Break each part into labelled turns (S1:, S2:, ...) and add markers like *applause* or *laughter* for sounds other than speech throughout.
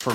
S1: For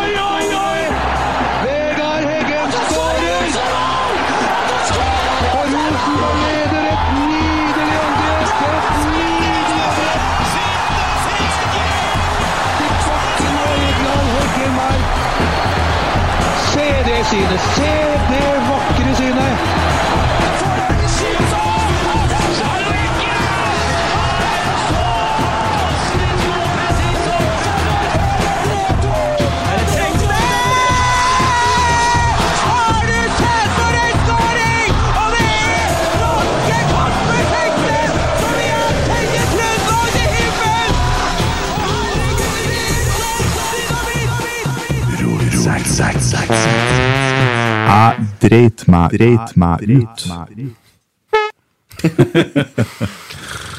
S2: oi! Vegard Heggen skårer! Og Rosenborg leder et nydelig angrep! Et nydelig angrep! Til bakken og Egnald Heggemark. Se det synet! Se det vakre synet!
S3: Zack, zack, zack, zack.
S4: Jeg dreit meg, dreit meg ut.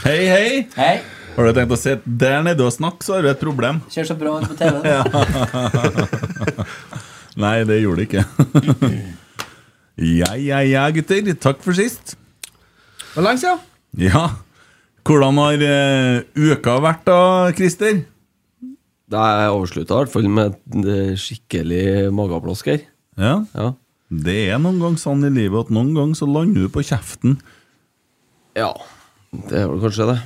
S5: Hei, hei!
S6: Hei.
S5: Har du tenkt å sitte der nede og snakke, så har du et problem.
S6: Kjør så bra ut på TV. da.
S5: Nei, det gjorde det ikke. ja, ja, ja, gutter. Takk for sist.
S7: Hvor lenge siden?
S5: Ja. Hvordan har eh, uka vært da, Christer?
S7: Da er jeg overslutta, i hvert fall med eh, skikkelig mageplasker.
S5: Ja.
S7: Ja.
S5: Det er noen ganger sånn i livet at noen ganger så lander du på kjeften.
S7: ja, det er vel kanskje det.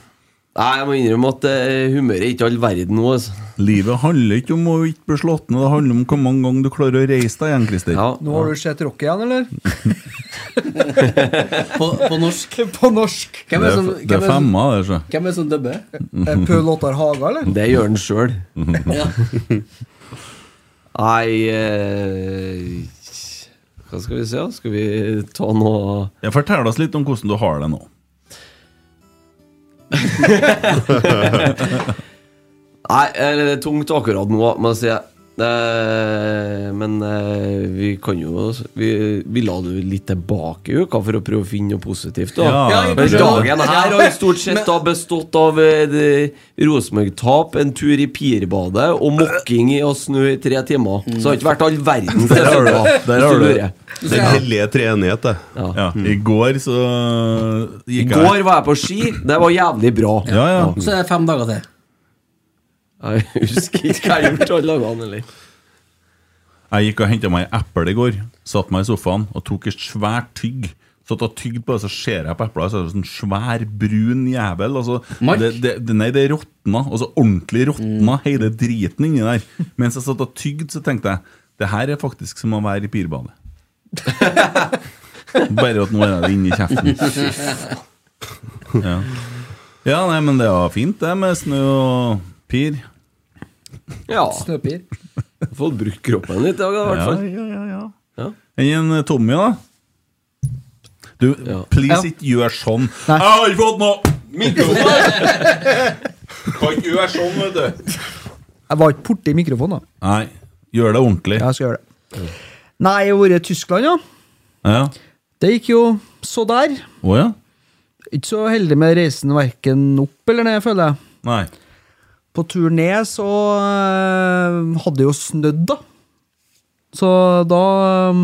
S7: Nei, Jeg må innrømme at eh, humøret er ikke all verden nå. Altså.
S5: Livet handler ikke om å ikke bli slått ned, det handler om hvor mange ganger du klarer å reise deg igjen, Christer.
S7: Ja,
S8: Nå har du sett Rock igjen, eller? *laughs*
S6: På, på norsk.
S8: På norsk.
S6: Hvem
S5: Det
S6: er
S5: er,
S6: som,
S5: det er
S6: hvem er som,
S5: femma, det, så.
S6: hvem er som dubber?
S8: Eh, Paul Ottar Haga, eller?
S7: Det gjør han sjøl.
S6: *laughs* Ja.
S7: Nei eh, Hva skal vi se? da? Skal vi ta noe
S5: Ja, Fortell oss litt om hvordan du har det nå.
S7: Nei, eh, det er tungt akkurat nå, må jeg si. Eh, Men eh, vi kan jo Vi, vi la det jo litt tilbake i uka for å prøve å finne noe positivt. Da.
S5: Ja, Ja,
S7: Men
S5: kanskje.
S7: dagen her har stort sett da bestått av eh, det- Rosenborg-tap, en tur i Pirbadet og mokking i og snø i tre timer. Så det har ikke vært all verdens
S4: Der har du det.
S7: resultat,
S4: Der
S7: hvis
S4: har
S7: du
S4: du
S7: lurer.
S4: det. Den hellige treenighet, det.
S5: Ja, I går så
S7: I
S5: gikk jeg
S7: går var jeg på ski. Det var jævlig bra.
S5: Ja, ja.
S6: Så er det fem dager til.
S7: Jeg husker ikke hva jeg har gjort alle dagene, eller.
S5: Jeg gikk og hentet meg en eple i går Satt meg i sofaen og tok et svært tygg Satt og tygg på det, så ser jeg på eplet Så er det sånn svær, brun jævel altså,
S6: Mark?
S5: det, det, det- Nei, det råtna Altså ordentlig råtna hele driten inni der Mens jeg satt og tygd, så tenkte jeg Det her er faktisk som å være i pirbane Bare at nå er det inni kjeften ja. ja, nei, men det var fint det Med snø og pir
S7: Ja.
S8: Snøpir.
S7: Fått brukt kroppen litt i dag, da, i hvert
S5: Ja,
S7: fall.
S5: ja, ja, ja.
S7: Ja.
S5: Enn en eh, Tommy, da? Du,
S7: Ja.
S5: please
S8: Ja.
S5: ikke gjør sånn. Jeg har ikke fått noe
S8: *laughs*
S5: mikrofon! kan ikke gjøre sånn, vet du.
S8: Jeg var ikke borti mikrofonen, da.
S5: Nei, gjør det ordentlig. Ja.
S8: Jeg skal gjøre det. Nei, jeg har vært i Tyskland, ja.
S5: Å ja.
S8: Det gikk jo så der. Ikke så heldig med reisen verken opp eller ned, føler jeg.
S5: Nei.
S8: På tur ned så eh, hadde det jo snødd, da. Så da eh,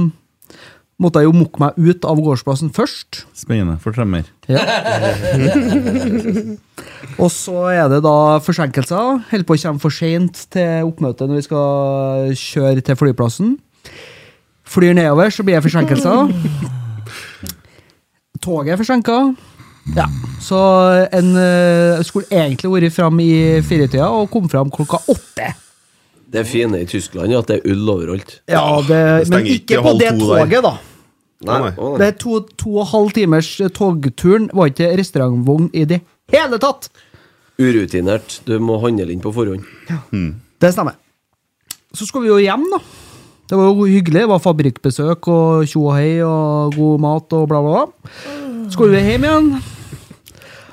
S8: måtte jeg jo mukke meg ut av gårdsplassen først.
S5: Spennende. Fortell mer.
S8: Og så er det da forsinkelser. Holder på å komme for seint til oppmøtet når vi skal kjøre til flyplassen. Flyr nedover, så blir det forsinkelser. Toget er forsinka. Ja. Så en eh, skulle egentlig vært fram i firetida og kom fram klokka åtte.
S7: Det fine i Tyskland er at det er ull overalt.
S8: Ja, det, Men ikke på det toget, da.
S7: Nei, å,
S8: Det
S7: nei.
S8: er to, to og en halv timers eh, togturen var ikke restaurantvogn i det hele tatt!
S7: Urutinert. Du må handle inn på forhånd.
S8: Det stemmer. Så skulle vi jo hjem, da. Det var jo hyggelig. Det var fabrikkbesøk og tjo og hei og god mat og bla, bla, bla. Skulle vi hjem igjen?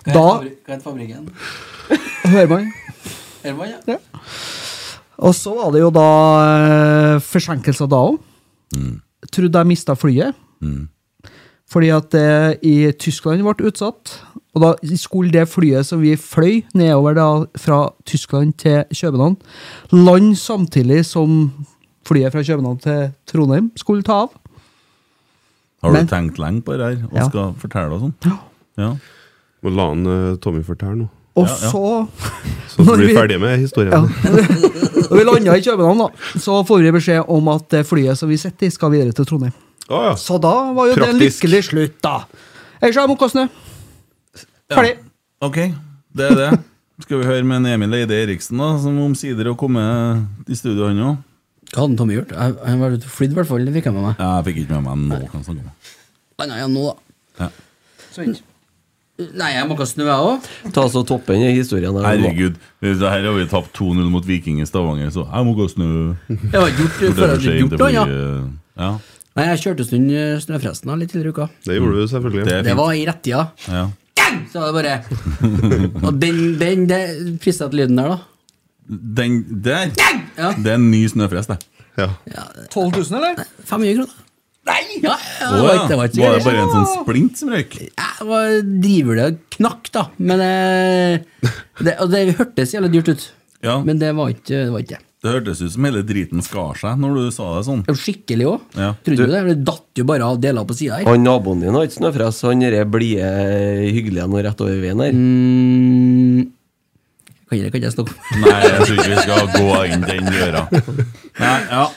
S6: Hva
S8: Da
S6: heter fabri- hva heter fabrikken?
S8: hører man
S6: Elva, ja.
S8: Og så var det jo da eh, forsinkelser da òg. Trodde jeg mista flyet. Fordi at det i Tyskland ble utsatt. Og da skulle det flyet som vi fløy nedover da, fra Tyskland til København, lande samtidig som flyet fra København til Trondheim skulle ta av.
S5: Har
S8: Men-
S5: du tenkt lenge på det her og
S8: Ja.
S5: skal fortelle og sånn? Ja.
S9: Må la han, eh, Tommy fortelle nå.
S8: Og
S9: Ja, ja.
S8: så
S9: Så
S7: *laughs*
S8: når
S9: du blir
S8: *laughs* vi-
S9: ferdig med historien.
S8: Ja. Når vi landa i København, da, så får vi beskjed om at det flyet som vi sitter i, skal videre til Trondheim. Så da var jo det en
S5: Praktisk.
S8: lykkelig slutt, da. Ellers har jeg mokka snø. Ferdig.
S5: Ok, det er det. Skal vi høre med en Emil Eide Eriksen, da, som omsider har kommet i studio, han òg?
S6: Hva hadde Tommy gjort? Jeg- Han var ute og flydde, i hvert fall. Det fikk jeg med meg.
S5: Jeg fikk ikke med meg noe han snakket om.
S6: Landa igjen nå, da.
S5: Ja.
S6: Nei, jeg måka snø, jeg òg.
S7: Ta så toppen i historien. Der,
S5: Herregud, det her har vi tapt 2-0 mot Viking i Stavanger, så jeg må gå og snu.
S6: Jeg har gjort-
S5: For det
S6: for
S5: er
S6: at
S5: for
S6: du
S5: sent,
S6: gjort noe, ja.
S5: blir, eh, ja.
S6: Nei, jeg kjørte en stund eh, Snøfresten da, litt tidligere i uka.
S9: Det gjorde du selvfølgelig.
S5: Det er
S6: Det
S5: fint.
S6: var i rettida.
S5: Ja.
S6: Så var det
S5: *laughs*
S6: bare Og den, den, den prissatte lyden der, da.
S5: Den der! Det er en ny snøfres, det. Ja.
S8: 12 000, eller?
S6: 500 kroner. Nei! Ja, ja, det
S5: Å,
S6: var
S5: ja.
S6: ikke, det var ikke
S5: Var det bare en sånn splint som røyk?
S6: Ja, det var driver det knakk, da. Men eh, det, og det hørtes jævlig dyrt ut. Men det var ikke det. Var ikke. det.
S5: Det hørtes ut som hele driten skar seg når du sa det sånn.
S6: Skikkelig òg.
S5: Ja.
S6: Trodde du det? Det datt jo bare av deler på sida her.
S7: Han naboen din har ikke snøfres, han er blide, hyggelige og rett over veien her.
S6: Mm. Kan ikke, kan ikke jeg snakke om
S5: Nei, jeg tror ikke vi skal gå inn den døra. Nei, ja.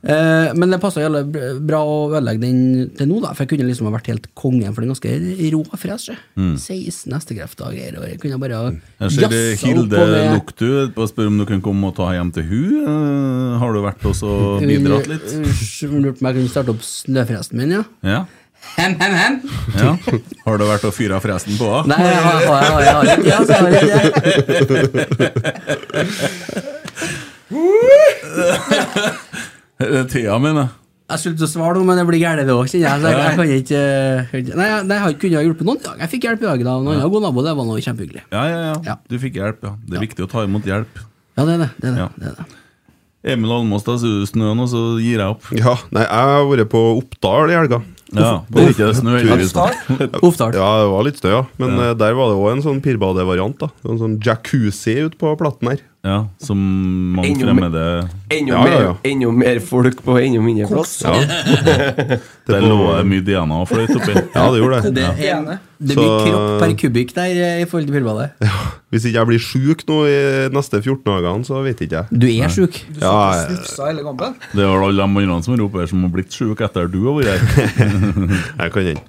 S6: Eh, men det passa jævlig br- bra å ødelegge den til nå, da. For jeg kunne liksom ha vært helt kongen, for den er ganske rå fres. jeg.
S5: Mm.
S6: 16 hestekrefter og jeg kunne bare
S5: Jeg ser det,
S6: jassa opp
S5: Hilde
S6: og ned.
S5: Luktu på å spørre om du kan komme og ta hjem til hun Eh, Har du vært også og bidratt litt?
S6: Hun- Hun lurte på om jeg kunne starte opp snøfresten min, ja.
S5: Ja.
S6: Hem, hem, hem.
S5: ja. Har du vært og fyra fresen på henne?
S6: Nei, jeg har- jeg har- jeg har ikke, jeg
S7: altså,
S6: har
S5: Det er Thea min, jeg.
S6: Jeg skulle til å svare noe, men det blir gærent det òg, kjenner jeg. Så jeg, jeg kan ikke eh, kan ikke- Nei, jeg, nei, jeg har ikke kunnet hjulpet noen i dag. Jeg fikk hjelp i dag av en annen god nabo, det var noe kjempehyggelig.
S5: Ja, ja, ja, Du fikk hjelp, ja. Det er viktig å ta imot hjelp.
S6: Ja, det er det. det, er det.
S5: Ja. Emil Almås, da sier du snøen, og så gir jeg opp.
S9: Ja, nei, jeg har vært på Oppdal i helga.
S5: Ja, det er ikke snø, heldigvis.
S6: Oppdal?
S9: Ja, det var litt snø, ja. Men eh, der var det òg en sånn pirbadevariant. da. Det var En sånn jacuzzi ute på platten her.
S5: Ja, som mange
S9: Ennå mer-
S5: fremmede
S7: Enda,
S9: Ja, ja, ja.
S7: Mer, enda mer folk på enda mindre plass.
S9: Ja.
S5: Der lå det mye Diana og fløyt oppi.
S9: Ja, det gjorde det.
S6: Det er, det er mye
S9: Så-
S6: kropp per kubikk der eh, i forhold til bilbadet.
S9: Hvis ikke jeg blir sjuk nå i neste 14 dagene, så vet ikke jeg.
S6: Du er sjuk?
S8: Du
S9: Ja,
S6: Eh,
S8: satt og
S9: jeg,
S8: snufsa hele kampen.
S5: Det er vel alle de andre som roper her som har blitt sjuke etter du har vært
S9: *laughs*
S5: her.
S9: jeg kan den.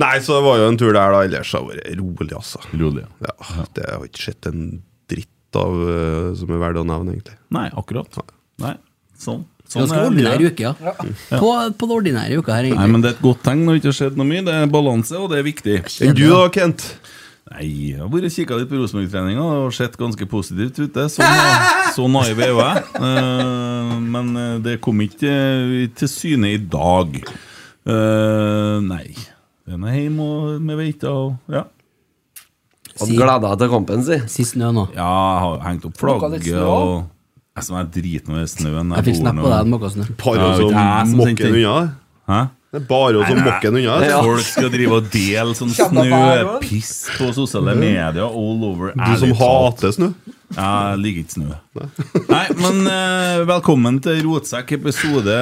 S9: Nei, så det var jo en tur der, da. Ellers har det vært rolig, altså.
S5: Rolig,
S9: ja. Det har ikke skjedd en dritt av eh, som er verdt å nevne, egentlig.
S5: Nei, akkurat. Nei, sånn.
S6: Sånn Ganske
S5: er
S6: ordinær
S5: livet.
S6: uke, ja. På, på den ordinære uka her,
S5: Nei,
S6: egentlig.
S5: men Det er et godt tegn når det ikke har skjedd noe mye. Det er balanse, og det er viktig.
S6: Enn du da,
S9: Kent?
S5: Nei, Jeg har vært kikka litt på Rosenborg-treninga og sett ganske positivt ut. Det. Så,
S6: *laughs*
S5: na- så naiv er jo jeg. Eh, men eh, det kom ikke eh, til syne i dag. Eh, nei. Den er hjemme og med veita og ja.
S7: Hadde gleda deg til kampen, si.
S6: Si snø nå.
S5: Ja, jeg har hengt opp
S7: Plukka litt
S5: flagget
S7: snø
S5: og Jeg som er driten over snøen.
S6: Jeg fikk
S5: bor
S6: snap
S5: nå-
S6: på deg, den måka snø.
S9: Bare
S5: Ja,
S9: som
S5: det er jeg som
S9: mokker
S5: tenkte-
S9: den unna, det.
S5: Hæ?
S9: Det er bare å som
S5: Nei, nei.
S9: mokker den unna.
S5: At
S9: det.
S5: Folk skal drive og dele sånn
S9: Kjenner vær også.
S5: snøpiss på sosiale medier all over
S9: Mm. Du som
S5: ærlig talt.
S9: hater snø.
S5: Jeg liker ikke snø. Nei, men eh, velkommen til Rotsekk episode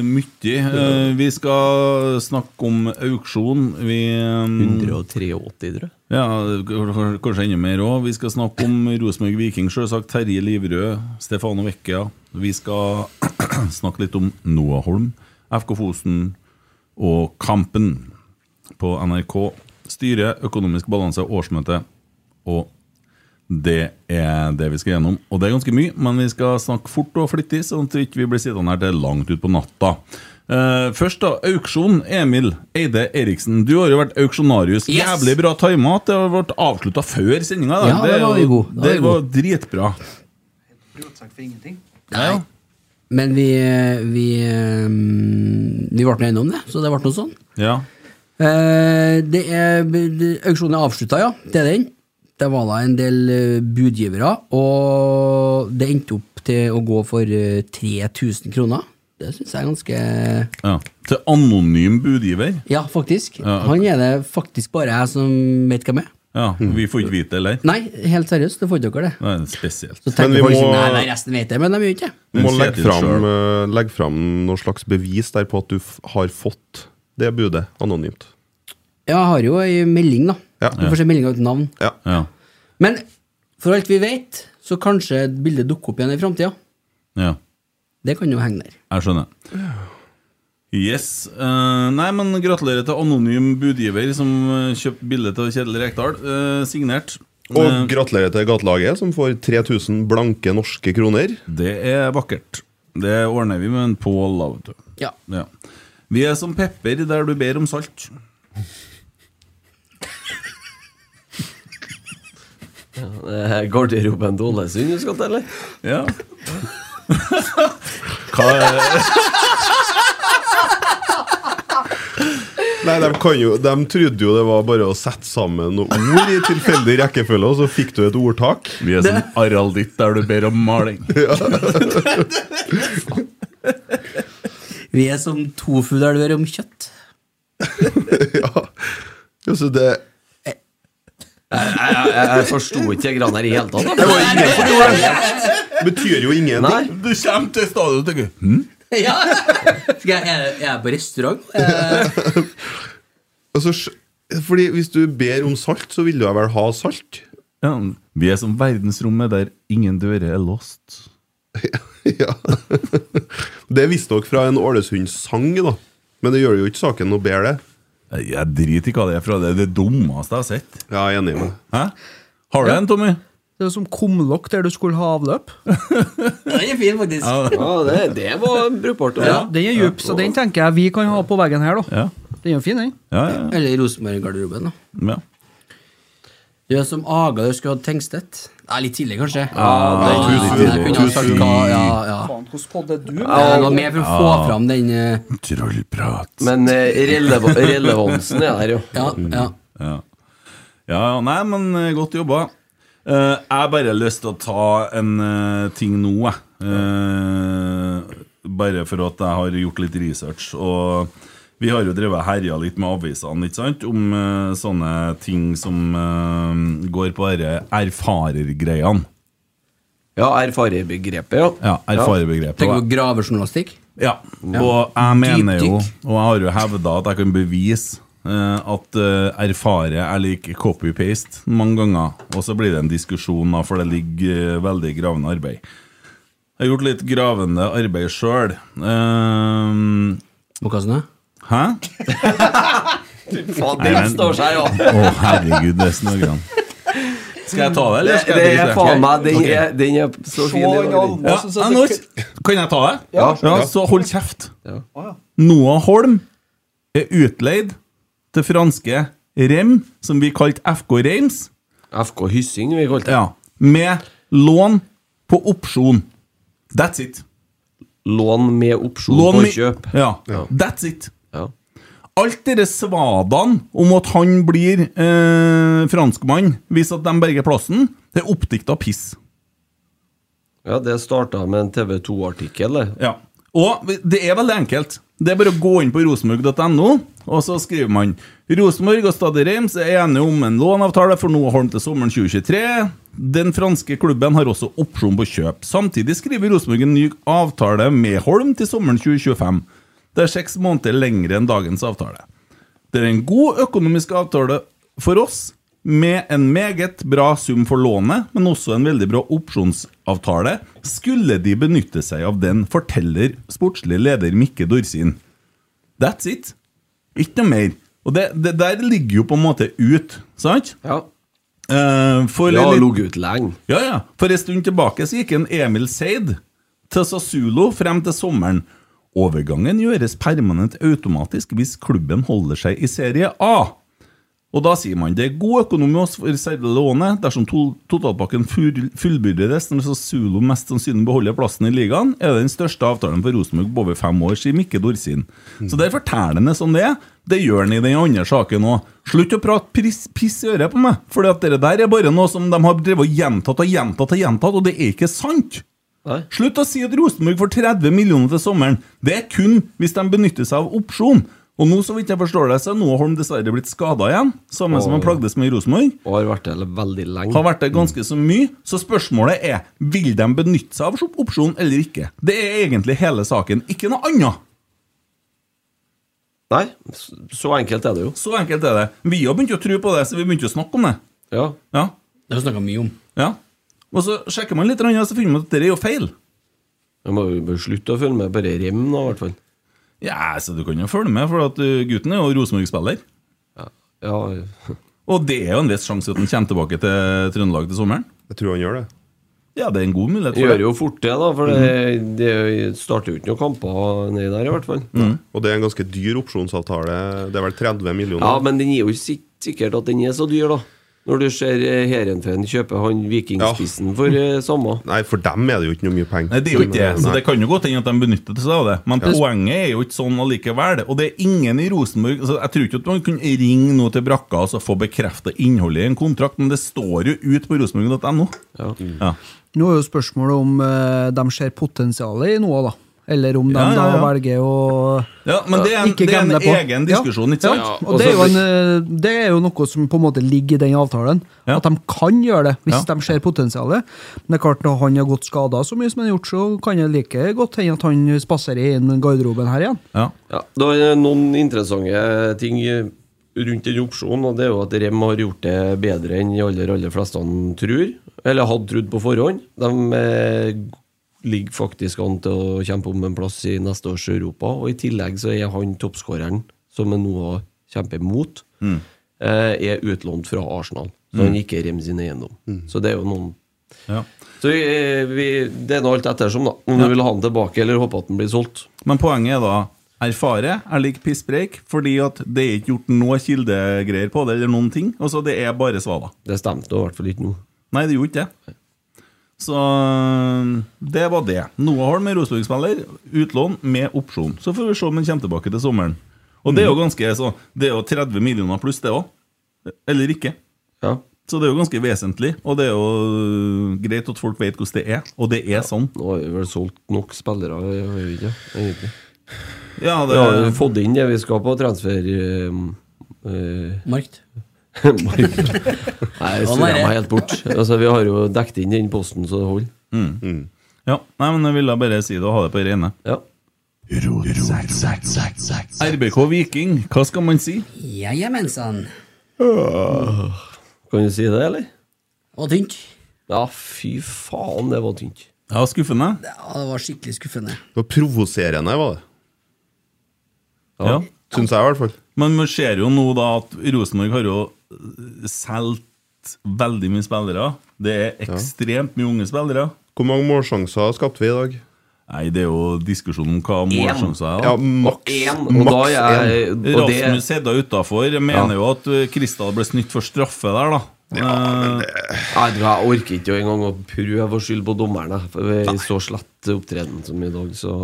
S5: mye. Eh, vi skal snakke om auksjon. Vi, eh,
S7: 183, tror jeg.
S5: Ja, k- k- kanskje enda mer òg. Vi skal snakke om Rosenborg Viking, selvsagt. Terje Livrød, Stefano Vecchia. Vi skal *clears throat* snakke litt om Noah Holm, FK Fosen og Kampen på NRK. Styre, økonomisk balanse, årsmøte og det er det vi skal gjennom. Og det er ganske mye, men vi skal snakke fort og flittig, sånn at vi ikke blir sittende her til langt utpå natta. Eh, først, da. Auksjon. Emil Eide Eriksen, du har jo vært auksjonarius.
S6: Yes!
S5: Jævlig bra tima. at Det har vært avslutta før sendinga. da.
S6: Ja,
S5: er
S6: det var
S5: jo-
S6: vi god. Da var
S5: Det
S6: vi
S5: var
S6: god.
S5: dritbra.
S6: Nei. Men vi, eh, vi, ehm, vi ble nå enige om det, så det ble noe sånn.
S5: Ja.
S6: Eh, det er, det- auksjonen er avslutta, ja. Det er den. Det var da en del eh, budgivere, og det endte opp til å gå for eh, 3000 kroner. Det syns jeg er ganske
S5: ja. Til anonym budgiver.
S6: Ja, faktisk.
S5: Ja, ok.
S6: Han er det faktisk bare jeg som vet hvem er.
S5: Ja,
S9: Mm.
S5: Vi får ikke vite det, eller?
S6: Nei, helt seriøst, det får ikke dere det.
S5: Det er spesielt.
S6: Så tenker folk sånn, nei, nei, resten vet det, men de gjør ikke det.
S9: Du må legge fram,
S5: selv.
S9: eh, legge fram noe slags bevis der på at du f har fått det budet anonymt.
S6: Ja, jeg har jo ei melding, da. Du får se meldinga uten navn.
S5: Ja.
S6: Men for alt vi vet, så kanskje bildet dukker opp igjen i framtida.
S5: Ja.
S6: Det kan jo henge der.
S5: Jeg skjønner. Yes. eh, nei, men gratulerer til anonym budgiver som eh, kjøpte bilde av Kjetil Rekdal. eh, signert.
S9: Og
S5: Eh,
S9: gratulerer til gatelaget, som får 3000 blanke norske kroner.
S5: Det er vakkert. Det ordner vi med en Pål, da, vet du.
S6: Ja.
S5: Vi er som pepper der du ber om salt.
S7: Ja, Eh, Garderoben til Ålesund, du skal til, eller?
S5: Ja. *laughs* Hva
S9: Nei, de, kan jo, de trodde jo det var bare å sette sammen noen ord i tilfeldig rekkefølge, og så fikk du et ordtak.
S5: Vi er som aralditt der du ber om
S9: *laughs*
S5: maling.
S6: Vi er som tofu-elver om kjøtt.
S9: Altså, det
S7: Jeg, jeg, jeg forsto ikke de greiene her i hele tatt. da.
S9: betyr jo ingenting.
S5: Du kommer til stadion og tenker hm?
S6: Ja. Skal jeg, er jeg er på *laughs* restaurant? Eh,
S9: Altså, sj- fordi hvis du ber om salt, så vil du vel ha salt?
S5: Ja, vi er som verdensrommet der ingen dører er låst.
S9: ja. Det visste dere fra en Ålesund-sang, da. Men det gjør jo ikke saken noe bedre.
S5: Jeg driter i hva det er fra. Det er det dummeste jeg har sett.
S9: Ja, jeg er enig med
S5: Hæ? Har du en, Tommy?
S8: Det er jo som kumlokk der du skulle ha avløp.
S6: Den er fin, faktisk.
S7: Ja, det, det var brukbart. da.
S8: Ja, den er djup, så den tenker jeg vi kan ha på veggen her, da. Den er jo fin, den.
S5: Ja,
S6: Eller Rosenborg-garderoben, da.
S5: ja.
S6: Du er som Aga der skulle hatt Tengstedt. Ja, litt tidlig, kanskje.
S5: Ja, det er
S6: Ja,
S5: tusen-
S6: jeg kunne ha sagt hva, ja, ja.
S8: Faen, hvordan podd er du?
S6: Ja, Det var mer for å få
S5: Ja.
S6: fram den eh,
S5: Trollprat.
S7: Men eh, releva relevansen er der, jo.
S6: Ja, ja.
S5: Ja. ja, ja, nei, men eh, godt jobba. Eh, jeg har bare lyst til å ta en eh, ting nå, jeg. Eh, bare for at jeg har gjort litt research. Og vi har jo drevet og herja litt med avisene ikke sant? om eh, sånne ting som eh, går på disse erfarergreiene.
S7: Ja, erfarerbegrepet, ja.
S5: Ja, erfarerbegrepet.
S6: Tenk på gravejournalistikk.
S5: Ja, og jeg mener jo, og jeg har jo hevda at jeg kan bevise eh, at eh, erfare er lik copy-paste mange ganger. Og så blir det en diskusjon, da, for det ligger eh, veldig gravende arbeid. Jeg har gjort litt gravende arbeid sjøl.
S6: Må kaste ned.
S7: *laughs*
S5: Hæ?
S7: Faen, det står seg, ja.
S5: Å, herregud, det snørrer han. Skal jeg ta det, eller
S7: Det,
S5: skal
S7: det
S5: jeg
S7: er
S5: drite i
S7: faen meg Den,
S5: Ok.
S7: er, den er så fin. i dag, den.
S5: Ja, Anders, kan jeg ta det?
S7: Ja.
S5: Ja, så hold kjeft.
S7: Ja.
S5: Noah Holm er utleid til franske Rem, som vi kalte FK Reims,
S7: FK Hyssing, vi kalte det.
S5: ja, med lån på opsjon. That's it.
S7: Lån med opsjon
S5: Lån
S7: på
S5: med-
S7: kjøp.
S5: Ja, that's it.
S7: Ja.
S5: Alt dere svadene om at han blir eh, franskmann hvis at de berger plassen, det er oppdikta piss.
S7: ja, det starta med en TV2-artikkel.
S5: Ja. Og det er veldig enkelt. Det er bare å gå inn på rosenborg.no, og så skriver man Rosenborg og Stade Reims er enige om en låneavtale for noe Holm til sommeren 2023. Den franske klubben har også opsjon på kjøp. Samtidig skriver Rosenborg en ny avtale med Holm til sommeren 2025. Det er seks måneder lengre enn dagens avtale. Det er en god økonomisk avtale for oss, med en meget bra sum for lånet, men også en veldig bra opsjonsavtale. Skulle de benytte seg av den, forteller sportslig leder Mikke Dorsin. That's it. Ikke noe mer. Og det, det der ligger jo på en måte ut, sant?
S7: Ja.
S5: Eh, for
S7: Ja,
S5: litt-
S7: ligget ut lenge.
S5: Ja, ja. For en stund tilbake så gikk en Emil Seid til Sassulo frem til sommeren. Overgangen gjøres permanent automatisk hvis klubben holder seg i serie A. Og da sier man det er god økonomi hos for selve lånet dersom to totalpakken full- fullbyrdes når Sassulo mest sannsynlig beholder plassen i ligaen, er det den største avtalen for Rosenborg på over fem år, sier Mikke Dorsin. Så der forteller han det som det er. Det gjør han i den andre saken òg. Slutt å prate pris- piss i øret på meg, for det der er bare noe som de har drevet og gjentatt og gjentatt og gjentatt, og det er ikke sant! Slutt å si at Rosenborg får 30 millioner til sommeren. Det er kun hvis de benytter seg av opsjon. Og nå, så vidt jeg forstår det, så er Noah Holm dessverre blitt skada igjen. Samme som han
S7: Åh.
S5: plagdes med i Rosenborg.
S7: Og har vært det veldig lenge.
S5: Har vært det ganske så mye. Så spørsmålet er vil de benytte seg av opsjon eller ikke. Det er egentlig hele saken, ikke noe annet.
S7: Nei, s- så enkelt er det jo.
S5: Så enkelt er det. Vi har begynt å tro på det, så vi begynte å snakke om det.
S7: Ja.
S6: Det har vi snakka mye om.
S5: Ja. Og så sjekker man litt, og så finner man at det er jo feil.
S7: Jeg må jo bare slutte å følge med på rem, da, i hvert fall.
S5: Ja, så du kan jo følge med, for at uh, gutten er jo Rosenborg-spiller. Og det er jo en viss sjanse at han kommer tilbake til Trøndelag til sommeren. Jeg tror han gjør det. Ja, det er en god mulighet for
S7: Gjør
S5: det.
S7: jo fort det, da, for det, det starter jo ikke noen kamper nedi der, i hvert fall.
S9: Og det er en ganske dyr opsjonsavtale. Det er vel 30 millioner?
S7: Ja, men den er jo ikke sik- sikkert at den er så dyr, da. Når du ser eh, Heerenveen kjøpe han vikingspissen for eh, samme.
S9: Nei, for dem er det jo ikke noe mye penger.
S5: Nei, det er jo ikke det, så det kan jo godt hende at de benytter seg av det. Men
S9: Ja.
S5: poenget er jo ikke sånn allikevel. Og det er ingen i Rosenborg altså, Jeg tror ikke at man kunne ringe nå til brakka og så få bekrefta innholdet i en kontrakt, men det står jo ut på rosenborg.no.
S7: Ja.
S8: Nå er jo spørsmålet om eh, de ser potensialet i noe, da. Eller om de
S5: Ja, ja,
S8: da
S5: ja.
S8: velger å
S5: Ja, men det er en-
S8: ikke
S5: det er en
S8: gamble på.
S5: egen diskusjon, ikke sant?
S8: Ja,
S5: Ja,
S8: og det er, jo
S5: og så-
S8: en, eh, det er jo noe som på en måte ligger i den avtalen. At de kan gjøre det, hvis de ser potensialet. Men det er klart, når han har gått skada så mye som han har gjort, så kan det like godt hende at han spaserer inn garderoben her igjen.
S5: Ja.
S7: Det er noen interessante ting eh, rundt den opsjonen, og det er jo at Rem har gjort det bedre enn de aller, aller fleste han tror, eller hadde trodd på forhånd. De eh, ligger faktisk an til å kjempe om en plass i neste års Europa, og i tillegg så er han toppskåreren som er noe å kjempe mot,
S5: Mm.
S7: eh, er utlånt fra Arsenal, så
S5: Mm.
S7: han ikke er Rem sin eiendom.
S5: Mm.
S7: Så det er jo noen
S5: Ja.
S7: Så vi, vi, det er nå alt ettersom, da. Om du vil ha den tilbake, eller håpe at den blir solgt.
S5: Men poenget er da erfare er lik pisspreik, fordi at det er ikke gjort noe kildegreier på det, eller noen ting. Altså, det er bare svada.
S7: Det stemte i hvert fall ikke nå.
S5: Nei, det gjorde ikke det. Så det var det. Noah Holm er Rosenborg-spiller. Utlån med opsjon. Så får vi se om han kommer tilbake til sommeren. Og det er jo ganske så, Det er jo 30 millioner pluss, det òg. Eller ikke. Så det er jo ganske vesentlig, og det er jo øh, greit at folk vet hvordan det er. Og det er sånn.
S7: Nå har vi vel solgt nok spillere, jeg har jo ikke, egentlig.
S5: Ja, det-
S7: Vi har jo fått inn det vi skal på transfer... eh, eh, *laughs*
S6: Markt.
S7: Markt. Nei, jeg snur meg helt bort. Altså, vi har jo dekket inn den posten, så det holder.
S5: Mm. Ja, nei, men jeg ville bare si det og ha det på det rene.
S7: Ja.
S5: RBK Viking, hva skal man si?
S6: Ja, ja, mensan.
S7: Kan du si det, eller?
S6: Det var tynt.
S7: Ja, fy faen, det var tynt.
S5: Ja, skuffende.
S6: Ja, det var skikkelig skuffende.
S9: Det var provoserende, var det.
S5: Ja.
S9: Syns jeg, i hvert fall.
S5: Men man ser jo nå da at Rosenborg har jo eh, solgt veldig mye spillere. Det er ekstremt mye unge spillere.
S9: Hvor mange målsjanser skapte vi i dag?
S5: Nei, det er jo diskusjon om hva målsjanser er. da.
S9: Ja, maks
S7: En, og da
S9: maks
S7: er jeg-
S9: en.
S7: og det-
S5: Rasmus Hedda utafor mener jo at uh, Kristal ble snytt for straffe der, da.
S7: Nei, du, jeg orker ikke engang å prøve å skylde på dommerne. For vi er i så slett opptreden som i dag, så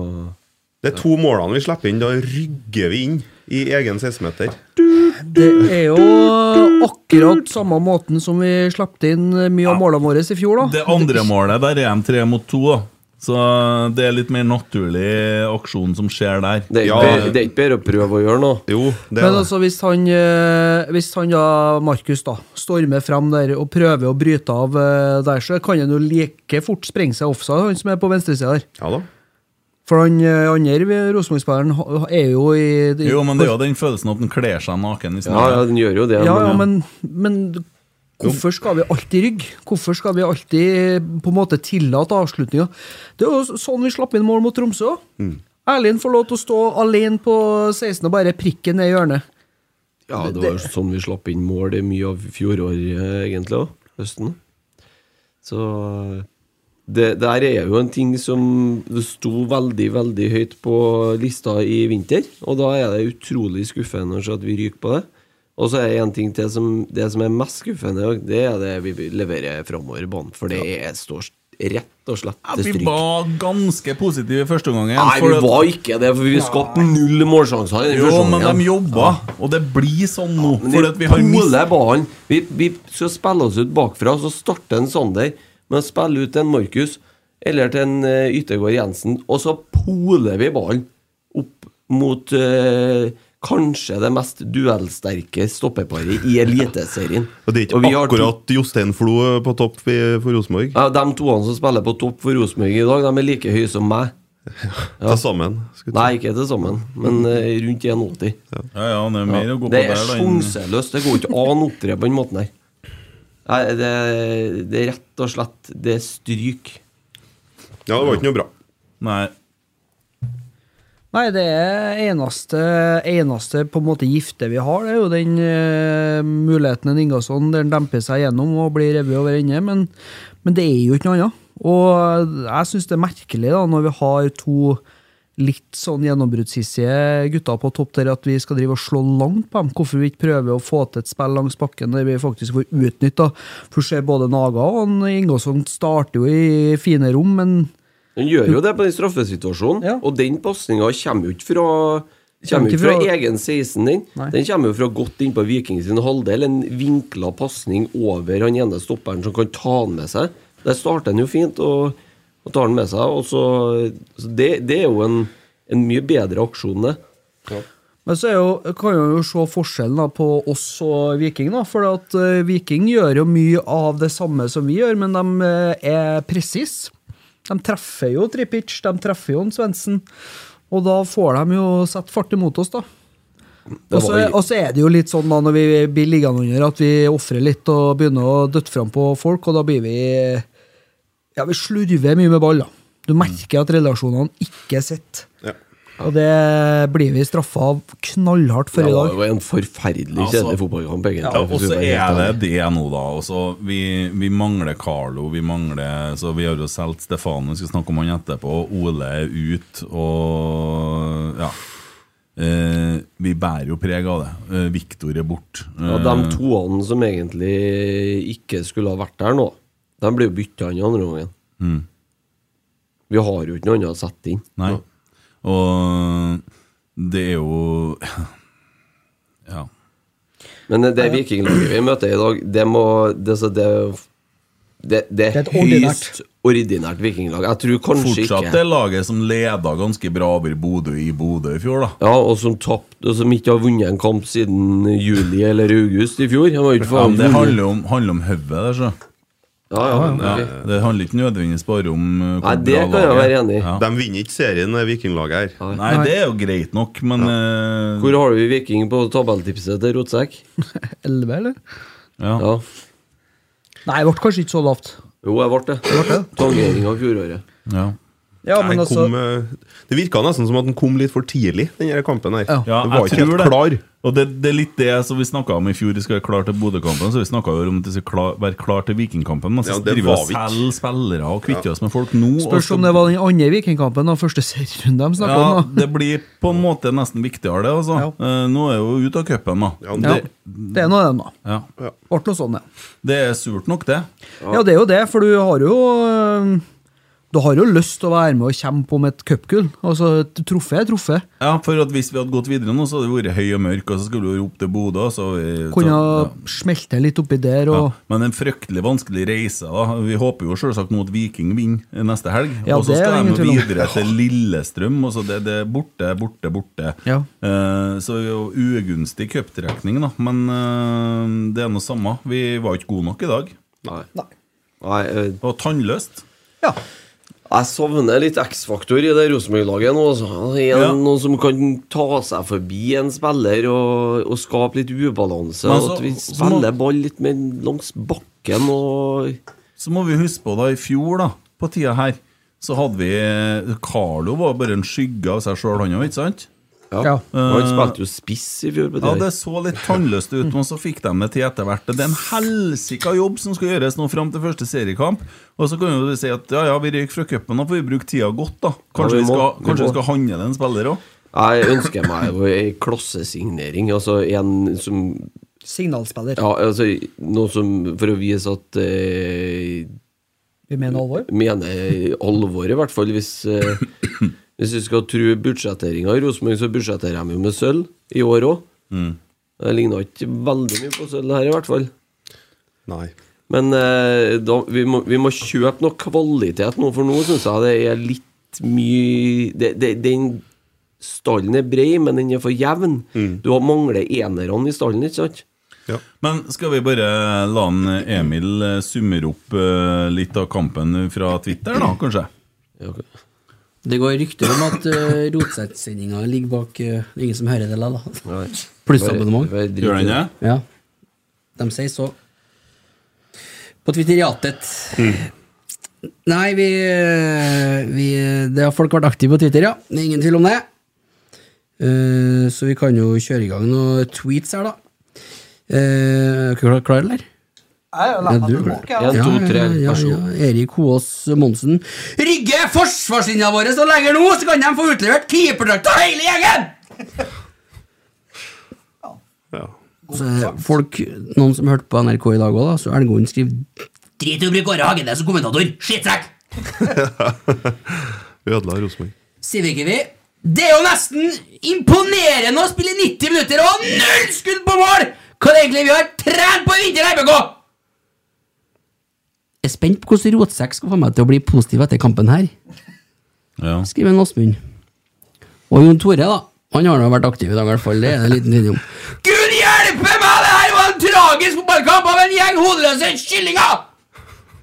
S9: Det er to målene vi slipper inn. Da rygger vi inn i egen 16-meter.
S8: Det er jo akkurat samme måten som vi slapp inn mye av målene våre i fjor, da.
S5: Det andre målet, der er de tre mot to, da. Så eh, det er litt mer naturlig aksjon som skjer der.
S7: Det er ikke bedre- det er ikke bedre å prøve å gjøre noe.
S9: Jo,
S8: Men altså, hvis han, eh, hvis han da, Markus, da, stormer frem der og prøver å bryte av eh, der, så kan han jo like fort sprenge seg offside, han som er på venstresida der.
S9: Ja da.
S8: For han eh, andre ved Rosenborg-spilleren ha- er jo i i-
S5: Jo, men det er jo den følelsen at den kler seg naken. i snøen.
S7: Ja, ja, den gjør jo det,
S8: Ja, ja, men, men hvorfor skal vi alltid rygge? Hvorfor skal vi alltid på en måte tillate avslutninger? Det er jo sånn vi slapp inn mål mot Tromsø. også.
S9: Mm.
S8: Erlind får lov til å stå alene på 16 og bare prikke ned i hjørnet.
S7: Ja, det var jo sånn vi slapp inn mål i mye av fjoråret, eh, egentlig, også, høsten. Så det der er jo en ting som det sto veldig, veldig høyt på lista i vinter, og da er det utrolig skuffende at vi ryker på det. Og så er det en ting til som det som er mest skuffende, og det er det vi leverer framover i banen, for det er, står rett og slett
S5: Ja,
S7: til
S5: vi
S7: stryk.
S5: var ganske positive i første omgang.
S7: Nei, vi var ikke det, for vi skapte null målsjanser. i den første
S5: Jo, men
S7: omgangen.
S5: de jobba, og det blir sånn nå.
S7: Men
S5: fordi
S7: de
S5: at vi har mist-
S7: poler ballen. Vi, vi skal spille oss ut bakfra, så starter en Sander med å spille ut til en Markus eller til en eh, Yttergård Jensen, og så poler vi ballen opp mot eh, kanskje det mest duellsterke stoppeparet i Eliteserien.
S9: *laughs* Og det er
S7: Og vi
S9: ikke
S7: har to-
S9: akkurat Jostein Flo eh, på topp i- for Rosenborg.
S7: Ja, de toene som spiller på topp for Rosenborg i dag, de er like høye som meg. Ja.
S9: *laughs* Til sammen.
S7: Nei, ikke til sammen, men eh, rundt 1,80.
S5: Ja, ja, det er mer å gå på
S7: det
S5: der,
S7: er
S5: da,
S7: sånn
S5: enn-
S7: sjanseløst. Det går ikke an å opptre på den måten her. Nei, det, det er rett og slett Det er stryk.
S9: Ja, det var ikke noe bra.
S5: Nei.
S8: Nei, det er eneste, eneste på en måte gifte vi har. Det er jo den eh, muligheten en Ingasson der han demper seg gjennom og blir revet over ende, men, men det er jo ikke noe annet. Og jeg syns det er merkelig, da, når vi har to litt sånn gjennombruddshissige gutter på topp der, at vi skal drive og slå langt på dem. Hvorfor vi ikke prøver å få til et spill langs bakken der vi faktisk får utnytta. For du ser både Naga og han Ingasson starter jo i fine rom, men
S7: Han gjør jo det på den straffesituasjonen, og den pasninga kommer jo ikke fra
S8: Kommer
S7: Kommer
S8: ikke
S7: ikke fra
S8: fra-
S7: egen 16 din.
S8: Nei.
S7: Den kommer jo fra godt innpå Viking sin halvdel. En vinkla pasning over han ene stopperen som kan ta han med seg. Der starter han jo fint og, og tar han med seg. Og så, så det, det er jo en, en mye bedre aksjon, det.
S8: Men så er jo, kan jeg jo se forskjellen da, på oss og Viking. da, For at eh, Viking gjør jo mye av det samme som vi gjør, men de eh, er presise. De treffer jo Tripic, de treffer jo en Svendsen. Og da får de jo satt fart imot oss, da.
S7: Det
S8: Og så
S7: var-
S8: og så er det jo litt sånn da når vi blir liggende under, at vi ofrer litt og begynner å døtte fram på folk, og da blir vi Ja, vi slurver mye med ball, da. Du merker at relasjonene ikke sitter. Og det blir vi straffa av knallhardt for i dag.
S7: Det var jo en forferdelig kjedelig
S5: Altså,
S7: fotballkamp, egentlig.
S5: Ja, og
S7: hvis vi
S5: så
S7: var helt
S5: er det
S7: ærlig.
S5: det nå, da. Og så vi, vi mangler Carlo. Vi mangler Så vi har jo solgt Stefano, vi skal snakke om han etterpå. Ole er ut, og ja. Eh, vi bærer jo preg av det. Eh, Viktor er borte.
S7: Ja, de toene som egentlig ikke skulle ha vært der nå, de ble jo bytta inn i andre gangen.
S5: Mm.
S7: Vi har jo ikke noe annet å sette inn.
S5: Nei. Og det er jo Ja.
S7: Men det vikinglaget vi møter i dag, det må Det, så det, det, det
S5: Det er
S7: er
S5: et
S7: høyst ordinært vikinglag. Jeg tror kanskje
S5: Fortsatt
S7: ikke
S5: det laget som leda ganske bra over Bodø i Bodø i fjor, da.
S7: ja, og som tapte, og som ikke har vunnet en kamp siden juli eller august i fjor. Han var jo ikke
S5: Ja, men det
S7: vunnet.
S5: handler om, handler om hodet der, så.
S7: Ja, ja, men-
S5: Det handler ikke nødvendigvis bare om uh, hvor bra laget er. Ja.
S9: De vinner ikke serien, det vikinglaget her.
S5: Nei, det er jo greit nok, men eh,
S7: Hvor har vi Viking på tabelltipset til Rotsekk?
S8: 11, eller?
S5: ja.
S7: Ja.
S8: Nei, det ble kanskje ikke så lavt.
S7: Jo, jeg ble det. Tangering av fjoråret.
S5: Ja.
S8: Ja, men
S9: Nei,
S8: altså-
S9: kom, eh, det virka nesten som at den kom litt for tidlig, den her kampen her.
S5: Ja,
S9: det var
S5: jeg
S9: ikke helt
S5: tror det.
S9: klar.
S5: Og det, det er litt det som vi snakka om i fjor. Vi skal være klar til Bodø-kampen. Så vi snakka jo om at vi skal klar, være klar til Vikingkampen. Men så
S9: Ja, det
S5: driver
S9: var
S5: vi
S9: vi
S5: og
S9: ikke.
S5: selger spillere og kvitter oss med folk nå. og
S8: Spørs
S5: så-
S8: om det var den andre Vikingkampen og første serierunde de snakka
S5: ja,
S8: om. da.
S5: det blir på en måte nesten viktigere, det. Altså. Eh, nå er jo ute av cupen, da.
S8: Ja, det er noe av dem, da.
S5: Ja.
S8: Ble noe sånn, ja.
S5: Det er surt nok, det.
S8: Ja, det er jo det, for du har jo øh, Du har jo lyst til å være med og kjempe om et cupgull. Altså, et trofé er trofé.
S5: Ja, for at hvis vi hadde gått videre nå, så hadde det vært høy og mørk, og så skulle vi opp til Bodø. og Så hadde vi,
S8: Kunne
S5: så,
S8: smelte litt oppi der.
S5: ja.
S8: Og,
S5: Men en fryktelig vanskelig reise. da Vi håper jo selvsagt nå at Viking vinner eh, neste helg.
S8: Ja,
S5: og så
S8: det er det
S5: skal
S8: ingen
S5: de
S8: tvil om.
S5: videre til Lillestrøm. Og så det, det er borte, borte, borte.
S8: Ja.
S5: Eh, så det er jo ugunstig cuptrekning, da. Men eh, det er nå samme. Vi var ikke gode nok i dag.
S7: Nei. eh,
S5: og tannløst.
S7: Jeg savner litt X-faktor i det Rosenborg-laget nå. altså. Er det
S5: Ja.
S7: Noen som kan ta seg forbi en spiller og, og skape litt ubalanse.
S5: Men
S7: og
S5: så-
S7: at vi
S5: så må-
S7: spiller ball litt mer langs bakken og
S5: Så må vi huske på da i fjor, da, på tida her, så hadde vi Carlo var bare en skygge av seg sjøl, han òg, ikke sant?
S7: Ja. Og
S5: Eh,
S7: han spilte jo spiss i fjor. på
S5: Ja,
S7: det.
S5: det så litt tannløst ut, men så fikk de det til etter hvert. Det er en helsika jobb som skal gjøres nå fram til første seriekamp. Og så kan jo du si at ja, ja, vi røyk fra cupen, da får vi bruke tida godt, da. Kanskje
S7: Ja, vi
S5: vi
S7: må.
S5: skal,
S7: Vi
S5: kanskje
S7: må.
S5: vi skal handle en spiller òg?
S7: Jeg ønsker meg jo ei klossesignering. Altså en som
S8: Signalspiller.
S7: Ja, altså noe som For å vise at eh,
S8: Vi mener alvor.
S7: mener alvor, i hvert fall. Hvis, eh, hvis vi skal tro budsjetteringa i Rosenborg, så budsjetterer de jo med sølv i år òg. Det ligner ikke veldig mye på sølv her, i hvert fall.
S9: Nei.
S7: Men eh, da, vi, må, vi må kjøpe noe kvalitet nå, for nå syns jeg det er litt mye det, det, Den stallen er bred, men den er for jevn. Du har- mangler enerne i stallen, ikke sant?
S5: Men skal vi bare la han Emil eh, summere opp eh, litt av kampen fra Twitter, da, kanskje?
S6: Det går rykter om at uh, Rotsett-sendinga ligger bak eh, Det er ingen som hører det likevel, da. Plussabonnement.
S5: Gjør den det?
S6: Ja. De sier så. På Twitteriatet. Nei, vi, eh, vi Det har folk vært aktive på Twitter, ja. Det er ingen tvil om det. Eh, så vi kan jo kjøre i gang noen tweets her, da. Eh, Er dere klar, eller?
S8: Jeg
S6: Ja, du er klar. Ja, ja, ja, ja. Erik Hoås Monsen. Rygge forsvarslinja vår og lenger nå, så kan de få utlevert keeperdrakta hele gjengen! Så er det folk, noen som hørte på NRK i dag òg, da, så Elgåen skriver Drit i å bruke Åre Hagenes som kommentator! Skittsekk!
S9: Ødela Rosenborg.
S6: Sivikivi. Det er jo nesten imponerende å spille 90 minutter og ha null skudd på mål! Hva er det egentlig vi har trent på i vinter, RBK? Jeg er spent på hvordan Rotsekk skal få meg til å bli positiv etter kampen her.
S5: Ja.
S6: Skriver en Åsmund. Og Jon Tore, da. Han har nå vært aktiv i dag, i hvert fall. Det er det en liten video om. Gud hjelpe meg! Det her var en tragisk fotballkamp av en gjeng hodeløse kyllinger!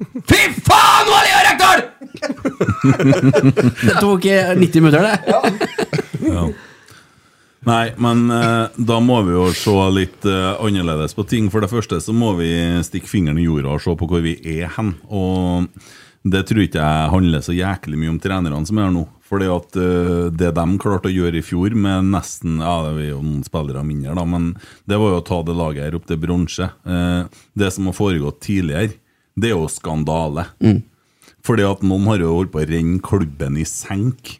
S6: Fy faen, Valea Rekdal! *laughs* Det tok eh, 90 minutter, det.
S5: Ja. Nei, men eh, da må vi jo se litt eh, annerledes på ting. For det første så må vi stikke fingeren i jorda og se på hvor vi er hen. Og det tror ikke jeg handler så jæklig mye om trenerne som er her nå. Fordi at eh, det de klarte å gjøre i fjor med nesten Ja, det er jo noen spillere mindre, da, men det var jo å ta det laget her opp til bronse. Eh, det som har foregått tidligere, det er jo skandale.
S7: Mm.
S5: Fordi at noen har jo holdt på å renne klubben i senk.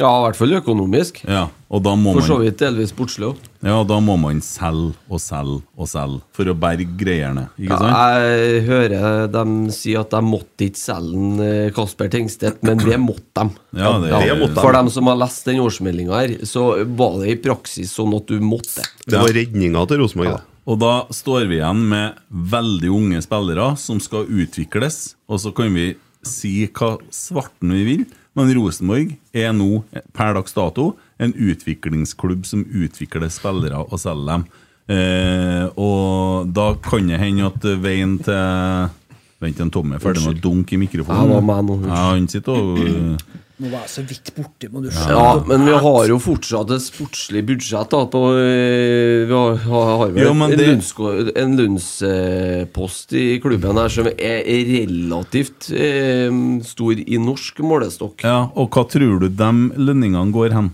S7: Ja, i hvert fall økonomisk.
S5: Ja, og da må
S7: For så
S5: man
S7: vidt delvis sportslig òg.
S5: ja, da må man selge og selge og selge for å berge greiene. Ikke sant?
S7: Jeg hører dem si at de måtte ikke selge en, eh, Kasper Tengstedt, men det måtte de.
S5: Ja, det- det måtte de.
S7: For dem som har lest den årsmeldinga her, så var det i praksis sånn at du måtte.
S9: Det var redninga til Rosenborg. da.
S5: Og da står vi igjen med veldig unge spillere som skal utvikles, og så kan vi si hva svarten vi vil, men Rosenborg er nå per dags dato en utviklingsklubb som utvikler spillere og selger dem. Eh, og da kan det hende at veien til Vent, en Tommy er ferdig med å dunke i mikrofonen.
S7: Ja, det var meg nå, unnskyld.
S5: Ja, han sitter
S7: *clears throat*
S5: og
S8: Nå var jeg så vidt borte, må du
S7: Ja, men vi har jo fortsatt et sportslig budsjett. da på, eh, Vi har, har har vel
S5: Jo, men
S7: en
S5: det-
S7: lønnsko- en lønnspost i klubben her som er relativt eh, stor i norsk målestokk.
S5: Ja, og hva tror du de lønningene går hen?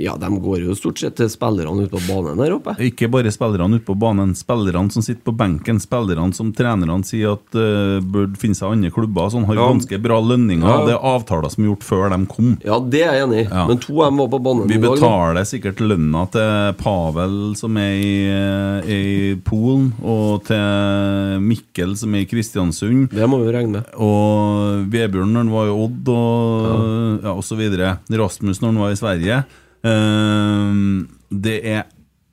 S7: Ja, de går jo stort sett til spillerne ute på banen der oppe.
S5: Ikke bare spillerne ute på banen, spillerne som sitter på benken, spillerne som trenerne sier at uh, burde finne seg andre klubber, sånn har
S7: Ja.
S5: ganske bra lønninger.
S7: Ja.
S5: Det er avtaler som er gjort før de kom.
S7: Ja, det er jeg enig i,
S5: Ja.
S7: men to av dem var på banen
S5: Vi
S7: i dag, da.
S5: betaler sikkert lønna til Pavel, som er i, eh, i Polen, og til Mikkel, som er i Kristiansund.
S7: Det må vi regne med.
S5: Og Vebjørn når han var i Odd, og, ja. og så videre. Rasmus når han var i Sverige. Ehm, det er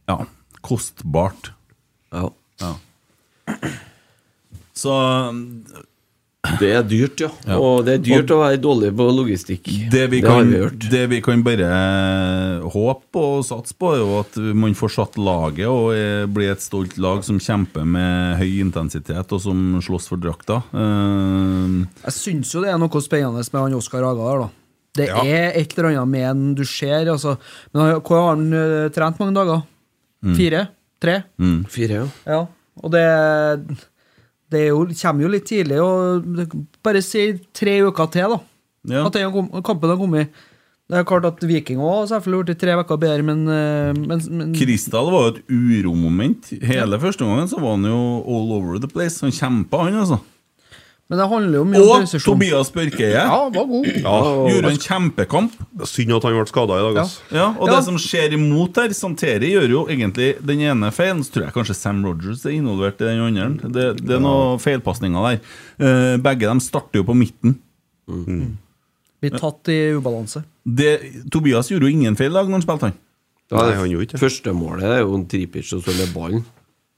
S5: ja, kostbart.
S7: Ja.
S5: Så
S7: Det er dyrt, ja.
S5: Ja.
S7: Og det er dyrt å være dårlig på logistikk.
S5: Det vi,
S7: har
S5: kan,
S7: vi hørt.
S5: det vi kan bare håpe og satse på, er jo at man får satt laget og eh, blir et stolt lag som kjemper med høy intensitet og som slåss for drakta. Ehm,
S8: Jeg syns jo det er noe spennende med han Oskar Haga der, da. Det
S5: Ja.
S8: er et eller annet med han du ser, altså. Men han- hvor har han eh, trent mange dager?
S5: Mm.
S8: Fire? Tre?
S5: mm.
S7: Fire, ja.
S8: Ja. Og det Det er jo, kommer jo litt tidlig, og det- bare si tre uker til, da.
S5: Ja.
S8: At den kom- kampen har kommet. Det er klart at Viking òg selvfølgelig blitt tre uker bedre, men, eh, men, men
S5: Kristal var jo et uromoment. Hele første gangen så var han jo all over the place. Han kjempa, han, altså.
S8: Men det handler jo mye om
S5: Og
S8: presisjon.
S5: Tobias Børkeie.
S8: Ja, var god.
S5: Ja, gjorde en kjempekamp.
S9: Synd at han ble skada i dag,
S5: Ja.
S9: altså.
S5: og det som skjer imot her Santeri gjør jo egentlig den ene feilen. Så tror jeg kanskje Sam Rogers er involvert i den andre. Det, det er noen feilpasninger der. Eh, begge dem starter jo på midten.
S7: Mm.
S8: Mm. Blir tatt i ubalanse.
S5: Det, Tobias gjorde jo ingen feil i dag når han spilte, han.
S7: Ja,
S5: Nei,
S7: det Første målet er jo en tripic som med ballen,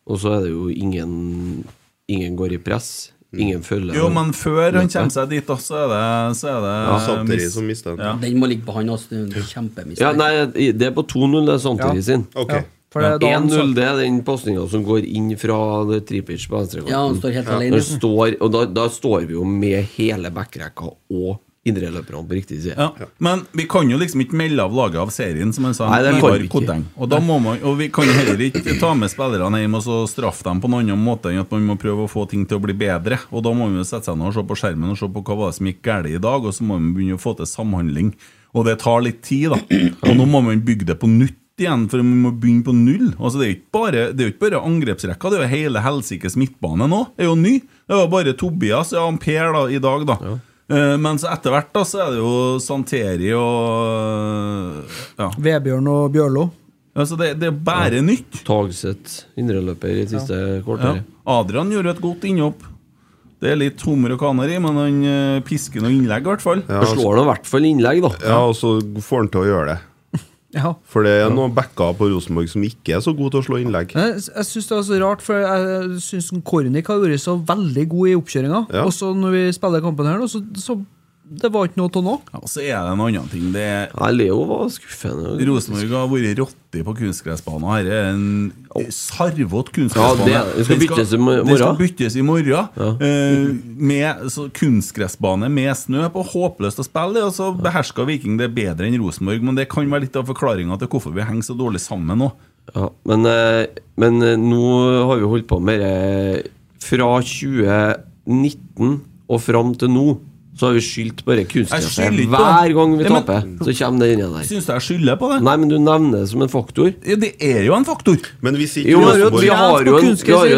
S7: og så er det jo ingen Ingen går i press. Ingen følger
S5: Jo, men før han kommer seg dit, da, så er det, så er det
S7: Ja, Santeri som
S9: mister
S5: Ja.
S6: Den må ligge på han også. det er en Kjempemistake.
S7: Ja, nei, det er på 2-0, det er
S6: Ja.
S7: Santeri sin.
S6: Ok. Ja, for det er da han
S7: 1-0 det er den pasninga som går inn fra det tripic på venstrekanten.
S6: Ja, han står helt alene.
S7: Den står, og da, da står vi jo med hele backrekka og indreløperne på riktig side.
S5: Ja. Men vi kan jo liksom ikke melde av laget av serien, som han sa.
S7: Nei, det
S5: Ivar
S7: kan vi ikke.
S5: Kodeng. Altså, Og, da må man, og vi kan heller ikke ta med spillerne hjem og så straffe dem på noen annen måte enn at man må prøve å få ting til å bli bedre. Og da må man jo sette seg ned og se på skjermen og se på hva var det som gikk galt i dag, og så må man begynne å få til samhandling. Og det tar litt tid, da. Og nå må man bygge det på nytt igjen, for man må begynne på null. Altså Det er jo ikke bare, det er jo ikke bare angrepsrekka, det er jo hele helsikes midtbane nå. Det er jo ny. Det var bare Tobias og Per da, i dag, da. Eh, Men så etter hvert da, så er det jo Santeri og eh, ja.
S8: Vebjørn og Bjørlo.
S5: Altså det, det er bare nytt.
S7: Tagseth, indreløper i siste
S5: Ja.
S7: kvarter.
S5: Adrian gjorde et godt innhopp. Det er litt hummer og kaner i, men han eh, pisker noe innlegg, i hvert fall.
S9: Ja, altså- Slår
S7: i hvert fall innlegg, da.
S9: Ja, og så får han til å gjøre det.
S5: *laughs*
S8: Ja.
S9: For det er noen backer på Rosenborg som ikke er så gode til å slå innlegg.
S8: Jeg, jeg syns det er så rart, for jeg syns Kornik har vært så veldig god i oppkjøringa.
S5: Ja.
S8: Og så når vi spiller kampen her, nå, så, så det var ikke noe av nå.
S5: Ja, og så er det en annen ting. Det er
S7: Nei, Leo var skuffende.
S5: Rosenborg har vært rotte på kunstgressbanen. Her er en sarvete
S7: Ja,
S5: kunstgressbane.
S7: det- det skal
S5: Den
S7: byttes i mor-
S5: den skal
S7: morgen.
S5: byttes i morgen. Eh, med så kunstgressbane med snø på. Håpløst å spille. Og så behersker Viking det bedre enn Rosenborg, men det kan være litt av forklaringa til hvorfor vi henger så dårlig sammen nå.
S7: Ja, men, eh, men eh, nå har vi holdt på med det Fra 2019 og fram til nå så har vi skyldt bare
S5: Jeg
S7: kunstgresset.
S5: skylder ikke på
S7: Hver
S5: det.
S7: gang vi
S5: Ja, men-
S7: taper, så kommer det inni der.
S5: Syns du jeg skylder på det?
S7: Nei, men du nevner det som en faktor.
S5: Ja, det er jo en faktor.
S9: Men hvis
S7: Jo, men vi har jo en, vi har jo en,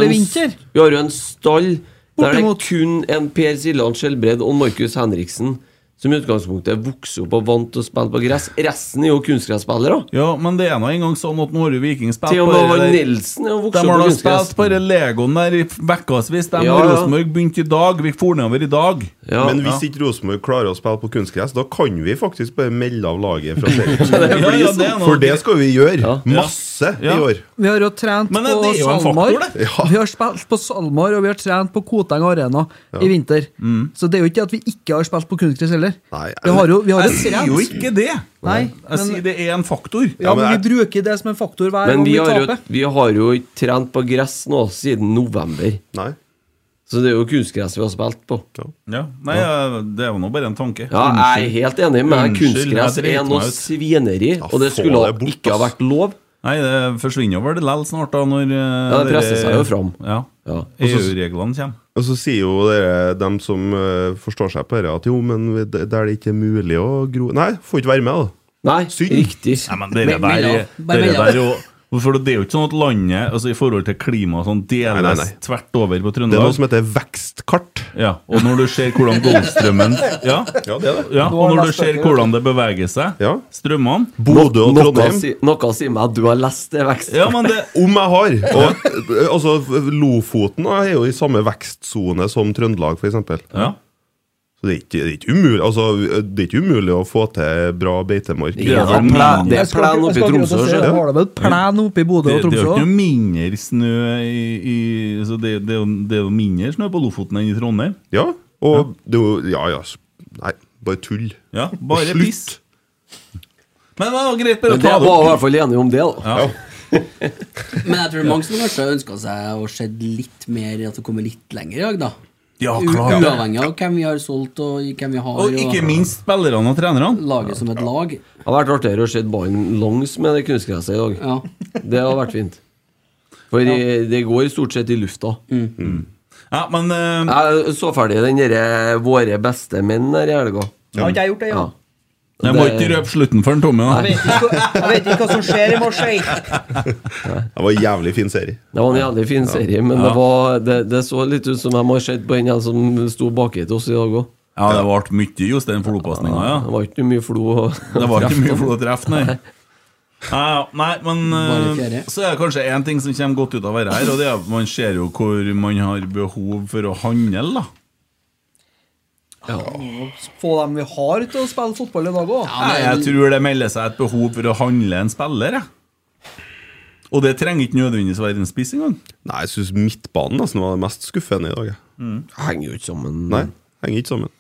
S8: vinter.
S7: vi har jo en stall der det er kun en Per Siljan Skjelbred og Markus Henriksen som i utgangspunktet vokser opp og vant til å spille på gress. Resten er jo kunstgresspillere.
S5: Ja, men det er nå engang sånn at Norge Viking spiller
S7: Til og med
S5: på det
S7: Håvard
S5: der-
S7: Nilsen er jo vokst
S5: De
S7: opp
S5: har
S7: på
S5: da
S7: kunstgress.
S5: spilt på den legoen der i vekkavis. De
S9: Ja,
S5: og
S9: ja.
S5: Rosenborg begynte i dag. Vi for nedover i dag.
S9: Men hvis ikke Rosenborg klarer å spille på kunstgress, da kan vi faktisk bare melde av laget
S8: *laughs*
S9: fra serien.
S5: Ja, ja, det er noe-
S9: For det skal vi gjøre. Masse i
S5: Ja.
S9: år.
S8: Vi har jo trent
S5: Men det
S8: på
S5: er jo en
S8: SalMar.
S5: faktor, det.
S8: *laughs* Vi har spilt på SalMar, og vi har trent på Koteng Arena
S5: Ja.
S8: i vinter.
S5: Mm.
S8: Så det er jo ikke at vi ikke har spilt på kunstgress heller. vi har jo, vi har
S5: jeg sier jo
S8: trent.
S5: ikke det.
S8: Nei,
S5: jeg
S8: men-
S5: sier det er en faktor.
S8: Ja, men vi bruker det som en faktor hver
S7: Men
S8: gang
S7: vi
S8: vi
S7: har, jo,
S8: taper.
S7: vi har jo ikke trent på gress nå siden november. Så det er jo kunstgress vi har spilt på.
S5: Ja, Nei, jeg- det er jo nå bare en tanke.
S7: Ja, jeg er helt enig med deg.
S5: Unnskyld,
S7: Kunstgress
S5: jeg driter
S7: er noe
S5: meg ut.
S7: svineri, og det
S5: få
S7: skulle
S5: det bort,
S7: ikke ha
S5: ass.
S7: vært lov.
S5: Nei, det forsvinner vel likevel snart, da, når eh,
S7: Ja, det presser seg jo fram.
S5: Ja.
S9: Og så-
S5: EU-reglene kommer.
S9: Og så sier jo dere, dem som eh, forstår seg på dette, at jo, men vi- der det ikke er mulig å gro Nei, får ikke være med, da.
S7: Nei, riktig.
S5: Nei, men dere der, dere der er jo for det er jo ikke sånn at landet altså i forhold til klima og sånn, deles
S9: Nei, nei, nei.
S5: tvert over på Trøndelag.
S9: Det er noe som heter vekstkart.
S5: Ja, og når du ser
S9: *laughs*
S5: hvordan Golfstrømmen ja, ja,
S9: det er det.
S5: ja, Og når du ser hvordan det beveger seg, strømmene
S9: Bodø og Trondheim.
S7: Noe sier meg at du har lest det vekst.
S9: Om jeg har! Og, eh, altså, Lofoten er jo i samme vekstsone som Trøndelag, f.eks.
S5: Ja.
S9: Så det er, ikke, det, er ikke umulig, altså, det er ikke umulig å få til bra beitemark.
S7: Det er sånn plen- det er Jeg skal- plen oppe i jeg skal akkurat Tromsø, å si, ser du.
S8: Har det vel plen oppe i Bodø og
S5: Det, det er jo
S8: Tromsø?
S5: ikke noe mindre snø i, i så det, det, er jo, det er jo mindre snø på Lofoten enn i Trondheim.
S9: Ja, og det er jo Ja, ja. s- Nei, bare tull.
S5: Ja, bare
S9: Slutt.
S5: piss. Men det var greit bare
S7: Men
S5: å
S7: det
S5: ta det
S7: var i
S5: opp.
S7: hvert fall enige om det, da.
S6: Men jeg tror mange som kanskje ønska seg å se litt mer At det kommer litt lenger i dag, da.
S5: Ja,
S6: U-
S5: klart det.
S6: Uavhengig av hvem vi har solgt, og hvem vi har.
S5: Og ikke minst spillerne og trenerne.
S6: Laget som et lag.
S7: Det hadde vært artigere å se ballen langs med det kunstgresset i dag. Det hadde vært fint. For i- det går stort sett i lufta.
S5: Ja, men eh,
S7: Jeg så ferdig den derre 'Våre beste menn' der i helga.
S10: Har ikke jeg gjort det, ja?
S5: Jeg må ikke røpe slutten for en Tommy.
S10: Jeg vet ikke, hva- jeg vet ikke hva som skjer i Marseille.
S9: Det var en jævlig fin serie.
S7: Det var en jævlig fin serie, men
S5: Ja.
S7: det, var, det, det så litt ut som de har sett på den her som sto baki til oss i dag òg.
S5: Ja, det ble mye Jostein Flo-pasninger, ja.
S7: Det var ikke mye flo å
S5: Det var ikke mye flott treff, nei. Ja, ja, nei, men
S6: Bare
S5: eh,
S6: fjerde.
S5: så er det kanskje én ting som kommer godt ut av å være her, og det er at man ser jo hvor man har behov for å handle, da.
S10: Få dem vi har til å spille fotball i dag òg.
S5: Nei, jeg tror det melder seg et behov for å handle en spiller, jeg. Og det trenger ikke nødvendigvis være en spiss engang.
S9: Nei, jeg syns midtbanen nesten var det mest skuffende i dag. jeg.
S7: Henger jo ikke sammen.
S9: Nei, henger ikke sammen.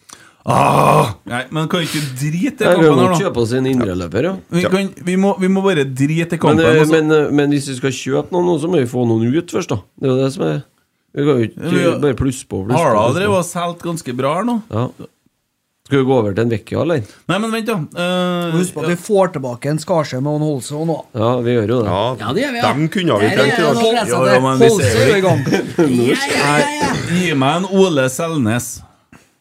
S5: Ah, nei, men kan vi ikke drite i
S7: Nei, vi
S5: kampen
S7: må
S5: her, da?
S7: kjøpe oss en indreløper, ja.
S5: Vi, kan, vi, må, vi må bare drite i
S7: Men,
S5: kampen. altså.
S7: eh,
S5: og så-
S7: men, eh, men hvis vi skal kjøpe noen, nå, så må vi få noen ut først, da. Det er jo det som er Vi kan jo
S5: Ja,
S7: ikke
S5: men-
S7: bare plusse på. Pluss
S5: Harla
S7: på, pluss
S5: drev
S7: på.
S5: og solgte ganske bra her nå.
S7: Ja. Skal vi gå over til en Vecchia, eller?
S5: Nei, men vent, da. Eh,
S10: Husk på at vi får tilbake en Skarsheim og en Holse og noe.
S7: Ja, vi gjør jo det.
S9: Ja,
S6: Ja, det gjør vi, ja.
S9: dem kunne vi
S6: Der
S9: trengt i
S6: er
S9: dag.
S6: det noe
S5: Ja, ja, men vi
S10: Holse er
S5: ser jo
S10: i gang.
S5: Nei, gi meg en Ole Selnes.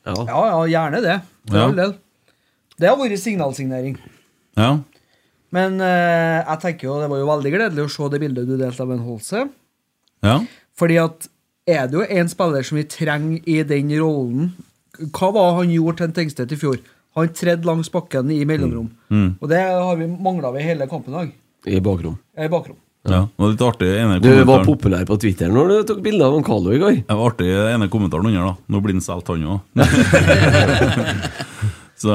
S10: Ja, ja, gjerne det. For
S5: Ja.
S10: all del. Det har vært signalsignering.
S5: Ja.
S10: Men eh, jeg tenker jo det var jo veldig gledelig å se det bildet du delte av en Holse.
S5: Ja.
S10: Fordi at er det jo en spiller som vi trenger i den rollen Hva var han gjorde til en Tengstedt i fjor? Han tredde langs bakken i mellomrom.
S5: Mm.
S10: Og det har vi mangla ved hele kampen i dag.
S7: I bakrom.
S10: eh, I bakrom.
S5: Ja, det var litt artig ene
S7: Du var
S5: kommentaren.
S7: populær på Twitter når du tok bilde av en Carlo i går.
S5: Det var artig ene kommentaren under, da. Nå blir han solgt, han òg. *laughs* Så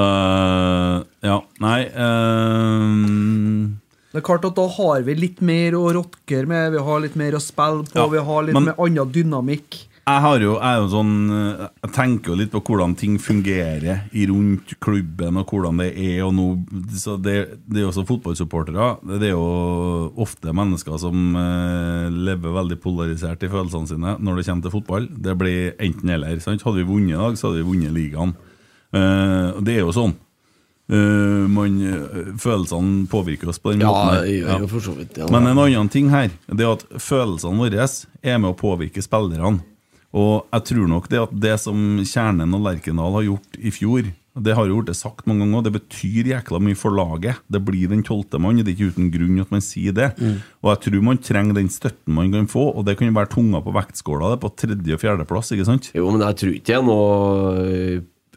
S5: Ja, nei ehm,
S10: Det er klart at Da har vi litt mer å rokke med, vi har litt mer å spille på,
S5: Ja,
S10: vi har litt
S5: men-
S10: mer annen dynamikk.
S5: Jeg har jo, jeg er jo sånn eh, Jeg tenker jo litt på hvordan ting fungerer i rundt klubben, og hvordan det er. Og nå, så det, det er jo også fotballsupportere. Det er jo ofte mennesker som eh, lever veldig polarisert i følelsene sine når det kommer til fotball. Det blir enten-eller. sant? Hadde vi vunnet i dag, så hadde vi vunnet ligaen. Eh, og det er jo sånn. Eh, man, eh, følelsene påvirker oss på den
S7: Ja,
S5: måten. her.
S7: jeg
S5: Ja.
S7: gjør jo for så vidt det.
S5: Men eh, en annen ting her Det er at følelsene våre er med å påvirke spillerne Og jeg tror nok det at det som Kjernen og Lerkendal har gjort i fjor Det har jo vært det sagt mange ganger Det betyr jækla mye for laget Det blir den tolte mann Det er ikke uten grunn at man sier det
S7: Mm.
S5: Og jeg tror man trenger den støtten man kan få Og det kan jo være tunga på vektskåla Det er på tredje og fjerde plass, ikke sant?
S7: Jo, men jeg tror ikke jeg nå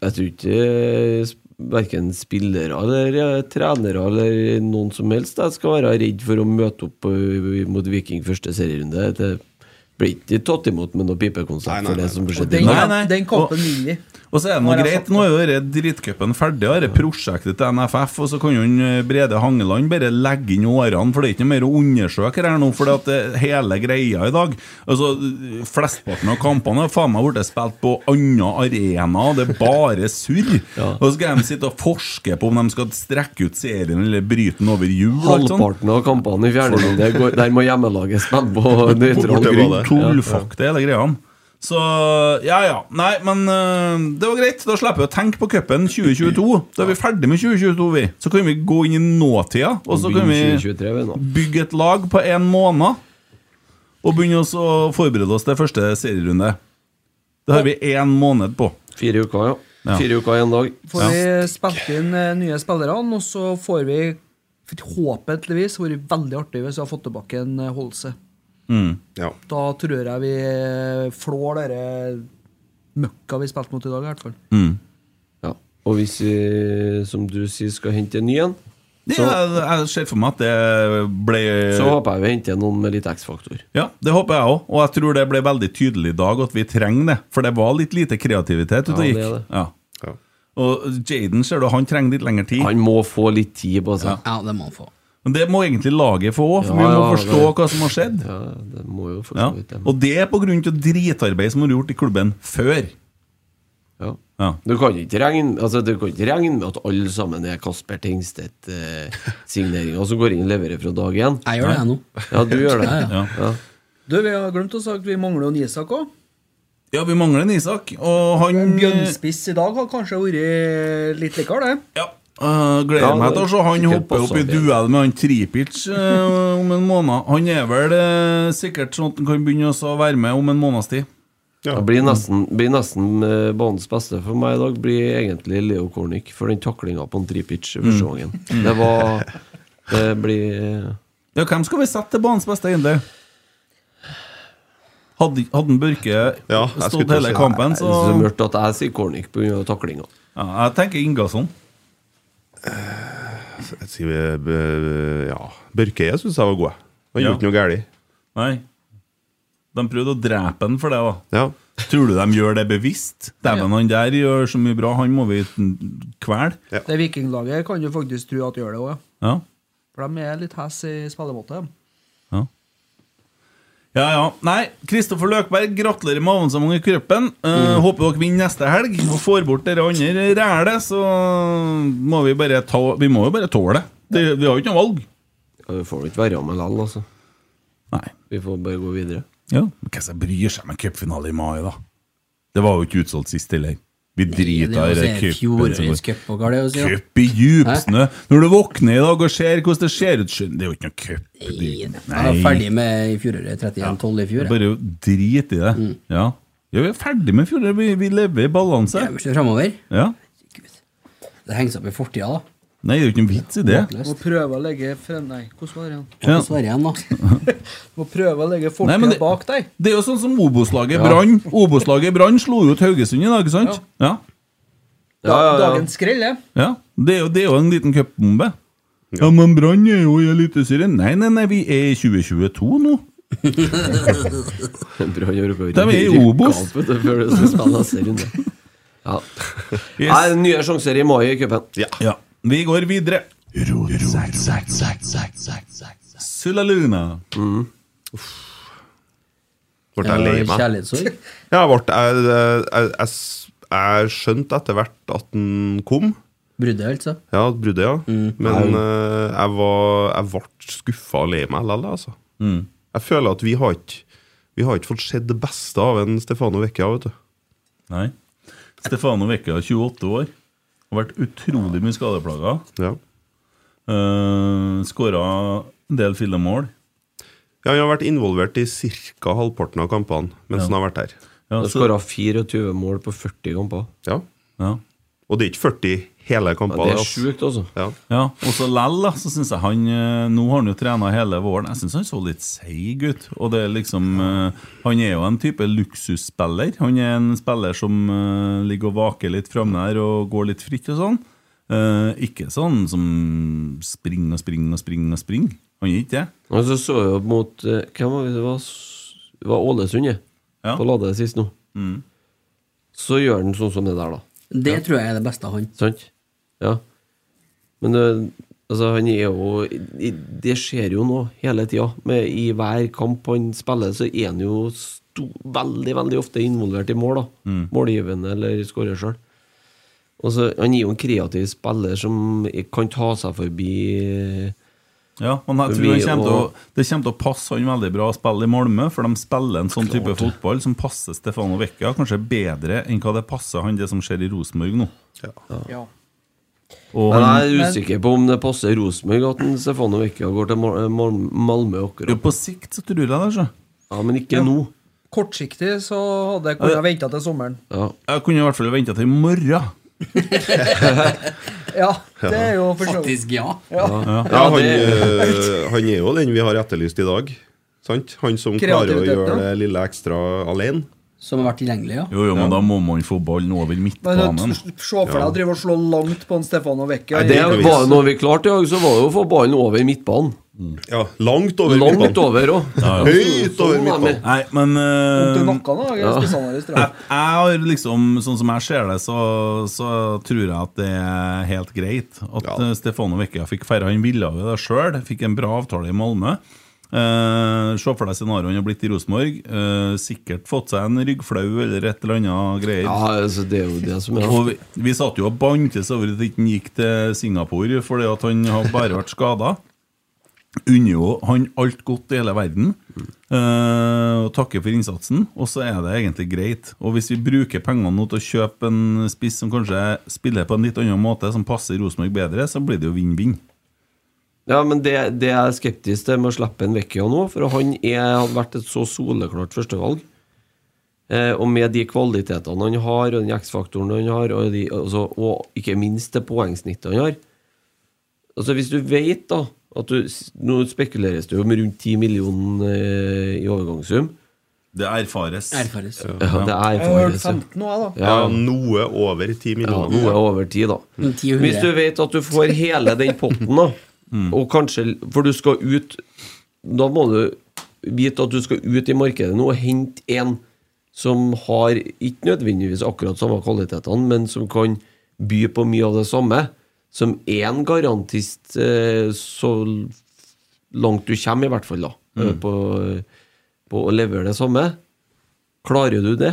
S7: Jeg tror ikke verken spillere eller eh, trenere eller noen som helst jeg skal være redd for å møte opp eh, mot Viking første serierunde. Det blir ikke tatt imot med noe pipekonsert for det som
S10: Og
S7: skjedde i
S10: Den,
S7: dag.
S5: nei.
S10: den
S5: Og-
S10: kampen vinner vi.
S5: Og så er
S10: Nå
S5: det noe
S10: har jeg
S5: greit,
S10: sagt
S5: nå er jo dette drittcupen ferdig, og dette prosjektet til NFF, og så kan jo en, eh, Brede Hangeland bare legge inn årene, for det er ikke noe mer å undersøke her nå, for det at det- hele greia i dag Altså, Flesteparten av kampene har faen meg blitt spilt på andre arenaer, og det er bare surr. Og så skal de sitte og forske på om de skal strekke ut serien eller bryte den over jul. og alt sånt.
S7: Halvparten av kampene i fjerde runde går- der må hjemmelaget spille *laughs* på nøytral grunn.
S5: Bortebane. Tullfuck det, hele greia. Så ja, ja. Nei, men øh, det var greit. Da slipper vi å tenke på cupen 2022. Da er vi ferdig med 2022, vi. Så kan vi gå inn i nåtida, og så kan vi
S7: 2023 vi nå.
S5: bygge et lag på en måned. Og begynne oss å forberede oss til første serierunde. Det har vi én måned på.
S7: Fire uker, ja.
S5: Ja.
S7: Fire uker i en dag.
S10: Får vi spilt inn eh, nye spillere, og så får vi forhåpentligvis det vært veldig artig hvis vi har fått tilbake en eh, Holse.
S5: Mm.
S10: Da tror jeg vi eh, flår dere møkka vi spilte mot i dag, i hvert fall.
S7: Ja. Og hvis vi, som du sier, skal hente en ny en,
S5: Det,
S7: så,
S5: jeg, jeg ser for meg at det ble
S7: så håper jeg vi henter noen med litt X-faktor.
S5: Ja, det håper jeg òg. Og jeg tror det ble veldig tydelig i dag at vi trenger det. For det var litt lite kreativitet ute og
S7: Ja, det
S5: gikk.
S7: er det.
S5: Ja. Og Jaden ser du, han trenger litt lengre tid.
S7: Han må få litt tid på seg.
S6: Ja, det må han få.
S5: Men det må egentlig laget få òg, for
S7: Ja,
S5: vi må
S7: ja,
S5: forstå
S7: det-
S5: hva som har skjedd.
S7: Ja, det må jo for
S5: Ja.
S7: så vidt det.
S5: Og det er på grunn av dritarbeid som har vært gjort i klubben før.
S7: Ja.
S5: Ja.
S7: Du kan ikke regne altså, Du kan ikke regne med at alle sammen er Kasper
S5: *laughs*
S7: Tingstedt-signeringer som går inn og leverer fra dag én.
S6: Jeg gjør det, jeg nå.
S7: Ja, du gjør det.
S6: *laughs* Ja, ja.
S7: Ja.
S10: Du, Vi har glemt å sagt vi mangler jo en Isak òg.
S5: Ja, vi mangler en Isak, og
S6: Mm.
S5: han
S10: Bjørnspiss i dag har kanskje vært litt likere, det.
S5: Ja. Eh, gleder
S10: Ja,
S5: meg til å se han
S10: sikkert
S5: hoppe opp i
S10: passer bedre.
S5: duell med han Tripic eh, om en måned. Han er vel eh, sikkert sånn at han kan begynne også å være med om en måneds tid.
S7: Det blir nesten, blir nesten eh, banens beste for meg i dag, blir egentlig Leo Kornic for den taklinga på en Tripic første gangen.
S5: Mm.
S7: Det var Det blir eh,
S5: Ja, hvem skal vi sette til banens beste, egentlig? Hadde, hadde en Børke stått hele kampen, så
S7: Det er så mørkt at jeg sier Kornic pga. taklinga.
S5: ja, Jeg tenker Ingasson.
S9: Jeg sier vi, b- ja. Børkeie syns jeg var god. jeg. Han
S5: Ja.
S9: gjorde ikke noe galt.
S5: Nei. De prøvde å drepe han for det, da.
S9: Ja.
S5: Tror du de gjør det bevisst? Dæven, han der gjør så mye bra, han må vi kvele.
S10: Det vikinglaget kan du faktisk tro at gjør det òg, ja.
S5: Ja.
S10: For de er litt hes i spillemåte. de.
S5: Ja, ja. Nei, Kristoffer Løkberg, gratulerer med avansement i cupen. Eh,
S7: Mm.
S5: Håper dere vinner neste helg og får bort dere andre rælet, så må vi bare ta Vi må jo bare tåle det. det. Vi har jo ikke noe valg.
S7: Ja, Vi får jo ikke være med likevel, altså.
S5: Nei.
S7: Vi får bare gå videre.
S5: Ja. Men hvem som bryr seg med cupfinale i mai, da? Det var jo ikke utsolgt sist heller. Vi driter i
S6: Det er
S5: cupen.
S6: Fjorårets cup, og hva er det å si? da?
S5: Cup i djupsnø. Når du våkner i dag og ser hvordan det ser ut skjønner- Det er jo ikke noe cup.
S6: Jeg var ferdig med i fjoråret 31-12 i fjor. jeg.
S5: Bare drit i det.
S6: Mm.
S5: Ja. ja, vi er ferdig med fjoråret. Vi, vi lever i balanse.
S6: Vi ser fremover.
S5: Ja.
S6: Det henger seg opp i fortida, da.
S5: Nei, det er jo ikke noen vits i det.
S10: Må prøve å legge frem Nei, hvordan var det igjen?
S5: Ja.
S6: Så er det
S7: *laughs*
S6: igjen, da.
S10: Må prøve å legge
S5: Nei,
S10: fortida
S5: men det-
S10: bak deg.
S5: Det er jo sånn som Obos-laget
S10: Ja.
S5: Brann. Obos-laget Brann slo jo ut Haugesund i dag, ikke sant? Ja.
S10: Da, Dagens skrell, det.
S5: Ja, det er jo, det er jo en liten cupbombe. Ja. men Brann er jo i Eliteserien. Nei, nei, nei, vi er i 2022 nå.
S7: Brann har jo
S5: De er i Obos.
S7: Kamp, vet du, før det skal spille neste runde. Ja. Nei, nye sjanser i mai i cupen.
S5: Ja. Vi går videre. Sulaluna.
S9: Ble jeg lei meg?
S6: Kjærlighetssorg.
S9: Ja, jeg, ble, jeg, jeg, jeg, s- jeg skjønte etter hvert at den kom.
S6: Bruddet, altså.
S9: Ja, bruddet, ja.
S5: Mm.
S9: Men
S6: Nei.
S9: eh, jeg, var, jeg ble skuffa og lei meg likevel, altså.
S5: Mm.
S9: Jeg føler at vi har ikke Vi har ikke fått sett det beste av en Stefano Vecchia, vet du.
S5: Nei. Stefano Vecchia, 28 år. Har vært utrolig mye skadeplaga.
S9: Ja.
S5: Uh, Skåra en del fillemål.
S9: Ja, Han har vært involvert i ca. halvparten av kampene mens
S5: Ja.
S9: han har vært her.
S5: Ja,
S7: Han
S5: så-
S7: skåra 24 mål på 40 kamper.
S9: Ja.
S5: Ja.
S9: Og det er ikke 40 hele kamper.
S7: Ja, det er
S9: altså.
S7: sjukt, altså.
S9: Ja.
S5: Ja, og så lell, da, så syns jeg han eh, Nå har han jo trena hele våren. Jeg syns han så litt seig ut. Og det er liksom eh, Han er jo en type luksusspiller. Han er en spiller som eh, ligger og vaker litt framme her og går litt fritt og sånn. Eh, ikke sånn som springer og springer og springer og springer. Han er ikke det.
S7: Og så så jeg jo mot eh, Hvem var det? Det var, S- det var Ålesund, ja.
S5: Ja.
S7: På Lade sist nå.
S5: Mm.
S7: Så gjør han sånn som det der, da.
S6: Det tror jeg er det beste av han.
S7: Sant? Ja. Men eh, altså, han er jo i- i- Det skjer jo nå hele tida. Med- I hver kamp han spiller, så er han jo sto, veldig, veldig ofte involvert i mål. da
S5: Mm.
S7: Målgivende eller skårer sjøl. Og så, Han er jo en kreativ spiller som kan ta seg forbi eh,
S5: Ja, men jeg
S7: For
S5: tror
S7: vi
S5: han kommer til å,
S7: og-
S5: Det kommer til å passe han veldig bra å spille i Malmö, for de spiller en sånn type
S7: Klart.
S5: fotball som passer Stefano Vecchia kanskje bedre enn hva det passer han det som skjer i Rosenborg nå.
S10: Ja.
S5: Og
S7: Men
S5: han-
S7: jeg er usikker på om det passer Rosenborg at en Stefano Vecchia går til Mal- Mal- Malmö akkurat.
S5: På sikt så tror jeg det, altså.
S7: Ja, men ikke nå.
S10: Kortsiktig så hadde jeg kunnet
S5: Ja.
S10: vente til sommeren.
S5: Jeg kunne i hvert fall venta til i morgen.
S10: Ja, det er jo for så
S6: Faktisk, ja.
S10: ja.
S9: Ja, han, eh, han er jo den vi har etterlyst i dag. Sant? Han som klarer å
S6: Kreativitet,
S9: gjøre
S6: ja.
S9: det lille ekstra alene.
S6: Som har vært tilgjengelig, ja.
S5: Jo, jo, men da må man få ballen over
S10: Men
S5: midtbanen.
S10: Se for deg å drive og slå langt på en Stefano Vecchia.
S7: Nei, det var noe vi klarte i dag, så var det jo å få ballen over midtbanen.
S9: Ja, langt over
S7: Langt
S9: midtbanen.
S7: over òg.
S5: Ja, ja. Nei, men eh,
S10: Vondt i nakken, da, jeg
S5: ja.
S10: spiste han her i
S5: jeg,
S10: stad.
S5: jeg har liksom, Sånn som jeg ser det, så, så tror jeg at det er helt greit at eh, Stefano Vecchia fikk færre. Han ville jo det sjøl, fikk en bra avtale i Malmö. Eh, Se for deg scenarioet han har blitt i Rosenborg. Eh, sikkert fått seg en ryggflau eller et eller annet greier.
S7: Ja, altså, det er jo det som er
S5: Og vi, vi satt jo og bantes over at han ikke gikk til Singapore fordi at han har bare vært skada. Unner jo han alt godt i hele verden. eh, og takker for innsatsen. Og så er det egentlig greit. Og hvis vi bruker pengene nå til å kjøpe en spiss som kanskje spiller på en litt annen måte, som passer Rosenborg bedre, så blir det jo vinn-vinn.
S7: Ja, men det, det jeg er skeptisk til med å slippe en Vecchia nå, for han er, har vært et så soleklart førstevalg. Eh, og med de kvalitetene han har, og den X-faktoren han har, og, de, altså, og ikke minst det poengsnittet han har Altså Hvis du vet da at du, Nå spekuleres det jo med rundt 10 millioner eh, i overgangssum.
S5: Det erfares.
S6: Erfares.
S7: Ja, det er
S10: Jeg har hørt
S7: erfares, ja.
S10: 15 nå, jeg, da.
S7: Ja.
S9: Ja, noe over 10
S7: Ja,
S9: millioner.
S7: noe over tid, da.
S6: Mm, 10 og 100.
S7: Hvis du vet at du får hele den potten, da, og kanskje For du skal ut Da må du vite at du skal ut i markedet nå og hente en som har ikke nødvendigvis akkurat samme kvalitetene, men som kan by på mye av det samme. Som er en garantist eh, så langt du kommer, i hvert fall, da. eh,
S5: Mm.
S7: På, på å levere det samme. Klarer du det?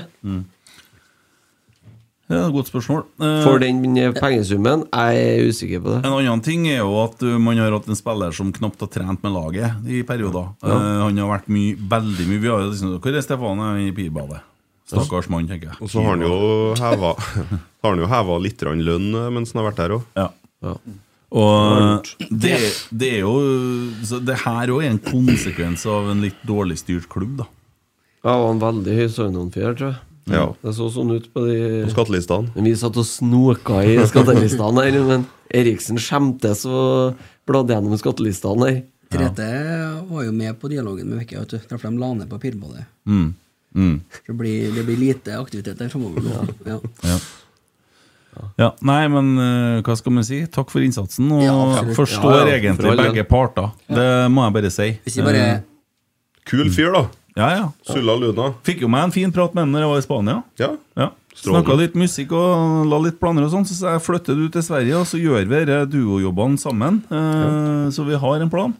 S5: Ja, godt spørsmål. Eh,
S7: For den pengesummen, jeg er usikker på det.
S5: En annen ting er jo at uh, man har hatt en spiller som knapt har trent med laget i perioder.
S7: Ja.
S5: Eh, han har vært mye, veldig mye Vi har jo liksom, Hvor er Stefan Han er i pirbadet? Stakkars mann, tenker jeg.
S9: Og så har han jo heva, har han jo heva litt grann lønn eh, mens han har vært der òg.
S5: Ja. Og det, det er jo så Det her òg er en konsekvens av en litt dårlig styrt klubb, da.
S7: Ja, det var en veldig høy søvnhåndfjær, tror jeg.
S9: Ja.
S7: Det så sånn ut på de
S9: På skattelistene.
S7: Men Vi satt og snoka i skattelistene her, men Eriksen skjemtes og bladde gjennom skattelistene her.
S6: Trete var jo med på dialogen med Vecchia. vet du. Derfor de la ned på Pirbadet.
S5: Mm. Mm.
S6: Så Det blir, det blir lite aktivitet der framover nå. Ja.
S5: Ja. Ja, nei, men eh, hva skal man si? Takk for innsatsen. Og
S6: Ja, absolutt.
S5: forstår
S7: Ja, ja, for
S5: egentlig
S7: all del.
S5: begge parter. Det må jeg bare si.
S6: Hvis vi bare
S5: Eh,
S9: Kul fyr, da.
S7: Mm.
S5: ja, ja.
S9: Sulla Luna.
S5: Fikk jo meg en fin prat med ham når jeg var i Spania.
S9: Ja.
S5: Ja.
S9: Strålende.
S5: Snakka litt musikk og la litt planer og sånn, så sa jeg flytter du til Sverige, og så gjør vi disse duojobbene sammen. Eh, Så vi har en plan.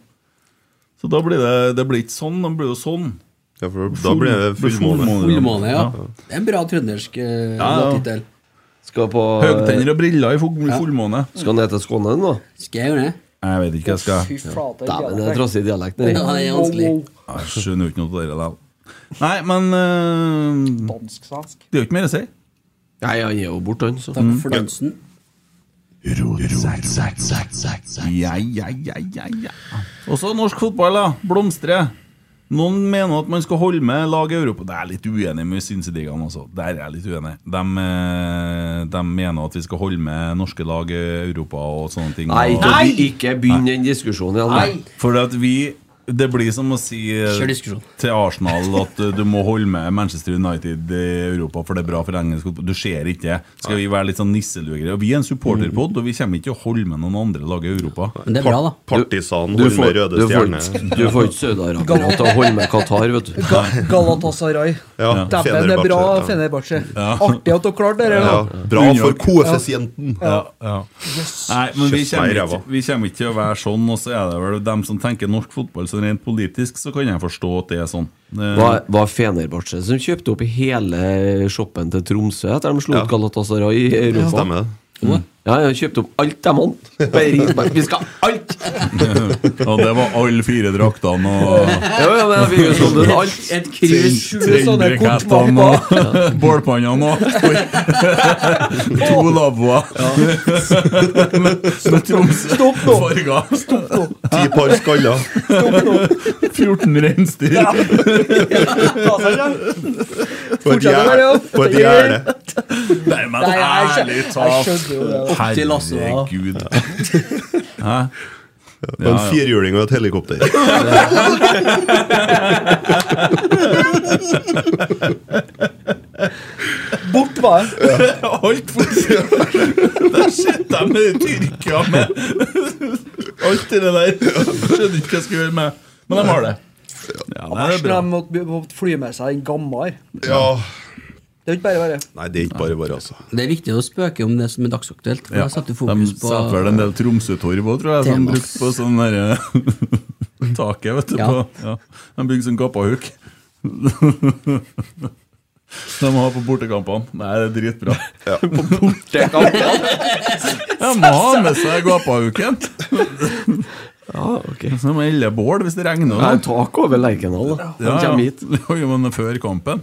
S5: Så da blir det, det blir ikke sånn, det blir jo sånn.
S9: Ja, for da blir det fullmåne.
S6: Ullmåne, ja. Det er en bra trøndersk eh,
S5: ja.
S6: låttittel.
S7: Skal på
S5: Høgtenner og briller i full- fullmåne.
S7: Skal ned til Skåne nå?
S6: Skal jeg gjøre det?
S5: Jeg vet ikke hva jeg skal
S10: Fy flate.
S7: Dæven, det er trassig dialekt
S6: Ja,
S7: nedi.
S6: det er vanskelig.
S5: Jeg skjønner jo ikke noe av det der. Nei, men eh,
S10: Dansk-svensk.
S5: Det er jo ikke mer å si.
S7: Nei, han er jo borte, han, så.
S6: Takk for dansen.
S5: Ja, ja, ja, ja, ja. Også norsk fotball, da. Blomstrer. Noen mener at man skal holde med lag i Europa. Det er jeg litt uenig med Synseligaen også. Der er jeg litt uenig. De, eh, de mener at vi skal holde med norske lag i Europa og sånne ting.
S7: Nei,
S5: og,
S7: ikke, ikke begynn den diskusjonen igjen. Nei.
S5: For at vi Det blir som å si eh,
S6: Kjør diskusjon.
S5: til Arsenal at eh, du må holde med Manchester United i Europa, for det er bra for engelsk fotball. Du ser ikke det. Skal vi være litt sånn nisselugere? Og Vi er en supporterpod, og vi kommer ikke til å holde med noen andre lag i Europa.
S6: Men det er bra, da.
S9: Partisan
S7: Du
S9: holder
S7: får,
S9: med røde
S7: du får,
S9: stjerne.
S7: du får ikke Saudi-Arabia til å holde med Qatar, vet du.
S10: Ga Galatasaray.
S9: Ja,
S10: Dæven, det er bra
S9: Fenerbahçe, ja.
S10: Fenerbahçe. Artig at dere klarte det.
S9: Ja,
S10: Ja.
S9: bra for koeffisienten.
S5: Ja, ja. Nei, men
S9: Kjeft
S5: vi
S9: meg i
S5: kommer,
S9: ræva.
S5: ikke, vi kommer ikke til å være sånn, og så er det vel dem som tenker norsk fotball sånn rent politisk, så kan jeg forstå at det er sånn. Det,
S7: Var, var Fenerbahçe som kjøpte opp hele shoppen til Tromsø etter de slo ut
S9: Ja.
S7: Galatasaray i Europa?
S9: Stemmer det.
S6: Mm.
S7: Ja, jeg kjøpte opp alt de hadde.
S9: *laughs*
S7: Bare ringte meg. Vi skal ha alt!
S5: Og det var alle fire draktene og
S7: Ja, ja, men jeg fikk jo solgt ut alt.
S6: Et kryss, sju sånne
S5: Trekkrekettene og *laughs* bålpannene og Oi. *laughs* To lavvoer med Tromsø
S8: Stopp nå!
S5: farger.
S8: Stopp nå!
S9: Ti par skaller.
S5: 14 reinsdyr.
S9: På et
S8: Fortsatt
S9: gjerde.
S8: det,
S9: På et
S8: ja.
S9: gjerde.
S5: Nei, men
S8: Nei, jeg skjø-
S5: ærlig
S8: jeg
S5: talt.
S8: skjønner jo det.
S6: Opp til Lasse, da.
S5: Herregud. Hæ?
S9: Og en firhjuling og et helikopter.
S8: Bort var jeg.
S5: Alt for Der sitter jeg med Tyrkia med alt det der. Skjønner ikke hva jeg skal gjøre med Men de har det. Ja, det er
S8: Når
S5: bra.
S8: de måtte, måtte fly med seg den gamle her.
S9: Ja.
S8: Det er jo ikke bare bare.
S9: Nei, det er ikke bare bare, altså.
S6: Det er viktig å spøke om det som er dagsaktuelt. For
S5: Ja.
S6: da setter du
S5: de
S6: fokus på
S5: setter vel en del Tromsø-torv òg, tror jeg, som
S6: Temas.
S5: brukt på sånn derre *laughs* Taket, vet du.
S6: Ja.
S5: På, ja. De bygger sånn gappahuk. *laughs* De har på bortekampene. Nei, det er dritbra. De må ha med seg gapahuken!
S7: Ja, ok.
S5: Så de må elle bål hvis det regner.
S7: Nei, tak over Lerkendal, da. Han
S5: Ja, ja.
S7: kommer hit.
S5: *laughs* Jo, men før kampen.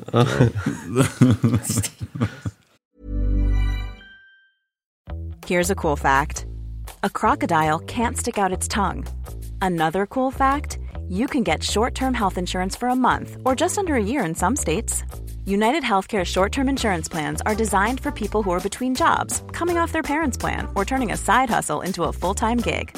S11: Here's a cool fact a crocodile can't stick out its tongue. Another cool fact you can get short term health insurance for a month or just under a year in some states. United Healthcare short term insurance plans are designed for people who are between jobs, coming off their parents' plan, or turning a side hustle into a full time gig.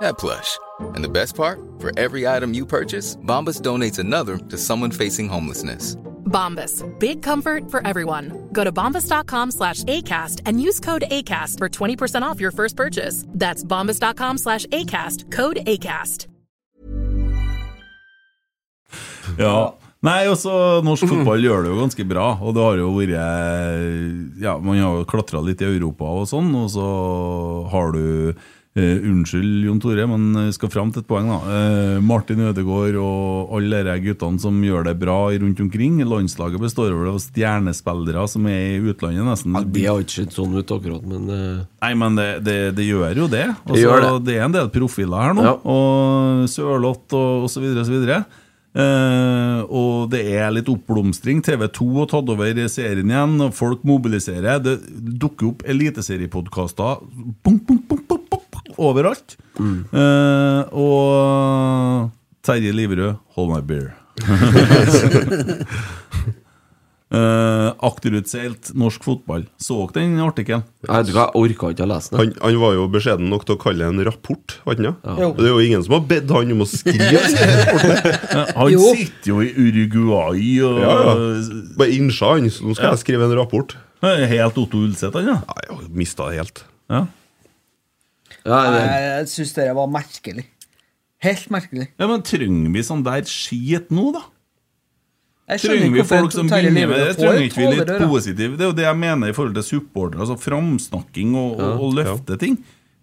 S12: that plush. And the best part? For every item you purchase, Bombas donates another to someone facing homelessness.
S13: Bombas. Big comfort for everyone. Go to bombas.com slash ACAST and use code ACAST for 20% off your first purchase. That's bombas.com slash ACAST. Code ACAST.
S5: Ja. Nei, også norsk fotball gjør det jo ganske bra. Og det har jo vært Ja, man har jo klatra litt i Europa og sånn, og så har du eh, Unnskyld, Jon Tore, men vi skal fram til et poeng, da. Eh, Martin Ødegaard og alle de guttene som gjør det bra rundt omkring. Landslaget består vel av stjernespillere som er i utlandet, nesten.
S7: Ja, det har ikke sett sånn ut akkurat, men eh,
S5: Nei, men det, det, det gjør jo det. Altså, det,
S7: gjør det.
S5: er en del profiler her nå, og Sørloth og osv. Og, så videre. Eh, og det er litt oppblomstring. TV2 har tatt over serien igjen, og folk mobiliserer. Det dukker opp eliteseriepodkaster bunk, bunk, bunk, bunk, bunk, overalt.
S7: Mm.
S5: Eh, og Terje Liverød, hold my
S7: *laughs*
S5: beer. *laughs* Eh, akterutseilt norsk fotball. Så dere den artikkelen?
S7: jeg vet ikke, jeg orka ikke å lese den.
S9: Han, han var jo beskjeden nok til å kalle det en rapport. var han ikke?
S7: Jo.
S9: Det er jo ingen som har bedt han om å skrive den
S7: *laughs*
S9: rapporten.
S5: Han sitter jo i Uruguay og
S9: Ja, ja. Bare innsja han, så nå skal jeg skrive en rapport.
S5: Han er Helt Otto Ulseth, han, ja.
S9: Nei, jeg mista det helt.
S5: Ja.
S8: Jeg, jeg syns det var merkelig. Helt merkelig.
S5: ja, men trenger vi sånn der skit nå, da?
S8: Jeg
S5: Trenger
S8: skjønner
S5: vi
S8: ikke hvorfor
S5: folk som
S8: Terje
S5: begynner med det?
S8: Liverød får
S5: Trenger ikke vi
S8: tåler
S5: litt
S8: der, da.
S5: positive? Det er jo det jeg mener i forhold til supportere, altså framsnakking og, og, og løfte ting.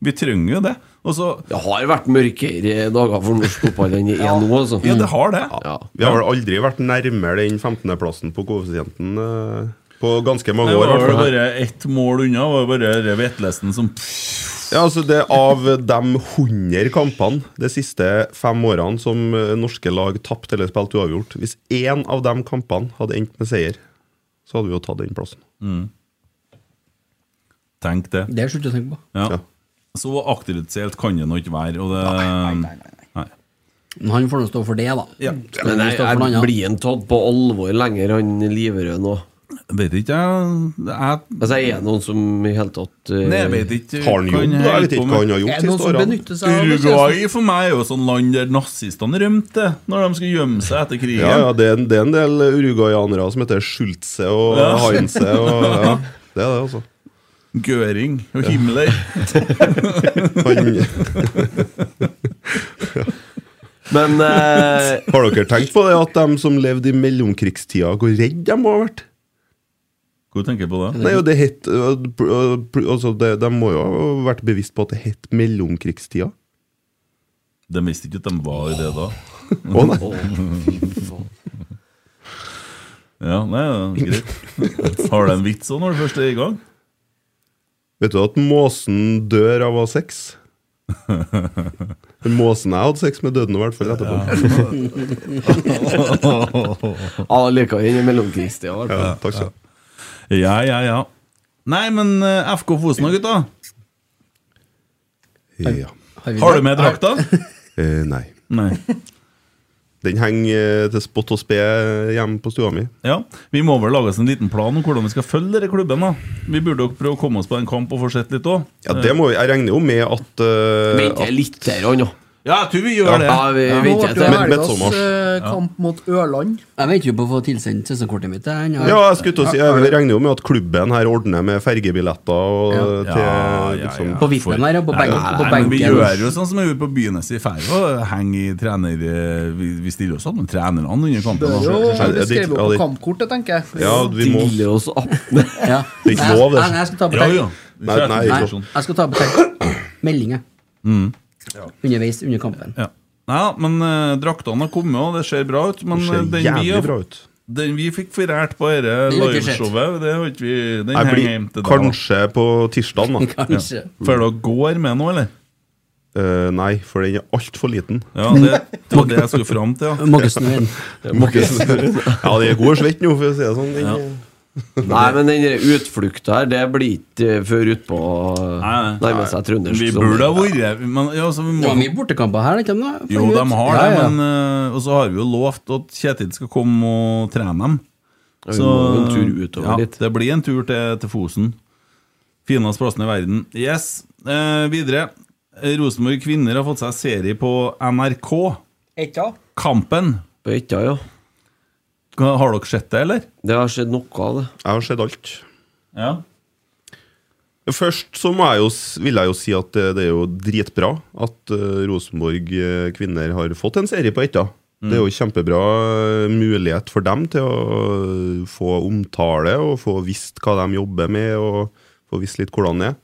S5: Vi trenger jo det. Og så
S7: Det har vært mørkere dager for norsk fotball enn det er nå, altså.
S5: Ja, det har det.
S7: Ja.
S9: Vi har vel aldri vært nærmere den 15.-plassen på koeffisienten eh, på ganske mange
S5: Det
S9: år. i
S5: var
S9: hvert
S5: vel
S9: fall.
S5: bare ett mål unna, det var bare det Vetlesen som
S9: Ja, altså det er Av de 100 kampene de siste fem årene som eh, norske lag tapte eller spilte uavgjort Hvis én av de kampene hadde endt med seier, så hadde vi jo tatt den plassen.
S5: Tenk det.
S6: Det er slutt å tenke på.
S5: Ja. Så akterutseilt kan det nå ikke være. Og det, nei, nei, nei, nei.
S6: Men han får nå stå for det, da. Skal
S7: Men
S6: han
S7: jeg,
S6: stå for noe
S7: jeg
S6: annet?
S7: blir han tatt på alvor lenger, han Liverød nå?
S5: Vet ikke jeg
S7: Altså, jeg er noen som i hele tatt eh,
S5: Nei, jeg vet ikke holder på med. Uruguay for meg er jo sånn land der nazistene rømte når de skulle gjemme seg etter krigen.
S9: Ja, ja, det er, en- det er en del uruguayanere som heter Schulze og
S5: Ja.
S9: Heinze. Og, ja, det er det, altså.
S5: Göring og Himmler.
S9: *laughs*
S7: Men
S9: Har dere tenkt på det at de som levde i mellomkrigstida, hvor redd de må ha vært?
S5: Hvor tenker jeg på det?
S9: Nei, jo, det het, øh, pl- øh, pl- altså det, De må jo ha vært bevisst på at det het mellomkrigstida.
S5: De visste ikke at de var i det da.
S9: Å, nei.
S5: ja, nei, ja, greit. *laughs* Har du en vits òg når du først er i gang?
S9: Vet du at måsen dør av å ha *laughs* sex? Den måsen jeg hadde sex med, døde nå i hvert fall etterpå.
S7: Ja, jeg liker han i mellomkrigstida. i hvert fall.
S9: Ja, takk skal du ha.
S5: Ja, ja, ja. Nei, men eh, FK Fosen da, gutta?
S9: Ja.
S5: Har du med drakta?
S9: Eh, nei.
S5: Nei.
S9: Den henger eh, til spott og spe hjemme på stua mi.
S5: Ja, Vi må vel lage oss en liten plan om hvordan vi skal følge dere klubben. da Vi burde jo prøve å komme oss på en kamp og få sett litt òg.
S9: Ja, det må vi, Jeg regner jo med at eh,
S7: Vent jeg
S9: at-
S7: litt her òg, nå.
S5: Ja, jeg tror vi
S9: gjør det.
S7: Ja, vi
S9: Ja.
S7: venter
S9: Nå ble
S7: jeg
S9: det
S7: til.
S9: Med- midtsommers.
S6: eh,
S9: Ja.
S6: kamp mot Ørland. Jeg venter jo på å få tilsendt sesongkortet mitt. jeg, ennå.
S9: Ja, jeg skulle til å si Jeg regner jo med at klubben her ordner med fergebilletter og
S6: Ja.
S9: til
S5: Ja, ja,
S7: Sånn
S9: liksom,
S6: På vippen her, ja, på benken-
S5: Nei,
S6: på
S5: nei, men Vi
S6: benken.
S5: gjør jo sånn som vi gjorde på byen i Færøy. og Henger i trener... eh, Vi, vi stiller oss opp med trenerne under kampen.
S10: Det
S5: altså. da.
S10: er jo vi skrev jo på kampkortet, tenker jeg.
S5: Stille
S7: oss opp.
S9: *laughs*
S6: Ja.
S5: Det er ikke lov, det.
S6: Nei, nei, jeg skal ta på
S5: Ja,
S6: tekst.
S5: ja. Nei, nei, ikke lov.
S6: jeg skal ta på tekst. Meldinger.
S5: Mm.
S6: Underveis under kampen.
S5: Ja. Nei, men eh, draktene har kommet, og det ser bra ut. Men
S9: Det ser
S5: eh, den vi,
S9: jævlig
S5: har-
S9: bra ut.
S5: den vi fikk forrært på dette
S9: Den har vi ikke sett.
S5: liveshowet, det har ikke vi Den
S9: Jeg
S5: henger
S9: blir
S5: hjem til deg.
S9: kanskje på tirsdag, da.
S7: *laughs*
S5: Kanskje. Ja. Får dere går med nå, eller?
S9: Eh, nei, for den er altfor liten.
S5: Ja, det- det var det jeg skulle fram til,
S6: *laughs*
S5: ja. Må ikke snu den.
S9: Må ikke snu den. *laughs* Ja, den er god og svett nå, for å si det sånn. Den,
S7: Ja. Nei, men den der utflukta her, det blir ikke eh, før utpå nærmer seg trøndersk.
S5: Vi
S7: sommer.
S5: burde ha vært men, ja, altså, vi
S6: Det
S5: må,
S6: var mye bortekamper her, ikke sant? da?
S5: Jo,
S6: Forrige
S5: de
S6: ut.
S5: har
S6: Ja,
S5: det,
S6: ja.
S5: men eh, Og så har vi jo lovt at Kjetil skal komme og trene dem.
S7: Ja, vi må en tur utover litt.
S5: Det blir en tur til, til Fosen. Fineste plassen i verden. Yes. Eh, videre. Eh, Rosenborg kvinner har fått seg serie på NRK.
S10: Etta.
S5: Kampen.
S7: På Etta, ja.
S5: Har dere sett det, eller?
S7: Det har skjedd noe av det.
S9: Jeg har sett alt.
S5: Ja.
S9: Først så må jeg jo, s- vil jeg jo si at eh, det, det er jo dritbra at eh, Rosenborg eh, kvinner har fått en serie på Etta.
S5: Mm.
S9: Det er jo kjempebra eh, mulighet for dem til å eh, få omtale og få visst hva de jobber med, og få visst litt hvordan det er.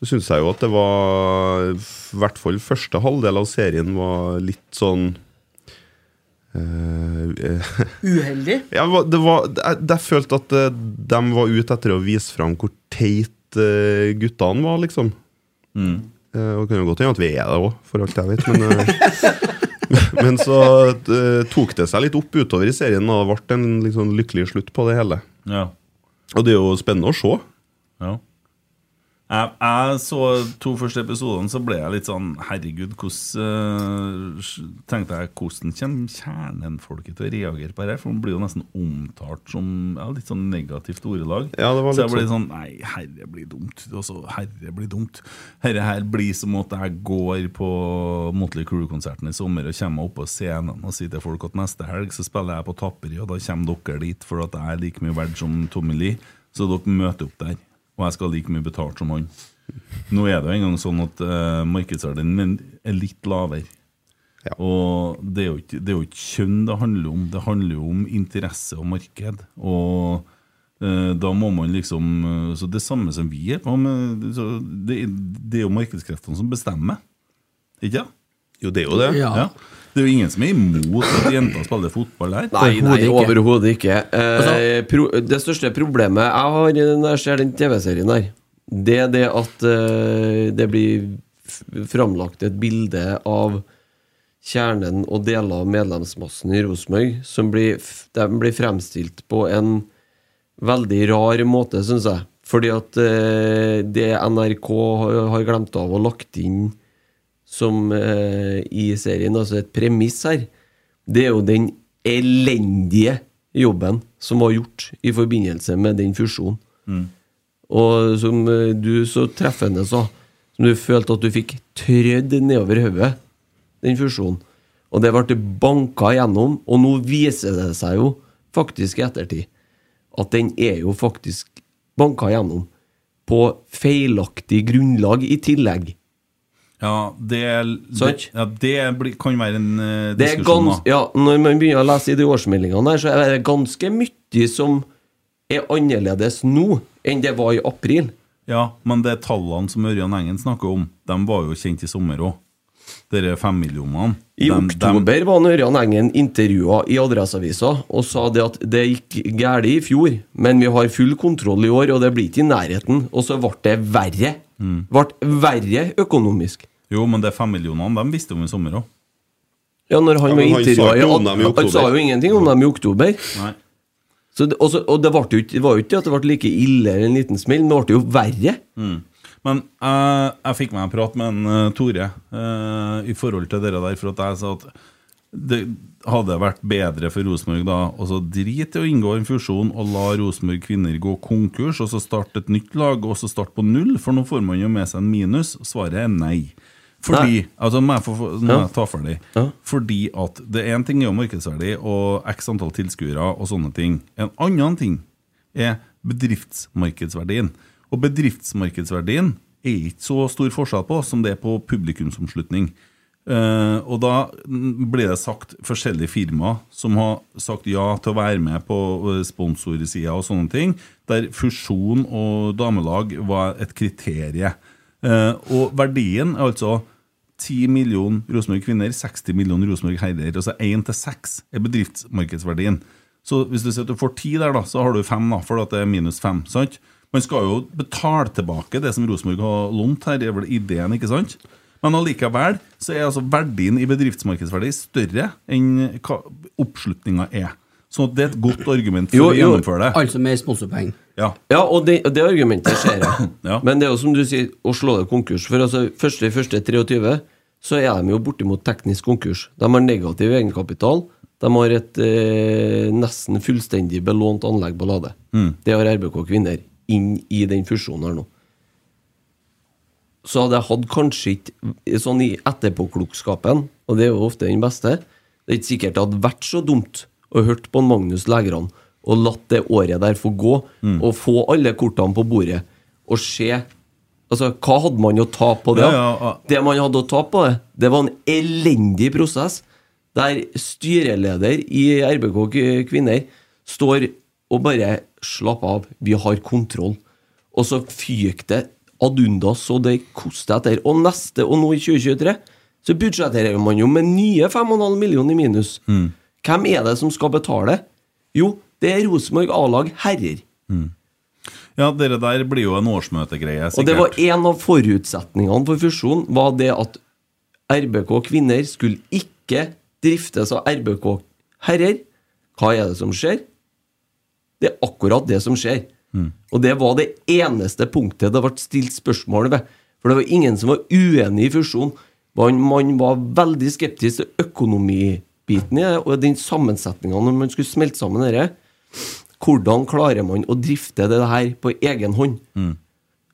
S9: Så syns jeg jo at det var f- I hvert fall første halvdel av serien var litt sånn eh,
S10: Uheldig.
S9: ja, men det var, jeg, jeg følte at eh, de var ute etter å vise fram hvor teit eh, guttene var, liksom.
S7: Mm.
S9: Eh, og det kan jo godt hende at vi er det òg, for alt jeg vet. Men, eh, *laughs* men så eh, tok det seg litt opp utover i serien, og det ble en litt sånn lykkelig slutt på det hele.
S5: Ja.
S9: Og det er jo spennende å se.
S5: Ja. Jeg, jeg så to første episodene, så ble jeg litt sånn Herregud, hvordan eh, s- Tenkte jeg, hvordan kommer kjernenfolket til å reagere på dette? For man blir jo nesten omtalt som ja, litt sånn negativt ordelag.
S9: Ja, det var litt
S5: så jeg ble
S9: sånn.
S5: sånn Nei, herre blir dumt. Og så herre blir dumt. Herre her blir som at jeg går på Motley Crew-konserten i sommer og kommer meg opp på scenen og sier til folk at neste helg så spiller jeg på Tapperi, og da kommer dere dit for at jeg er like mye verdt som Tommy Lee, så dere møter opp der. Og jeg skal ha like mye betalt som han. Nå er det jo engang sånn at uh, markedsverdien min er litt lavere. Og det er, jo ikke, det er jo ikke kjønn det handler om, det handler jo om interesse og marked. Og eh, da må man liksom eh, Så det samme som vi er på med så det, det er jo markedskreftene som bestemmer, ikke sant?
S9: Jo, det er jo det.
S5: Ja.
S9: Ja.
S5: Det er jo ingen som er imot at jenter spiller fotball her.
S7: Nei, nei, overhodet ikke. Eh, pro det største problemet jeg har når jeg ser den TV-serien der, det er det at eh, det blir f- framlagt et bilde av kjernen og deler av medlemsmassen i Rosenborg som blir, f- de blir fremstilt på en veldig rar måte, syns jeg. Fordi at eh, det NRK har, har glemt av å lagt inn som eh, i serien, altså et premiss her, det er jo den elendige jobben som var gjort i forbindelse med den fusjonen.
S5: Mm.
S7: Og som eh, du så treffende sa, som du følte at du fikk trødd nedover hodet, den fusjonen. Og det ble banka gjennom, og nå viser det seg jo faktisk i ettertid at den er jo faktisk banka gjennom på feilaktig grunnlag i tillegg.
S5: Ja, det, det,
S7: Sant?
S5: ja, det blir- kan være en eh,
S7: Det er
S5: diskusjon,
S7: gans, ja, når man begynner å lese i de årsmeldingene, her, så er det ganske mye som er annerledes nå enn det var i april.
S5: da. Ja, men det tallene som Ørjan Engen snakker om, de var jo kjent i sommer òg. Dere femmillionene.
S7: I oktober var Ørjan Engen intervjua i Adresseavisa og sa det at det gikk galt i fjor, men vi har full kontroll i år, og det blir ikke i nærheten. Og så ble det verre.
S5: Mm.
S7: Ble verre økonomisk.
S5: Jo, men det femmillionene, de visste om i sommer òg.
S7: Ja, når
S5: Ja, men
S7: han var
S5: han
S7: intervjua
S5: sa ikke om dem i
S7: Han sa
S5: oktober.
S7: jo ingenting om dem i oktober.
S5: Nei.
S7: Så det, og så- og det, ble jo ikke, det var jo ikke at det ble like ille eller en liten smell, men det ble jo verre.
S5: Mm. Men jeg- jeg fikk meg en prat med en eh, Tore eh, i forhold til dere der, for at jeg sa at det hadde vært bedre for Rosenborg da og så drit i å inngå en fusjon og la Rosenborg kvinner gå konkurs, og så starte et nytt lag, og så starte på null, for nå får man jo med seg en minus. Svaret er nei. Fordi,
S7: Nei.
S5: altså må jeg, få, få- nå må
S7: Ja.
S5: jeg ta ferdig Fordi at det er en ting er jo markedsverdi Og x antall tilskuere og sånne ting En annen ting er bedriftsmarkedsverdien Og bedriftsmarkedsverdien er ikke så stor forskjell på Som det er på publikumsomslutning Eh, og da ble det sagt forskjellige firmaer som har sagt ja til å være med på eh, sponsorsida og sånne ting, der fusjon og damelag var et kriterie. Eh, og verdien er altså 10 millioner Rosenborg kvinner, 60 millioner Rosenborg herrer. Altså 1 til 6 er bedriftsmarkedsverdien. Så hvis du sier at du får 10 der, da, så har du 5, da, for at det er minus 5. sant? Man skal jo betale tilbake det som Rosenborg har lånt her, det er vel ideen, ikke sant? Men allikevel så er altså verdien i bedriftsmarkedsverdi større enn hva oppslutninga er. Så det er et godt argument for
S7: Jo,
S5: å
S7: jo.
S5: gjennomføre det.
S6: Altså med sponsorpenger.
S5: Ja.
S7: og det, og det argumentet ser jeg. Men det er jo som du sier, å slå det konkurs. For altså, første, første 23 så er de jo bortimot teknisk konkurs. De har negativ egenkapital. De har et eh, nesten fullstendig belånt anlegg på Lade.
S5: Mm.
S7: Det har RBK Kvinner inn i den fusjonen her nå. Så hadde jeg hatt kanskje ikke sånn i etterpåklokskapen, og det er jo ofte den beste Det er ikke sikkert det hadde vært så dumt å hørt på en Magnus Lægran og latt det året der få gå,
S5: Mm.
S7: og få alle kortene på bordet, og se Altså, hva hadde man å tape på det?
S5: Ja, ja, ja.
S7: Det man hadde å tape på det, det var en elendig prosess, der styreleder i RBK K- Kvinner står og bare Slapp av, vi har kontroll. Og så fyk det ad undas, og det koster etter. Og neste, og nå i 2023, så budsjetterer man jo med nye 5,5 millioner i minus.
S5: Mm.
S7: Hvem er det som skal betale? Jo, det er Rosenborg A-lag herrer.
S5: Ja, dere der blir jo en årsmøtegreie, sikkert.
S7: Og det var en av forutsetningene for fusjonen, var det at RBK kvinner skulle ikke driftes av RBK herrer. Hva er det som skjer? Det er akkurat det som skjer.
S5: Mm.
S7: Og det var det eneste punktet det ble stilt spørsmål ved. For det var ingen som var uenig i fusjonen. Man, man var veldig skeptisk til økonomibiten i det, og den sammensetninga når man skulle smelte sammen dette. Hvordan klarer man å drifte det her på egen hånd?
S5: Mm.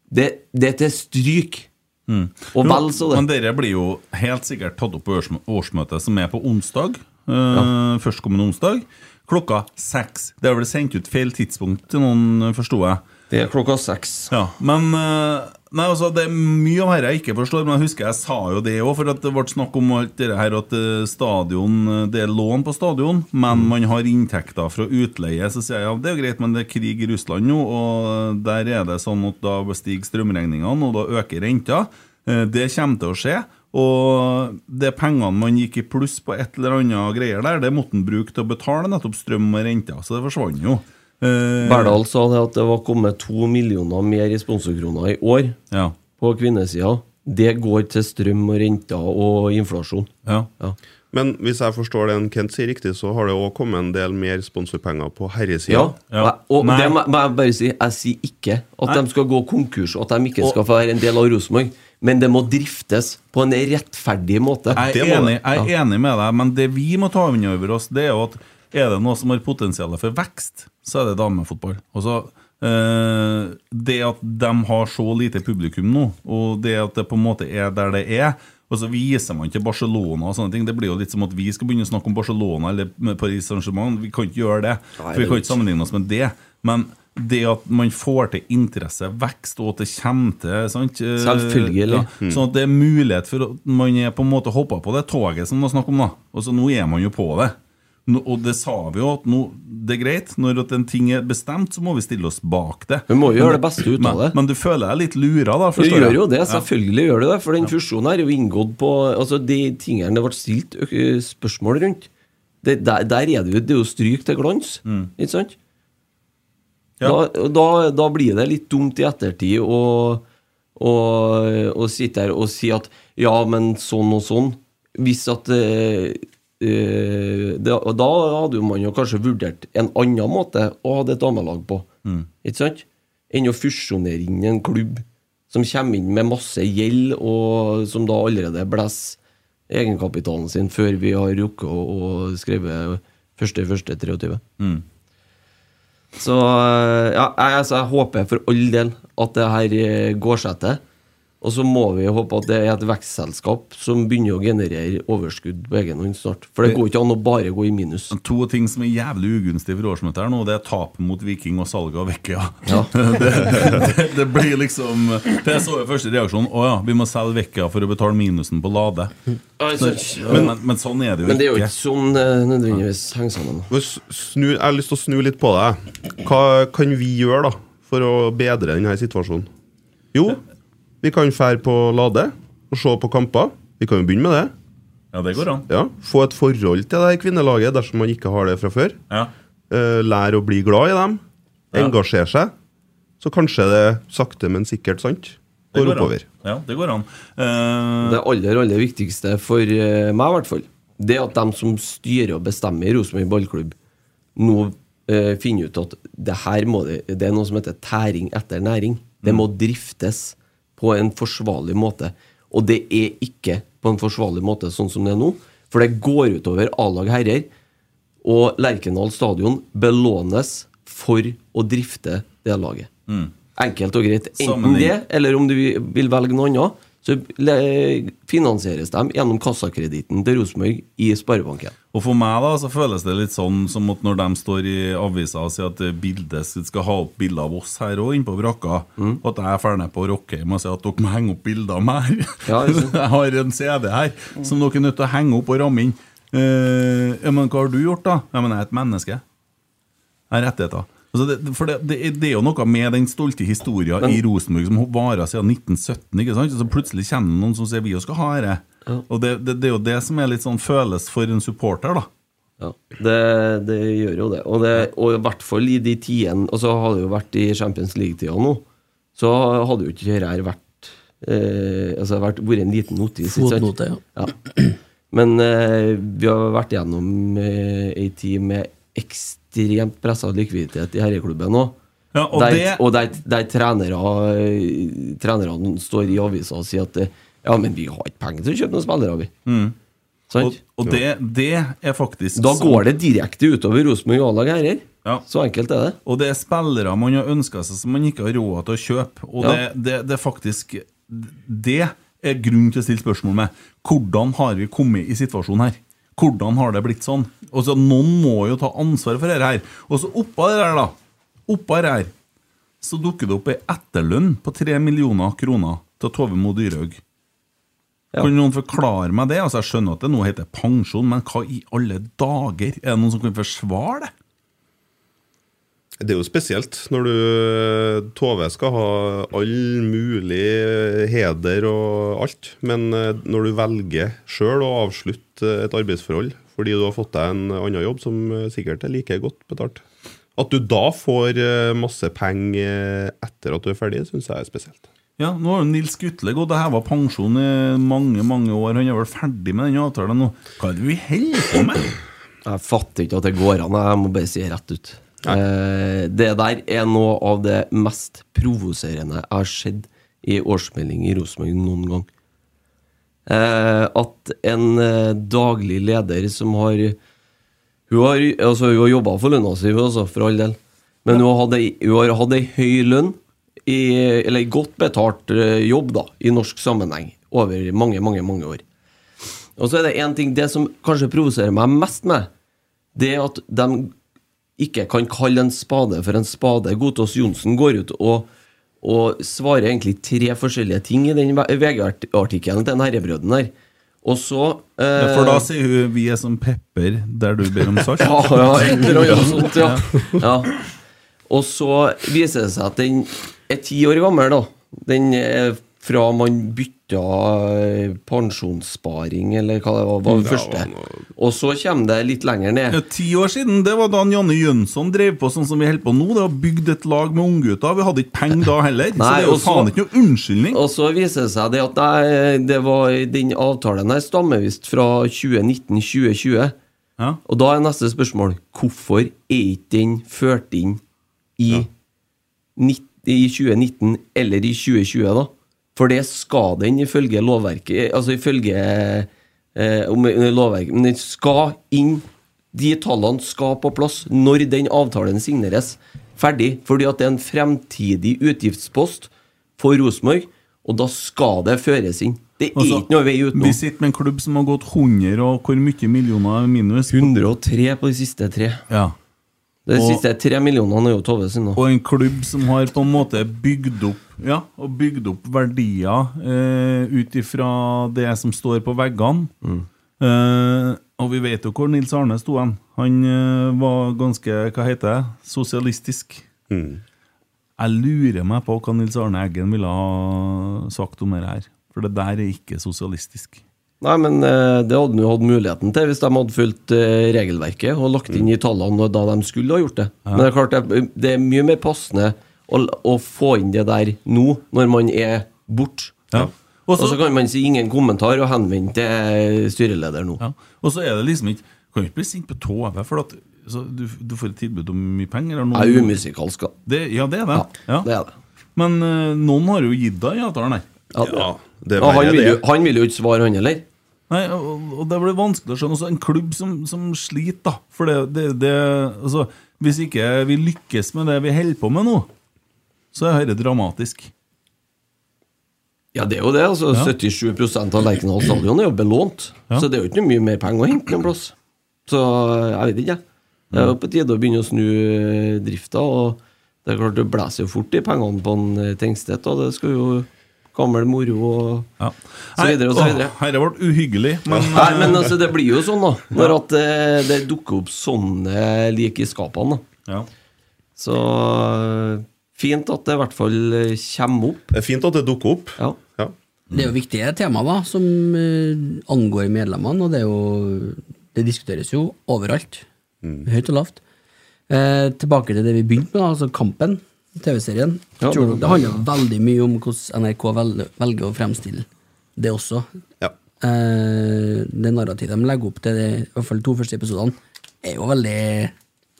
S7: Det, det er til stryk.
S5: Mm.
S7: Og
S5: Jo,
S7: vel så det.
S5: Men dere blir jo helt sikkert tatt opp på årsmø- årsmøtet, som er på onsdag. eh,
S7: Ja.
S5: Førstkommende onsdag. Klokka seks. Det er vel sendt ut feil tidspunkt til noen, forsto jeg.
S7: Det er klokka seks.
S5: Ja, men eh, Nei, altså, Det er mye av dette jeg ikke forstår, men jeg husker jeg sa jo det òg. For at det ble snakk om alt det her at eh, stadion, eh, det er lån på stadion, men
S7: Mm.
S5: man har inntekter fra utleie. Så sier jeg ja, det er jo greit, men det er krig i Russland nå, og der er det sånn at da stiger strømregningene, og da øker renta. Eh, Det kommer til å skje. Og det pengene man gikk i pluss på et eller annet greier der, det måtte man bruke til å betale nettopp strøm og renter, så det forsvant jo. Eh,
S7: Berdal sa det at det var kommet to millioner mer i sponsorkroner i år på kvinnesida. Det går til strøm og renter og inflasjon.
S5: Ja.
S9: Men hvis jeg forstår det en Kent sier riktig, så har det òg kommet en del mer sponsorpenger på herresida.
S7: Ja. Og det må må jeg bare si, jeg sier ikke at
S9: Nei.
S7: de skal gå konkurs, og at de ikke
S9: Og-
S7: skal få være en del av Rosenborg, men det må driftes på en rettferdig måte.
S5: Jeg er, enig, jeg er enig med deg, men det vi må ta inn over oss, det er jo at er det noe som har potensial for vekst, så er det damefotball. Altså, eh, det at de har så lite publikum nå, og det at det på en måte er der det er og så viser man til Barcelona og sånne ting. Det blir jo litt som at vi skal begynne å snakke om Barcelona eller med Paris Saint-Germain. Vi kan ikke gjøre det. for vi
S7: det er
S5: kan ikke sammenligne oss med det. Men det at man får til interesse, vekst, og at det kommer til sant? eh, Ja,
S7: Selvfølgelig. Mm.
S5: sånn at det er mulighet for at man er på en måte hoppa på det toget som det var snakk om, da. Og så nå er man jo på det. Nå, og det sa vi jo, at nå, det er greit. Når at en ting er bestemt, så må vi stille oss bak det.
S7: Vi må jo
S5: Men-
S7: gjøre det beste ut av
S5: men-
S7: det.
S5: Men du føler deg litt lura, da?
S7: Du
S5: forstår
S7: gjør
S5: jeg.
S7: jo det,
S5: Ja.
S7: selvfølgelig gjør du det. For den fusjonen her er jo inngått på Altså, de tingene det ble stilt ø- spørsmål rundt det, der, der er det jo, det er jo stryk til glans,
S5: Mm.
S7: ikke sant? Da, og da, da blir det litt dumt i ettertid å, å, å sitte her og si at ja, men sånn og sånn. Hvis at eh, eh, det, og Da hadde jo man jo kanskje vurdert en annen måte å ha et damelag på.
S5: Mm.
S7: Ikke sant? Enn å fusjonere inn i en klubb som kommer inn med masse gjeld, og som da allerede blåser egenkapitalen sin før vi har rukket å å skrive 1.1.23.
S5: Mm.
S7: Så eh, ja, jeg, altså, jeg håper for all del at det her eh, går seg til. Og så må vi håpe at det er et vekstselskap som begynner å generere overskudd på egen hånd snart. For det går ikke an å bare gå i minus.
S5: Sånn To ting som er jævlig ugunstig for årsmøtet her nå, det er tap mot Viking og salget av Vekkøya.
S7: Ja.
S5: *laughs* det, det, det blir liksom For jeg så jo første reaksjonen Å ja, vi må selge Vekkøya for å betale minusen på
S7: *laughs*
S5: Lade.
S7: Altså,
S5: men, men, men sånn er det jo
S7: Men det er jo
S5: ikke.
S7: ikke sånn eh, nødvendigvis henger sammen.
S9: Hvis Snu, jeg har lyst til å snu litt på deg. Hva kan vi gjøre da for å bedre denne situasjonen? Jo, vi kan fære på Lade og se på kamper. Vi kan jo begynne med det.
S5: Ja, det går an.
S9: Ja, Få et forhold til det her kvinnelaget dersom man ikke har det fra før.
S5: Ja.
S9: Eh, Lære å bli glad i dem.
S5: Ja.
S9: Engasjere seg. Så kanskje det sakte, men sikkert sant
S5: Det
S9: går
S5: går an.
S9: oppover.
S5: Ja, det går an. Eh,
S7: Det aller, aller viktigste for eh, meg, i hvert fall, det er at de som styrer og bestemmer i Rosenborg ballklubb, nå eh, finner ut at det her må det, det er noe som heter tæring etter næring. Det må driftes på en forsvarlig måte. Og det er ikke på en forsvarlig måte sånn som det er nå, for det går utover A-lag herrer. Og Lerkendal stadion belånes for å drifte det laget.
S5: Mm.
S7: Enkelt og greit. Enten
S5: Sammenheng.
S7: det, eller om du vil velge noe annet, så le- finansieres de gjennom kassakreditten til Rosenborg i Sparebanken.
S5: Og for meg da, så føles det litt sånn som at når de står i avisa og sier at eh, bildet skal skal ha opp bilder av oss her òg, inne på brakka,
S7: Mm.
S5: og at jeg drar ned på Rockheim og sier at dere må henge opp bilder av meg
S7: *laughs*
S5: her. jeg har en CD her som dere er nødt til å henge opp og ramme inn. Eh, ja, men hva har du gjort, da? Ja, men jeg er et menneske. Jeg har rettigheter. Altså det, for det, det, er- det er jo noe med den stolte historien i Rosenborg som varer siden 1917. ikke sant? Så plutselig kommer det noen som sier vi jo skal ha dette. Og det, det, det er jo det som er litt sånn føles for en supporter, da.
S7: Ja, det, det gjør jo det. Og, det. og i hvert fall i de tidene Og så har det jo vært i Champions League-tida nå, så hadde jo ikke dette her vært eh, Altså vært, vært en liten notis. ikke sant?
S6: Fotnote, ja.
S7: Ja. Men eh, vi har vært gjennom eh, ei tid med ekstremt pressa likviditet i herreklubben nå.
S5: Ja, og
S7: der,
S5: det-
S7: og der, der trenere, eh, trenerne står i avisa og sier at eh, ja, men vi har ikke penger til å kjøpe noen spillere, vi.
S5: Mm.
S7: Sant?
S5: Og det, det er faktisk
S7: Da
S5: sånn-
S7: går det direkte utover Rosenborg A-lag herrer.
S5: Ja.
S7: Så enkelt er det.
S5: Og det er spillere man har ønska seg som man ikke har råd til å kjøpe. Og
S7: Ja.
S5: det, det, det er faktisk Det er grunn til å stille spørsmål med. Hvordan har vi kommet i situasjonen her? Hvordan har det blitt sånn? Og så Noen må jo ta ansvaret for dette her. Og så oppå det der, da. Oppå det her. Så dukker det opp ei etterlønn på 3 millioner kroner til Tove Mo Dyrhaug. Kan noen forklare meg det? Altså Jeg skjønner at det nå heter pensjon, men hva i alle dager? Er det noen som kan forsvare det?
S9: Det er jo spesielt når du Tove skal ha all mulig heder og alt, men eh, når du velger sjøl å avslutte et arbeidsforhold fordi du har fått deg en annen jobb som eh, sikkert er like godt betalt eh, At du da får eh, masse penger etter at du er ferdig, syns jeg er spesielt.
S5: Ja, nå har jo Nils Gutle gått og heva pensjon i mange mange år. Han er vel ferdig med den avtalen nå. Hva er det vi holder på med?
S7: Jeg fatter ikke at det går an. Jeg må bare si det rett ut. Eh, det der er noe av det mest provoserende jeg har sett i årsmelding i Rosenborg noen gang. Eh, at en eh, daglig leder som har Hun har, altså, hun har jobba for lønna si, hun, altså, for all del. Men hun, har hatt ei- hun har hatt ei høy lønn, i, Eh, eller ei godt betalt eh, jobb, da, i norsk sammenheng, over mange, mange, mange år. Og så er det én ting Det som kanskje provoserer meg mest med, det er at de ikke kan kalle en spade for en spade. Godtås Johnsen går ut og, og svarer egentlig tre forskjellige ting i den VG-artikkelen til den herrebrøden her. Og så eh,
S5: Ja, for da sier hun 'vi er som pepper der du ber om salt'.
S7: *laughs* ja, ja, et eller annet sånt, ja. ja. Og så viser det seg at den er ti år gammel, da. Den er fra man bytta eh, pensjonssparing, eller hva det var, var
S5: Ja,
S7: det første. Og så kommer det litt lenger ned.
S5: Ja, ti år siden, det var da han Janne Jønsson drev på sånn som vi holder på nå. Det var bygd et lag med unggutter. Vi hadde ikke penger da heller. så det er jo
S7: og så-
S5: faen ikke noe unnskyldning.
S7: Og så viser det seg det at nei, det var, den avtalen her stammer visst fra 2019-2020. Og da er neste spørsmål hvorfor er ikke den ført inn i, nitt- i 2019 eller i 2020, da? For det skal den ifølge lovverket Altså ifølge eh, om, eh, lovverket, Men den skal inn De tallene skal på plass når den avtalen signeres. Ferdig. Fordi at det er en fremtidig utgiftspost for Rosenborg, og da skal det føres inn. Det er
S5: Altså,
S7: ikke noe vei utenom.
S5: Vi sitter med en klubb som har gått 100 og hvor mye millioner er minus?
S7: 103 på de siste tre.
S5: Ja.
S7: De
S5: Og-
S7: siste tre millionene er jo Tove sin.
S5: Og en klubb som har på en måte bygd opp Ja, og bygd opp verdier eh, ut ifra det som står på veggene. Eh, og vi vet jo hvor Nils Arne sto hen. Han eh, var ganske, hva heter det, sosialistisk. Jeg lurer meg på hva Nils Arne Eggen ville ha sagt om dette her. For det der er ikke sosialistisk.
S7: Nei, men eh, det hadde de jo hatt muligheten til hvis de hadde fulgt eh, regelverket og lagt inn i tallene da de skulle ha gjort det. Men det er klart, det, er- det er mye mer passende å, å få inn det der nå, når man er borte. Og
S5: Altså,
S7: så kan man si ingen kommentar og henvende til styreleder nå.
S5: Og så er det liksom ikke Kan jo ikke bli sint på TV, for at så du, du får et tilbud om mye penger. Eller
S7: Jeg er umusikalsk, da.
S5: Det, ja, det er det. Ja,
S7: det er det.
S5: Men eh, noen har jo gitt deg i avtalen, her.
S9: det er
S7: og han
S9: verre,
S7: vil,
S9: det.
S7: jo, han vil jo ikke svare, han heller.
S5: Nei, og, og det blir vanskelig å skjønne. Også en klubb som, som sliter, da. For det, det, det altså, Hvis ikke vi lykkes med det vi holder på med nå, så er dette dramatisk.
S7: Ja, det er jo det. altså
S5: Ja.
S7: 77 av Lerkendal stadion er jo belånt.
S5: Ja.
S7: Så det er jo ikke noe mye mer penger å hente noen plass. Så jeg vet ikke, jeg. Det er jo på tide å begynne å snu eh, drifta. Og det er klart det blåser jo fort i pengene på en eh, Tengstedt, og det skal jo gammel moro og så videre og så
S5: Nei,
S7: videre.
S5: åh, Dette ble uhyggelig, men eh,
S7: Nei, men altså, det blir jo sånn, da. Når at eh, det dukker opp sånne lik i skapene,
S5: da.
S7: Så eh, fint at det i hvert fall eh, kommer opp.
S9: Det er fint at det dukker opp.
S7: Ja.
S6: Det er jo viktige tema da, som eh, angår medlemmene, og det, er jo, det diskuteres jo overalt.
S7: Mm.
S6: Høyt og lavt. Eh, tilbake til det vi begynte med, da, altså Kampen, TV-serien.
S7: Ja,
S6: Tror du
S7: det-
S6: det handler jo veldig mye om hvordan NRK velger, velger å fremstille det også. Eh, det narrativet de legger opp til, det, i hvert fall de to første episodene, er jo veldig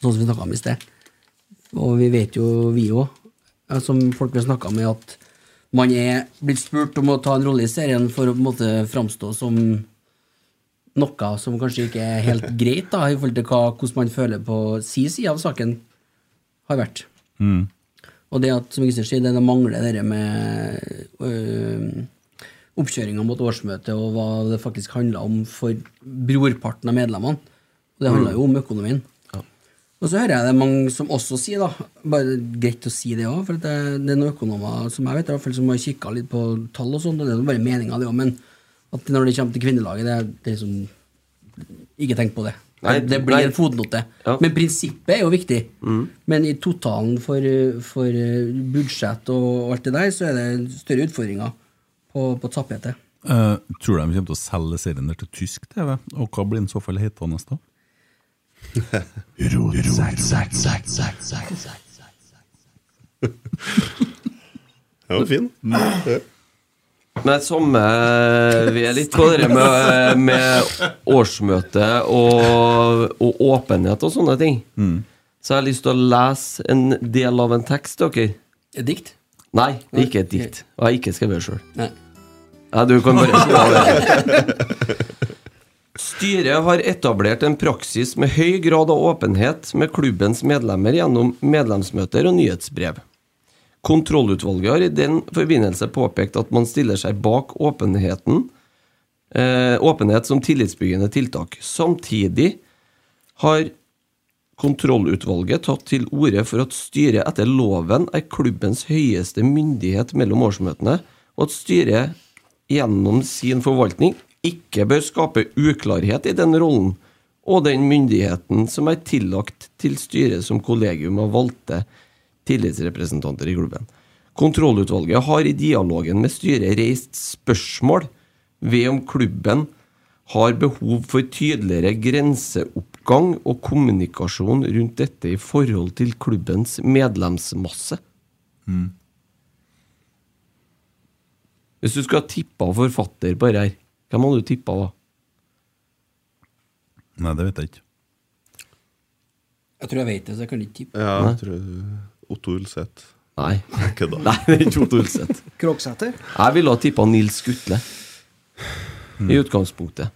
S6: sånn som vi snakka om i sted. Og vi vet jo, vi òg, som folk vi har snakka med, at man er blitt spurt om å ta en rolle i serien for å på en måte framstå som noe som kanskje ikke er helt greit, da, i forhold til hva, hvordan man føler på si side av saken har vært.
S5: Mm.
S6: Og det at, som Kristian sier, det det mangler det der med øh, oppkjøringa mot årsmøtet og hva det faktisk handla om for brorparten av medlemmene. Og det handla jo om økonomien. Og så hører jeg det mange som også sier, da, bare greit å si det òg, for at det, det er noen økonomer som jeg vet, i hvert fall som har kikka litt på tall og sånn, og det er jo bare meninga det òg, men at når det kommer til kvinnelaget, det er, det er liksom Ikke tenk på det.
S7: Nei,
S6: det blir
S7: nei. Mm.
S6: en fotnote. Men prinsippet er jo viktig. Men i totalen for, for eh, budsjett og alt det der, så er det større utfordringer på, på tapetet.
S5: Eh, tror du de kommer til å selge serien der til tysk TV? Og hva blir den i så fall hetende
S7: *laughs*
S5: da?
S3: Sack, sack, sack, sack, sack, sack.
S9: Ja, fin. Ja.
S7: Men samme eh, Vi er litt på det med, med årsmøte og, og åpenhet og sånne ting.
S5: Mm.
S7: Så jeg har lyst til å lese en del av en tekst, dere.
S6: Et dikt?
S7: Nei, det er ikke et dikt. Og jeg har ikke skrevet det sjøl.
S6: Nei.
S7: Nei, du kan bare slå av det. Styret har etablert en praksis med høy grad av åpenhet med klubbens medlemmer gjennom medlemsmøter og nyhetsbrev. Kontrollutvalget har i den forbindelse påpekt at man stiller seg bak åpenheten, eh, åpenhet som tillitsbyggende tiltak. Samtidig har kontrollutvalget tatt til orde for at styret etter loven er klubbens høyeste myndighet mellom årsmøtene, og at styret gjennom sin forvaltning ikke bør skape uklarhet i den rollen og den myndigheten som er tillagt til styret som kollegium av valgte tillitsrepresentanter i klubben. Kontrollutvalget har i dialogen med styret reist spørsmål ved om klubben har behov for tydeligere grenseoppgang og kommunikasjon rundt dette i forhold til klubbens medlemsmasse.
S5: Mm.
S7: Hvis du skulle ha tippa forfatter på dette her, hvem hadde du tippa da?
S5: Nei, det vet jeg ikke.
S6: Jeg tror jeg vet det, så jeg kan ikke tippe.
S9: Ja,
S7: Nei.
S9: jeg tror Otto Ulseth.
S7: Nei.
S9: *laughs* Ikke da.
S7: Nei, det er ikke Otto Ulseth.
S10: Kroksæter?
S7: Jeg ville ha tippa Nils Skutle.
S9: Mm.
S7: I utgangspunktet.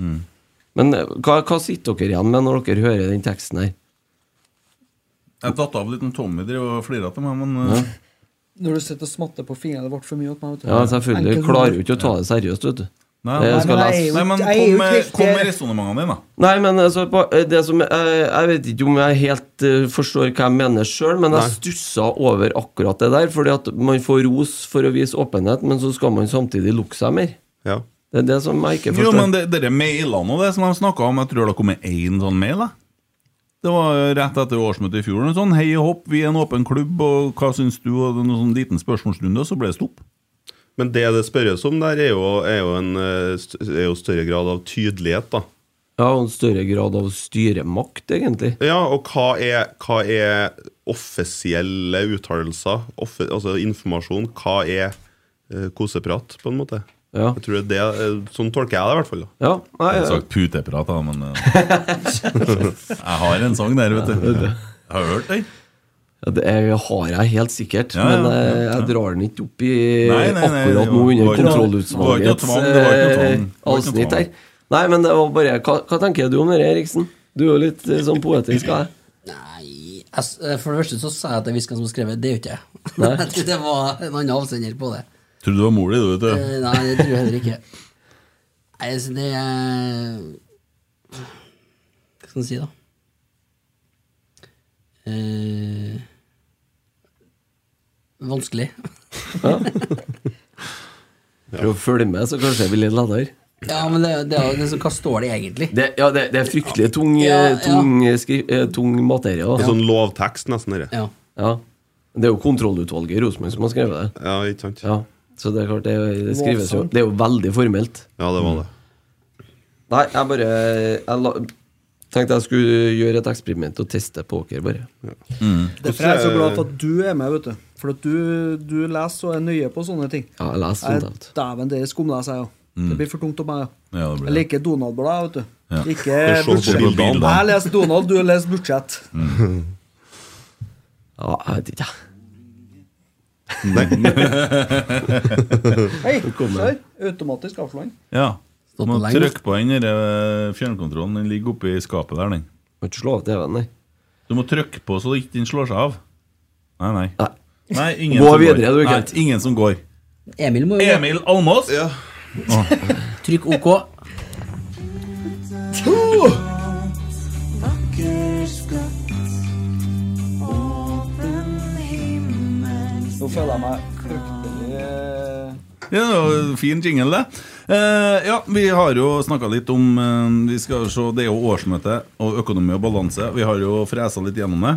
S7: Men eh, hva, hva sitter dere igjen med når dere hører den teksten her?
S5: Jeg datt av litt når Tommy drev og flira til meg, men
S7: Ja.
S5: eh,
S10: Når du sitter og smatter på fingrene vårt for mye åt meg, vet du.
S7: Ja, selvfølgelig.
S10: Enkelt-
S7: Klarer jo ikke å ta det seriøst, vet du.
S5: Nei,
S7: Det
S5: nei,
S7: skal
S5: men
S7: lese.
S5: Nei, men kom med, kom med resonnementene dine, da.
S7: Nei, men altså, på- det som, eh, jeg vet ikke om jeg helt eh, forstår hva jeg mener sjøl, men jeg
S5: Nei.
S7: stussa over akkurat det der. Fordi at man får ros for å vise åpenhet, men så skal man samtidig lukke seg mer. Det er det som jeg ikke
S5: Jo,
S7: forstår.
S5: men det, dere mailene og det som de snakka om, jeg tror det kom én sånn mail. da Det var rett etter årsmøtet i fjor. En sånn hei og hopp, vi er en åpen klubb, og hva syns du? Og en sånn liten spørsmålsrunde, og så ble det stopp.
S9: Men det det spørres om der, er jo, er jo en eh, st- er jo større grad av tydelighet, da.
S7: Ja, og en større grad av styremakt, egentlig.
S9: Ja, og hva er, hva er offisielle uttalelser, offe, altså informasjon? Hva er eh, koseprat, på en måte?
S7: Ja.
S9: Jeg tror det, er det- Sånn tolker jeg det, i hvert fall. da.
S7: Ja, nei,
S5: Jeg
S7: ja.
S5: har sagt puteprat, da,
S7: *laughs*
S5: men eh, Jeg har en sang der, vet du. Jeg har hørt den.
S7: Ja, det er, har jeg helt sikkert,
S5: Ja, ja,
S7: men eh,
S5: ja, ja.
S7: jeg drar den ikke opp i
S5: Nei, nei, nei, det
S7: akkurat nå
S5: var- det var ikke-
S7: under
S5: det var ikke noe tvang, det
S7: kontrollutvalgets
S5: var ikke noe tvang, det
S7: eh,
S5: var ikke noe
S7: avsnitt
S5: tvang.
S7: her. Nei, men det var bare Hva, hva tenker du om det, Eriksen? Du er jo litt eh, sånn poetisk av deg.
S6: Jeg s- eh, For det første så sa jeg at jeg visste hvem som har skrevet, det er jo ikke jeg.
S7: Nei.
S6: *laughs* Jeg tror det var en annen avsender på det.
S5: Tror du det var mor di, du, vet du.
S6: Eh, Nei, det tror jeg heller ikke. Nei, så det er Hva skal man si, da? Eh, vanskelig.
S7: Prøv å følge med, så kanskje jeg blir litt lettere.
S6: Ja, men det, det, er jo- det, så hva står det egentlig?
S7: Det, ja, det, det er fryktelig tung, eh,
S6: Ja, ja.
S7: tung, eh, skri, eh, tung materie.
S9: Det
S7: da.
S9: er sånn lovtekst, nesten. Dere.
S6: Ja.
S7: Ja. Det er jo kontrollutvalget i Rosenborg som har skrevet det.
S9: Ja, ikke sant?
S7: Ja. Så det er klart, det, det skrives jo Det er jo veldig formelt.
S9: Ja, det var det.
S7: Nei, jeg bare jeg la, tenkte jeg skulle gjøre et eksperiment og teste på dere, bare.
S10: Derfor er jeg så glad for at du er med, vet du. For at du, du leser og er nøye på sånne ting.
S7: Ja, jeg leser
S10: Jeg-
S7: sånt alt.
S10: Dæven, dere skumleser jeg òg.
S7: Mm.
S10: Det blir for tungt om meg, ja.
S5: Ja, det
S10: Jeg
S5: blir det.
S10: liker Donald-blad, vet du.
S5: Ja.
S10: Ikke
S5: Jeg ser på
S10: budsjett.
S5: bildene.
S10: Jeg leser Donald, du leser budsjett.
S7: Ja, jeg vet ikke, jeg.
S10: Hei,
S5: Nå kommer
S10: ser. Automatisk avsløring.
S5: Ja.
S10: Stått
S5: Må
S10: på lenge.
S5: trykke på den der eh, fjernkontrollen. Den ligger oppi skapet der, den.
S7: Må ikke slå av TV-en, nei.
S5: Du må trykke på så ikke den slår seg av. Nei, nei. Nei, ingen
S7: Gå
S5: som
S7: videre,
S5: går.
S7: du,
S5: Nei,
S7: Kent.
S5: ingen som går.
S6: Emil må jo
S5: Emil Almås.
S6: Trykk OK.
S10: Nå føler jeg meg fryktelig
S5: Ja, det var en fin jingle, det. Eh, ja, vi har jo snakka litt om eh, Vi skal jo se, Det er jo årsmøte og økonomi og balanse. Vi har jo fresa litt gjennom det.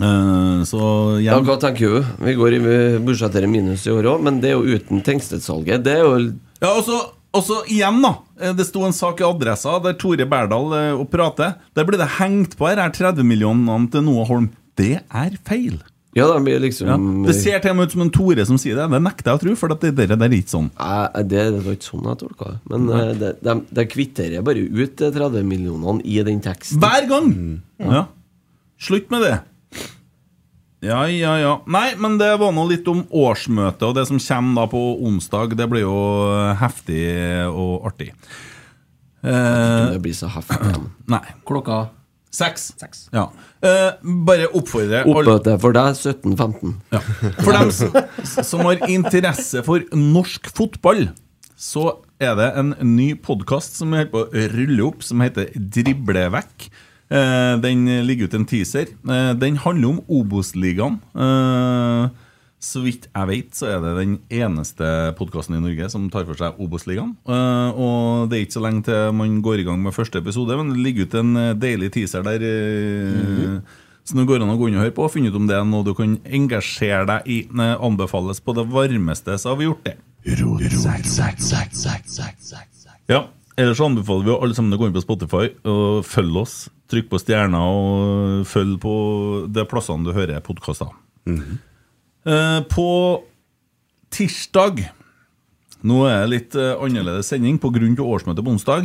S5: Eh, så
S7: Ja,
S5: hjem.
S7: hva tenker du? Vi går i budsjettere minus i år òg, men det er jo uten Tengstedt-salget. Det er jo
S5: Ja, og så og så igjen, da. eh, Det sto en sak i Adressa der Tore Berdal eh, og prater. Der ble det hengt på her er 30 millionene til Noah Holm. Det er feil.
S7: Ja, de blir liksom
S5: Ja. Det ser til og med ut som en Tore som sier det. Det nekter jeg å tro, for at det der er ikke sånn.
S7: Nei, det, det var ikke sånn jeg tolka det. Men eh, de, de, de kvitterer bare ut de 30 millionene i den teksten.
S5: Hver gang! Ja. Slutt med det. Ja, ja, ja. Nei, men det var nå litt om årsmøtet, og det som kommer da på onsdag, det blir jo eh, heftig og artig. Eh,
S7: det blir så heftig.
S5: Nei.
S6: Klokka
S5: Seks. Ja. Eh, bare oppfordre alle-
S7: Oppmøte for deg 17.15.
S5: For dem s- som har interesse for norsk fotball, så er det en ny podkast som er på å rulle opp, som heter Drible vekk. Eh, Den ligger ut en teaser. Eh, Den handler om Obos-ligaen. Eh, Så vidt jeg vet, så er det den eneste podkasten i Norge som tar for seg Obos-ligaen. Eh, Og det er ikke så lenge til man går i gang med første episode, men det ligger ut en eh, deilig teaser der. eh,
S7: Mhm.
S5: så nå går det an å gå inn og høre på og finne ut om det er noe du kan engasjere deg i. Ne, Anbefales på det varmeste, så har vi gjort det. Ja, Ellers så anbefaler vi jo alle sammen å gå inn på Spotify og følge oss. Trykk på stjerna og følg på de plassene du hører podkaster. Eh, På tirsdag Nå er det litt eh, annerledes sending pga. årsmøtet på onsdag.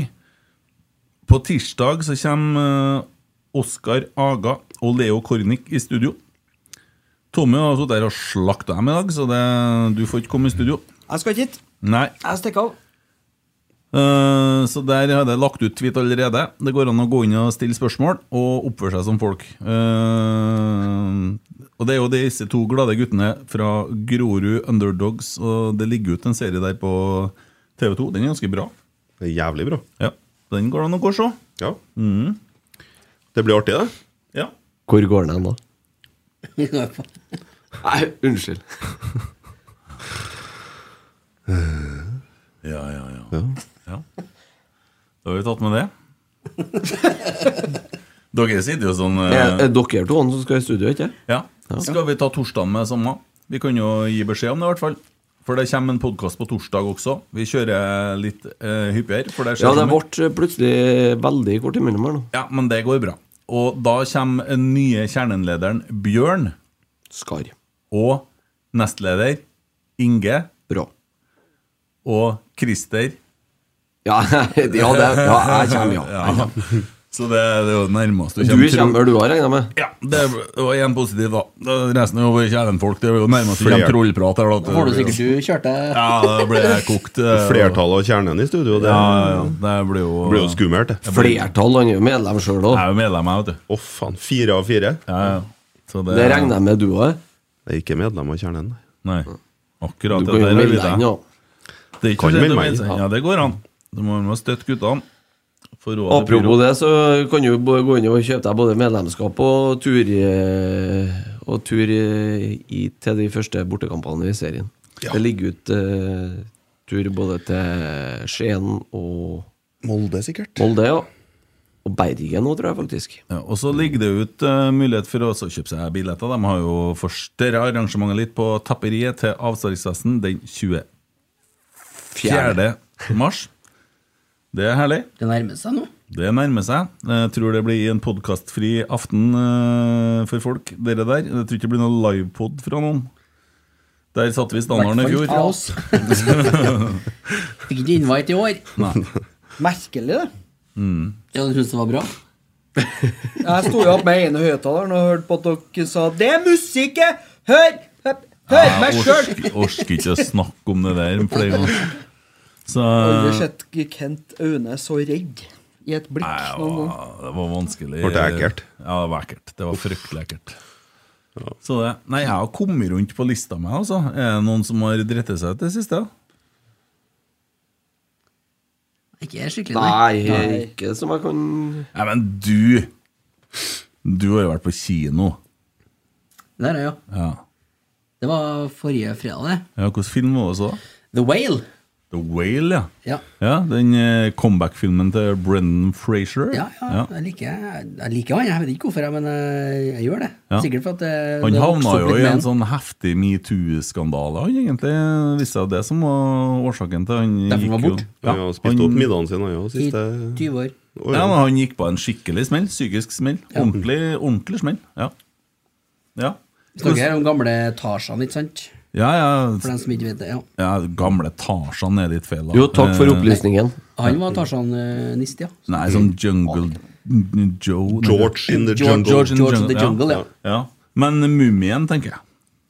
S5: På tirsdag så kommer eh, Oskar Aga og Leo Kornik i studio. Tommy har sittet der og slakta dem i dag, så det, du får ikke komme i studio.
S10: Jeg skal ikke hit.
S5: Nei.
S10: Jeg stikker
S6: *laughs*
S10: av.
S5: Eh, så der har jeg lagt ut tweet allerede. Det går an å gå inn og stille spørsmål og oppføre seg som folk. Eh, og det er jo disse to glade guttene fra Grorud Underdogs, og det ligger ut en serie der på TV2. Den er ganske bra.
S9: Jævlig bra.
S5: Ja, Den går det an å gå og se.
S9: Ja.
S5: Mm.
S9: Det blir artig, det.
S7: Hvor går den hen, da? Nei, unnskyld.
S5: Ja, ja, ja. Ja. Da har vi tatt med *laughs* det. dere sitter jo sånn eh,
S7: Er, er dere to som skal i studio, ikke
S5: Ja. Skal vi ta torsdagen med samme? Vi kan jo gi beskjed om det, i hvert fall. For det kommer en podkast på torsdag også. Vi kjører litt eh, hyppigere. For det skjer
S7: Ja, det
S5: som-
S7: ble plutselig veldig kort imellom her nå.
S5: Ja, men det går bra. Og da kommer den nye kjernenlederen Bjørn.
S7: Skar.
S5: Og nestleder Inge.
S7: Bra.
S5: Og Christer.
S7: Ja, *laughs* ja, det, ja jeg kommer,
S5: *laughs*
S7: ja. Jeg kommer.
S5: Så det, det er jo det nærmeste
S7: Du kommer, du har regna med?
S5: Ja, det var én positiv, da. Det- Resten er jo bare kjernenfolk. Det er jo nærmest
S9: Flere.
S5: kommer trollprat. her, da.
S6: Da får du sikkert du kjørte
S5: Ja, det ble kokt.
S7: *laughs*
S5: eh,
S9: Flertallet av kjernen i studio, det,
S5: Ja, ja, ja. det blir jo,
S9: blir jo skummelt. det.
S7: Flertall, han er jo medlem sjøl òg.
S5: Jeg er jo medlem, jeg, vet du.
S9: Å, faen. Fire av fire?
S5: Så
S7: Det regner jeg med du òg er.
S9: Jeg er ikke medlem av kjernen, nei.
S5: Nei. Akkurat
S7: Du
S5: det
S7: kan jo
S5: der er
S7: melde
S5: litt
S7: deg inn, ja.
S5: Det er ikke
S9: Kan
S5: så lett
S9: melde
S5: å
S9: meg
S5: melde
S9: inn.
S5: seg inn. Ja, det går an. Du må må støtte guttene. For å-
S7: Apropos det, så kan du bo- gå inn og kjøpe deg både medlemskap og tur, i- og tur i, i- til de første bortekampene i serien. Det ligger eh, ut eh, tur både til Skien og
S9: Molde, sikkert.
S7: Molde, ja. Og Bergen nå, tror jeg faktisk.
S5: Ja, og så ligger det ut eh, mulighet for å også kjøpe seg billetter. De har jo forstørra arrangementet litt på Tapperiet til avstartsfesten den 24. mars. Det er herlig.
S6: Det nærmer seg nå.
S5: Det nærmer seg. Jeg tror det blir en podkastfri aften eh, for folk, dere der. Jeg tror ikke det blir noen livepod fra noen. Der satte vi standarden i
S6: Hvertfall
S5: fjor.
S6: fra oss. Fikk ikke invite i år.
S5: Nei. Mm.
S10: Merkelig, det.
S6: Ja, du syntes det var bra?
S10: Jeg sto jo opp med ene høyttaleren og hørte på at dere sa 'Det er musikk, jeg! Hør! Hør, hør meg
S5: Jeg
S10: sjøl!'
S5: orker, orker ikke å snakke om det der flere ganger. Så
S10: Aldri
S5: eh,
S10: sett Kent Aune så redd i et blikk noen gang.
S5: det var vanskelig.
S9: Ble det ekkelt?
S5: Ja, det var ekkelt. Det var fryktelig ekkelt. Så det, nei, jeg har kommet rundt på lista mi, altså. Er det noen som har dritt seg ut det siste?
S6: Ikke jeg skikkelig,
S7: Nei, ikke som jeg kan
S5: Nei, men du Du har jo vært på kino.
S6: Der er jeg, ja.
S5: Ja.
S6: Det var forrige fredag, det.
S5: Ja, Hvilken film var det så?
S6: The Whale.
S5: The Whale, ja.
S6: Ja.
S5: Ja, Den eh, comeback-filmen til Brendan Frazier.
S6: Ja, ja,
S5: Ja.
S6: Jeg, liker, jeg liker han. Jeg vet ikke hvorfor, jeg, men jeg, jeg gjør det.
S5: Ja.
S6: Sikkert for at eh,
S5: Han
S6: det har
S5: havna
S6: vokst opp
S5: jo
S6: litt
S5: i
S6: med
S5: en
S6: han.
S5: sånn heftig metoo-skandale, han egentlig. Viste seg det som var årsaken til han
S6: Derfor han var
S5: gikk
S6: bort?
S5: jo-
S9: Han har spist opp middagen sin, han jo,
S6: I
S9: siste
S6: 20 år.
S9: året.
S5: Ja, men han gikk på en skikkelig smell. Psykisk smell. Ordentlig, ordentlig smell. Ja. ja.
S6: Vi snakker her om gamle Tarzan, ikke sant?
S5: Ja, ja.
S6: For dem som ikke vet det. ja.
S5: ja gamle Tarzan er litt feil. da.
S7: Jo, takk for
S5: Eh,
S7: opplysningen.
S6: Han var Tarzan-nist, ja.
S5: Nei, som Jungle Joe nei.
S9: George in the
S5: George-
S9: Jungle.
S5: George in the
S6: George in the
S5: Jungle,
S6: Jungle,
S5: ja. ja. Men Mumien, tenker jeg.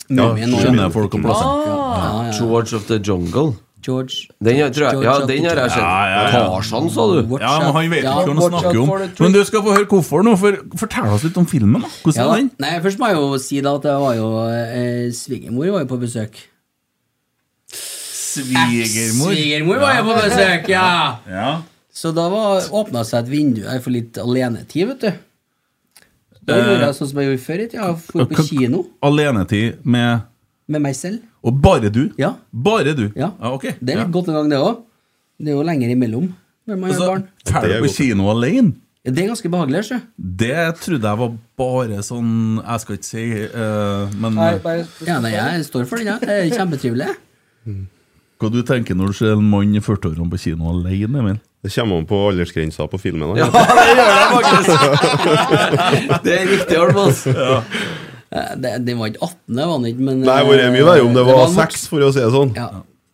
S6: Mumien,
S5: ja,
S6: ja.
S5: skjønner jeg folk om plassen.
S6: Ah, ja, ja.
S7: George of the Jungle.
S6: George
S7: Den, har- tror jeg,
S6: George
S7: ja,
S6: of the
S7: den har jeg sett.
S5: Ja, ja, ja.
S7: Tarzan, sa du?
S5: Ja, men Han vet
S6: Ja,
S5: ikke hva han
S6: watch out
S5: snakker om.
S6: for the tree.
S5: Men du skal få høre hvorfor nå. For, fortell oss litt om filmen. da Hvordan
S6: Ja,
S5: var den?
S6: nei, først må jeg jo si da at jeg var jo eh, Svigermor var jo på besøk.
S5: Svigermor.
S6: Svigermor var jo på besøk, ja!
S5: *laughs* Ja.
S6: Så da var- åpna seg et vindu her for litt alenetid, vet du. Da
S5: Eh,
S6: gjorde jeg sånn som jeg gjorde før. ikke? Jeg dro på kino
S5: Alenetid med
S6: med meg selv.
S5: Og bare du?
S6: Ja.
S5: Bare du?
S6: Ja.
S5: Ah, ok.
S6: Det er litt godt en gang, det òg. Det er jo lenger imellom når man
S5: Altså,
S6: har barn.
S5: Drar
S9: Det er
S5: du på
S9: godt.
S5: kino alene?
S6: Ja, Det er ganske behagelig, sjø.
S5: Det trodde jeg var bare sånn Jeg skal ikke si eh, Men
S6: Ja, nei, jeg står for den, jeg. Det er kjempetrivelig.
S5: hva du tenker når du ser en mann i 40-årene på kino alene, Emil?
S9: Det kommer an på aldersgrensa på filmen. da.
S7: Ja, det gjør jeg faktisk! *laughs* Det er riktig, Almas.
S6: Eh, det- Den var ikke 18, det var den ikke, men
S9: *laughs* Nei, hvor er det mye verre om det
S6: eh,
S9: var
S6: en voksen-
S9: seks, for å si det sånn.
S6: Ja,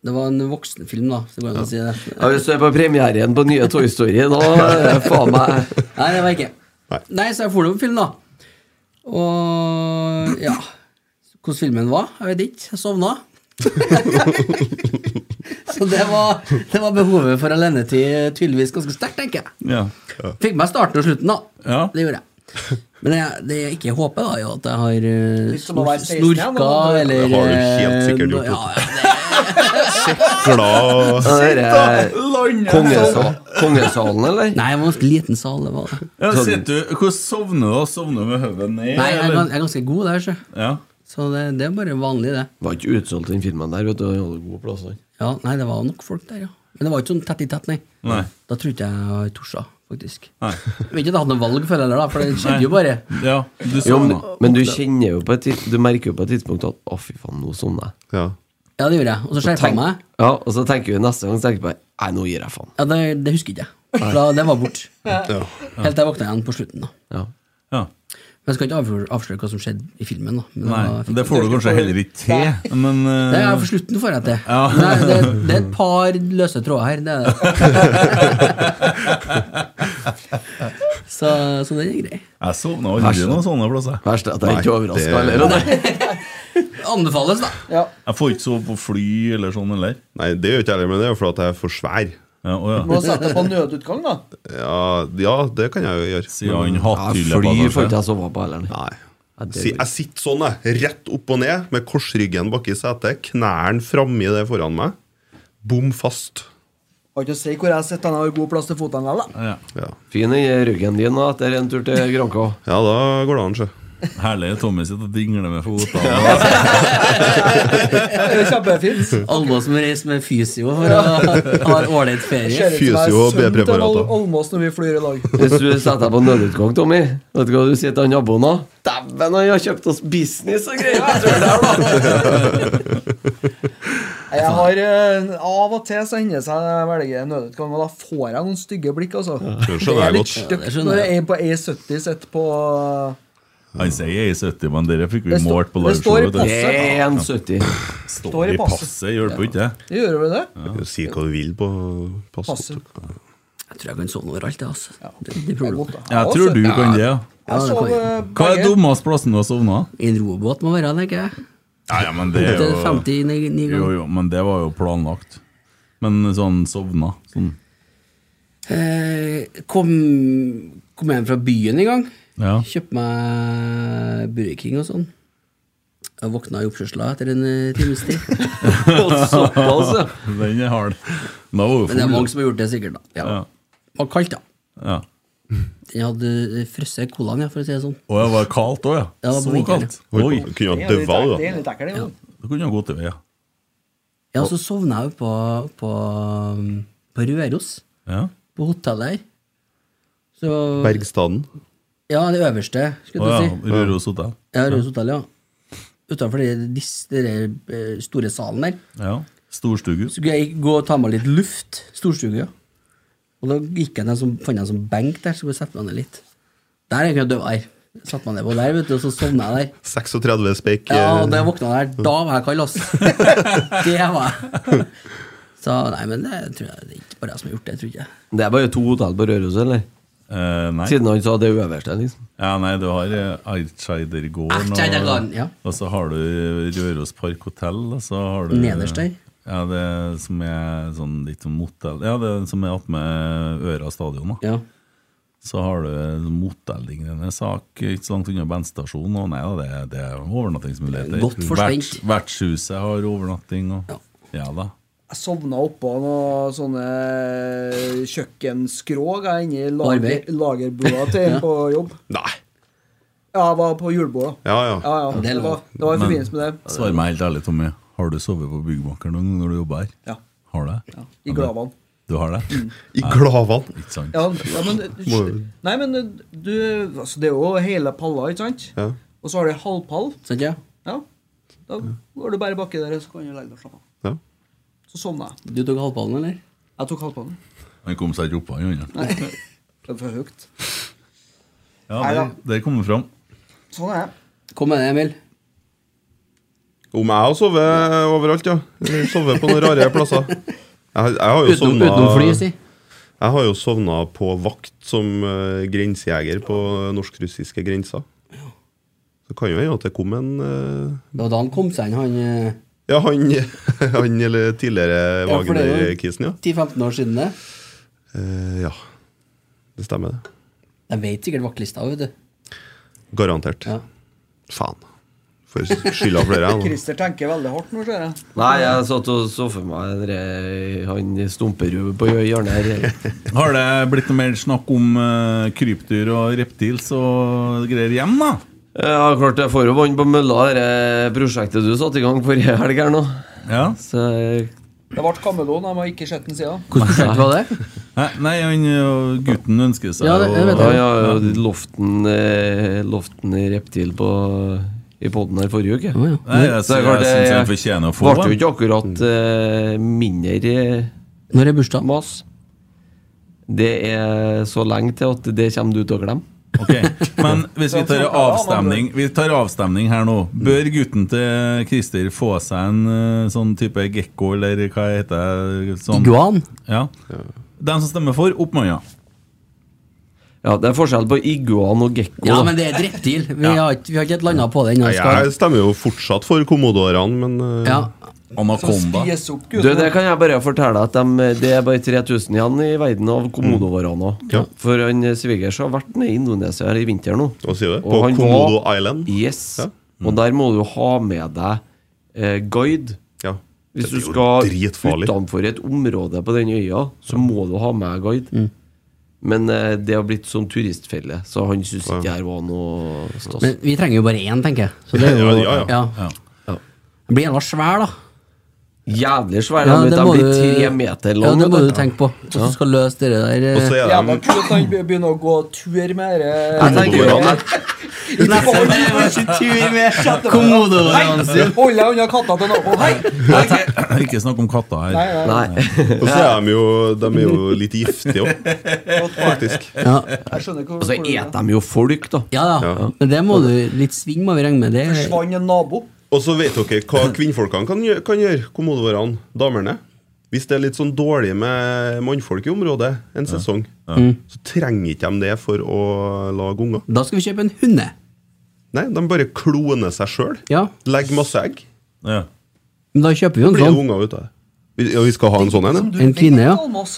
S6: det var en voksenfilm, da. Så går det an å si det.
S7: Ja, hvis du er på premieren på nye Toy Story,
S6: *laughs*
S7: da er det faen meg
S6: Nei, det var ikke.
S9: Nei.
S6: Nei, så jeg dro på film, da. Og ja Hvordan filmen var? Jeg vet ikke. Jeg sovna. *laughs* så det var, det var behovet for alenetid tydeligvis ganske sterkt, tenker jeg.
S5: Ja.
S6: Fikk meg starten og slutten, da.
S5: Ja.
S6: Det gjorde jeg. Men jeg, det jeg ikke håper, da, er jo at jeg har eh,
S10: Litt som å
S6: snor,
S10: være 16 igjen,
S6: snorka
S10: da.
S6: eller
S9: Det har du helt
S6: eh,
S9: sikkert gjort,
S6: Ja,
S9: Otto.
S6: ja,
S9: Glad
S7: Ja, det er
S5: Landet!
S7: kongesal, Kongesalen, eller?
S6: nei, det var en ganske liten sal, det var det.
S5: Ja, sitter du, hvordan sovner du? da? Sovner du med hodet ned?
S6: Nei, jeg er,
S5: eller?
S6: gans- jeg er ganske god der, sjø.
S5: ja.
S6: Så det, det er bare vanlig, det.
S7: Det var ikke utsolgt, den filmen der. vet du, Den hadde gode plasser.
S6: Ja, nei, det var nok folk der, ja. Men det var ikke sånn tett i tett, nei.
S5: Nei.
S6: Da tror ikke jeg torsa, faktisk.
S5: Nei.
S6: Jeg vet ikke at jeg hadde noe valg for det heller, da, for det skjedde jo bare.
S5: ja, du
S7: Jo, men,
S5: sovna.
S7: men du kjenner jo på et tid- Du merker jo på et tidspunkt at 'å, fy faen, nå sovner jeg'.
S9: Ja.
S6: Ja, det gjorde jeg. Og så skjerpa jeg meg.
S7: Ja, og så tenker vi neste gang så tenker vi bare 'nei, nå gir jeg faen'.
S6: Ja, det, det husker ikke jeg. For da- det var bort.
S9: Ja.
S6: Helt til jeg våkna igjen på slutten, da.
S7: Ja.
S5: Ja.
S6: Men jeg skal ikke avsløre, avsløre hva som skjedde i filmen, da. Men
S5: Nei,
S6: da fikk
S5: det
S6: jeg-
S5: får du kanskje heller ikke til, men eh,
S6: Det er for slutten får jeg til.
S5: Ja.
S6: Nei, det, det er et par løse tråder her. Det er
S5: *laughs*
S6: det. så, så den er grei.
S5: jeg sovna aldri noen sånne plasser.
S7: Verst er at jeg ikke er overraska
S9: det-
S7: heller. og det-
S6: Anbefales, da.
S5: Jeg får ikke sove på fly eller sånn heller.
S9: Nei, det gjør ikke jeg heller, men det er jo fordi jeg er for svær.
S5: Ja, å,
S10: Må
S5: ja.
S10: sette deg på nødutgang, da.
S9: Ja, ja det kan jeg jo gjøre.
S5: Sier han
S7: Ja, Fly får ikke
S5: hattyllepassasje.
S7: jeg sove på heller. nei.
S9: Nei.
S7: Ja, det
S9: Si,
S7: vil-
S9: jeg sitter sånn, jeg. Rett opp og ned, med korsryggen bak i setet, knærne framme i det foran meg. Bom fast.
S10: Har ikke å si hvor jeg sitter, han har god plass til føttene vel, da.
S5: Ja.
S9: Ja.
S7: Fin i ryggen din da, etter en tur til Granka.
S9: ja, da går det an, sjø.
S5: Herlig Tommy sitter og dingler med fotene.
S10: Det er kjempefint.
S6: Alle som reiser med fysio for å ha en ålreit ferie.
S10: Ser ut som jeg
S9: Fysio
S10: er sønnen
S9: og
S10: til
S9: B-preparater.
S10: Ol- Olmås når vi flyr i lag.
S7: *laughs* Hvis du setter deg på nødutgang, Tommy Vet du hva du sier til han naboen da? Dæven, han har kjøpt oss business og greier! Jeg tror det er da
S10: Jeg har, eh, av og til så hender det seg jeg velger nødutgang, og da får jeg noen stygge blikk. altså.
S9: Det skjønner jeg godt.
S10: stygt
S6: det skjønner
S10: når
S6: jeg.
S10: jeg er på E70 sitter på
S5: Han sier jeg er 70, men dere fikk vi
S10: Det sto-
S5: målt på
S10: det står i
S5: liveshowet. vet du.
S7: Det er 1,70.
S10: står i
S5: I
S10: passet.
S5: passet hjelper ikke det.
S10: Det gjør vel det?
S9: Du kan Si hva du vil på passet.
S10: Passet.
S6: Jeg tror jeg kan sovne overalt, jeg, altså. Det, det er
S10: Det er
S6: problem.
S10: godt, da.
S5: Jeg tror du kan det. ja.
S10: Jeg
S6: det
S10: sov
S6: kan jeg.
S10: eh,
S5: Hva er
S10: begge.
S5: dummeste plassen du har sovna?
S6: I en robåt må være, tenker jeg.
S5: Ja, ja, men det er
S6: Etter
S5: jo
S6: 59
S5: Jo,
S6: ganger.
S5: jo, men det var jo planlagt. Men sånn sovna. Sånn. *laughs*
S6: Eh, kom, kom hjem fra byen en gang.
S5: Ja.
S6: Kjøpte meg Burger King og sånn. Jeg våkna i oppkjørsla etter en eh, times
S5: *laughs*
S6: tid.
S7: Såpass, ja.
S5: Den er hard. Da var jo
S6: Men det er
S5: full.
S6: mange som har gjort det, sikkert. da ja.
S5: Ja.
S6: Og kaldt, da.
S5: Ja.
S6: Den hadde eh, frosset colaen, ja, for å si det sånn.
S5: Og det var kaldt òg,
S6: Ja,
S5: ja.
S6: det var
S5: Så
S6: på vinteren,
S5: kaldt.
S9: Oi,
S5: Oi,
S9: kunne
S10: Det
S9: ha
S10: er litt
S9: daua,
S10: ekkelt, det
S9: da.
S10: er litt ekkelt, det, jo.
S5: da kunne jeg gått til veie.
S6: Ja, så sovna jeg jo på, på, på Røros,
S5: Ja.
S6: på hotellet her. Så
S9: Bergstaden.
S6: Ja, det øverste,
S5: Å
S6: skulle
S5: ja,
S6: du si.
S5: Røros hotell.
S6: Ja, Røros hotell, ja. Utenfor den eh, store salen der.
S5: Ja. Storstugu.
S6: Så skulle jeg gå og ta meg litt luft. Storstue, ja. Og da gikk jeg ned som, fant jeg en sånn benk der, så skulle jeg sette meg ned litt. Der er jeg ikke døv her. Satt meg ned på der, vet du, og så sovna jeg der.
S9: 36 speik.
S6: Ja,
S9: eh,
S6: og da jeg våkna der, da var jeg
S7: *laughs*
S6: kald, ass. Det var jeg. Så nei, men det tror jeg det er ikke bare jeg som har gjort det, tror jeg.
S7: Det er bare to hotell på Røros, eller?
S5: Eh, nei.
S7: Siden han sa det øverste, liksom.
S5: Ja, nei, du har Eidskeidergården,
S6: Eidskeidergården, ja.
S5: og så har du Røros Park Hotel, og så har du
S6: Nederst der.
S5: Ja, det som er sånn litt som motell Ja, det som er attmed Øra stadion, da. Så har du motelllignende sak ikke så langt unna bensinstasjonen, og nei da, det, det er overnattingsmuligheter.
S6: Godt forspent.
S5: Verts- Vertshuset har overnatting, og ja da.
S10: Jeg sovna oppå noen sånne kjøkkenskrog jeg, inni lager,
S6: Arbeid.
S10: lagerbua
S6: *laughs*
S10: til en på jobb.
S9: Nei.
S10: Ja, jeg var på julebua.
S5: Ja, ja.
S10: Ja, ja. Det, var, det var i
S5: Men
S10: forbindelse med det.
S5: Svar meg helt ærlig, Tommy. Har du sovet på Byggmakeren noen gang når du jobber her?
S10: Ja. Mm.
S5: Har du det?
S10: I Glavan.
S5: Du har det?
S9: I Glavan?
S5: Ikke sant?
S10: Ja, ja,
S9: *laughs*
S10: men,
S5: Må-
S10: nei, men du altså, Det er jo hele palla, ikke sant?
S9: Ja.
S10: Og så har du halvpall.
S6: Sant, ja?
S10: Ja. Da går du bare baki der, så kan du legge deg og slappe av.
S9: Ja.
S10: Så sovna jeg.
S6: Du tok halvpallen, eller?
S10: Jeg tok halvpallen.
S5: Han kom seg ikke opp, han andre.
S10: Nei, det er for høyt.
S5: Ja,
S10: Nei
S5: det, det kommer fram.
S10: Sånn er det.
S6: Kom med det, Emil.
S9: Om jeg har sovet overalt, ja. Eller sovet på noen rare plasser. Jeg, har- jeg har jo
S7: sånn,
S6: Utenom-
S9: sovna
S6: utenom fly, si.
S9: Jeg har jo sovna på vakt som eh, grensejeger på norsk-russiske grensa. Så kan jo hende at det kom en eh,
S6: Det var da han kom seg inn, han eh,
S9: Ja, han, *laughs* han eller tidligere
S6: Ja, for det er jo
S9: Wagner-kisen, ja.
S6: 10-15 år siden det.
S9: Eh, ja. Det stemmer, det.
S6: De vet sikkert vaktlista, vet du.
S9: Garantert. Faen. Får skylda for
S7: *laughs*
S9: dere, jeg nå.
S10: Christer tenker veldig hardt nå, ser jeg.
S7: Nei, jeg satt og så for meg den der- han stumperud på hjørnet her.
S5: Har det blitt noe mer snakk om eh, krypdyr og reptils og greier hjem, da?
S7: Ja, klart jeg får jo vann på mølla, det prosjektet du satte i gang forrige helg her nå.
S5: Ja.
S7: Så jeg-
S10: Det ble kameleon. Jeg har ikke sett den siden.
S6: *laughs*
S5: Nei, nei, han, eh, gutten ønsker seg
S10: Ja, det- det vet jeg.
S7: Ja, ja, ja, loften, eh, loften i reptil på, i poden her forrige uke.
S5: Nei, jeg
S7: Så det er
S5: synes-
S7: klart,
S5: jeg synes han
S7: eh,
S5: fortjener å få
S7: Ble
S5: den.
S7: jo ikke akkurat eh, mindre eh,
S6: Når er bursdag?
S7: Mas. Det er så lenge til at det kommer du til å glemme.
S5: Men hvis vi tar avstemning Vi tar avstemning her nå. Bør gutten til Christer få seg en eh, sånn type gekko, eller hva heter det? Sånn?
S6: Iguan?
S5: Ja. De som stemmer for, opp med hånda.
S7: Ja, det er forskjell på iguan og gekko.
S6: Ja, men det er et reptil. Vi, har, ikke- vi har ikke et landa på det ennå.
S9: Nei,
S6: Skal-
S9: Jeg stemmer jo fortsatt for kommodorene, men eh,
S6: Ja.
S7: Anakonda.
S10: Spis opp,
S7: Du, det kan jeg bare fortelle at de, det er bare 3000 igjen i verden av komodovaraner. For han eh, svigers har vært nede i Indonesia her i vinter nå.
S9: Hva sier du?
S7: Og
S9: På
S7: han
S9: Komodo
S7: var-
S9: Island?
S7: Yes. Og der må du ha med deg eh, guide. Hvis du skal utenfor et område på den øya, så
S10: Mm.
S7: må du ha med guide. Men eh, det har blitt sånn turistfelle, så han syns ikke det her var noe stas.
S6: Men vi trenger jo bare én, tenker jeg. Så
S9: *laughs*
S6: det er jo,
S7: Ja, ja, ja. Ja.
S6: Den Blir jævla svær, da.
S7: Jævlig svær. de, de blir tre meter lang.
S6: Ja, det må
S7: vet
S6: du tenke på. Hvordan du skal løse det der eh,
S7: Mm.
S10: Jævla kult at han begynner å gå tur med dette.
S6: Jeg tenker jo *laughs* at-
S10: Komodoen sin. Hold deg unna katta til naboen. Hei!
S5: *laughs* Ikke snakk om katta her.
S10: Nei, nei.
S9: Og så er de jo, de er jo litt giftige òg, faktisk.
S10: Jeg skjønner ikke
S7: Og så eter de jo folk, da.
S6: Ja da. Men det må du Litt sving må vi regne med. Det
S10: Forsvant en nabo.
S9: Og så vet dere hva kvinnfolkene kan gjøre, kan gjøre kommodorene, damene. Hvis det er litt sånn dårlig med mannfolk i området en sesong,
S6: Mm.
S9: så trenger ikke de det for å lage unger.
S6: Da skal vi kjøpe en hunde.
S9: Nei, de bare kloner seg sjøl.
S6: Ja.
S9: Legger masse egg.
S6: Men da kjøper vi jo en
S9: Blir det
S6: sånn.
S9: unger ut av det. Vi- Ja, vi skal ha en sånn en, ja.
S6: En kvinne, ja.
S10: Almas.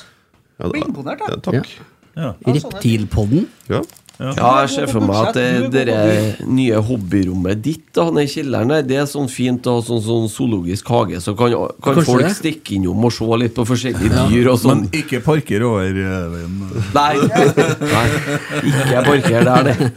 S9: Ja,
S10: Blir imponert,
S9: ja,
S10: da.
S9: takk. sånn,
S6: Reptilpodden.
S9: Ja.
S7: Ja, jeg ser for meg at det, det der nye hobbyrommet ditt da, nede i kjelleren der, det er sånn fint å ha sånn, sånn zoologisk hage, så kan, kan
S5: Kanskje
S7: folk
S5: det?
S7: stikke innom og se litt på forskjellige
S5: Ja.
S7: dyr og sånn.
S5: Men ikke parker over eh, veien.
S7: Nei. Nei, ikke parker der, det.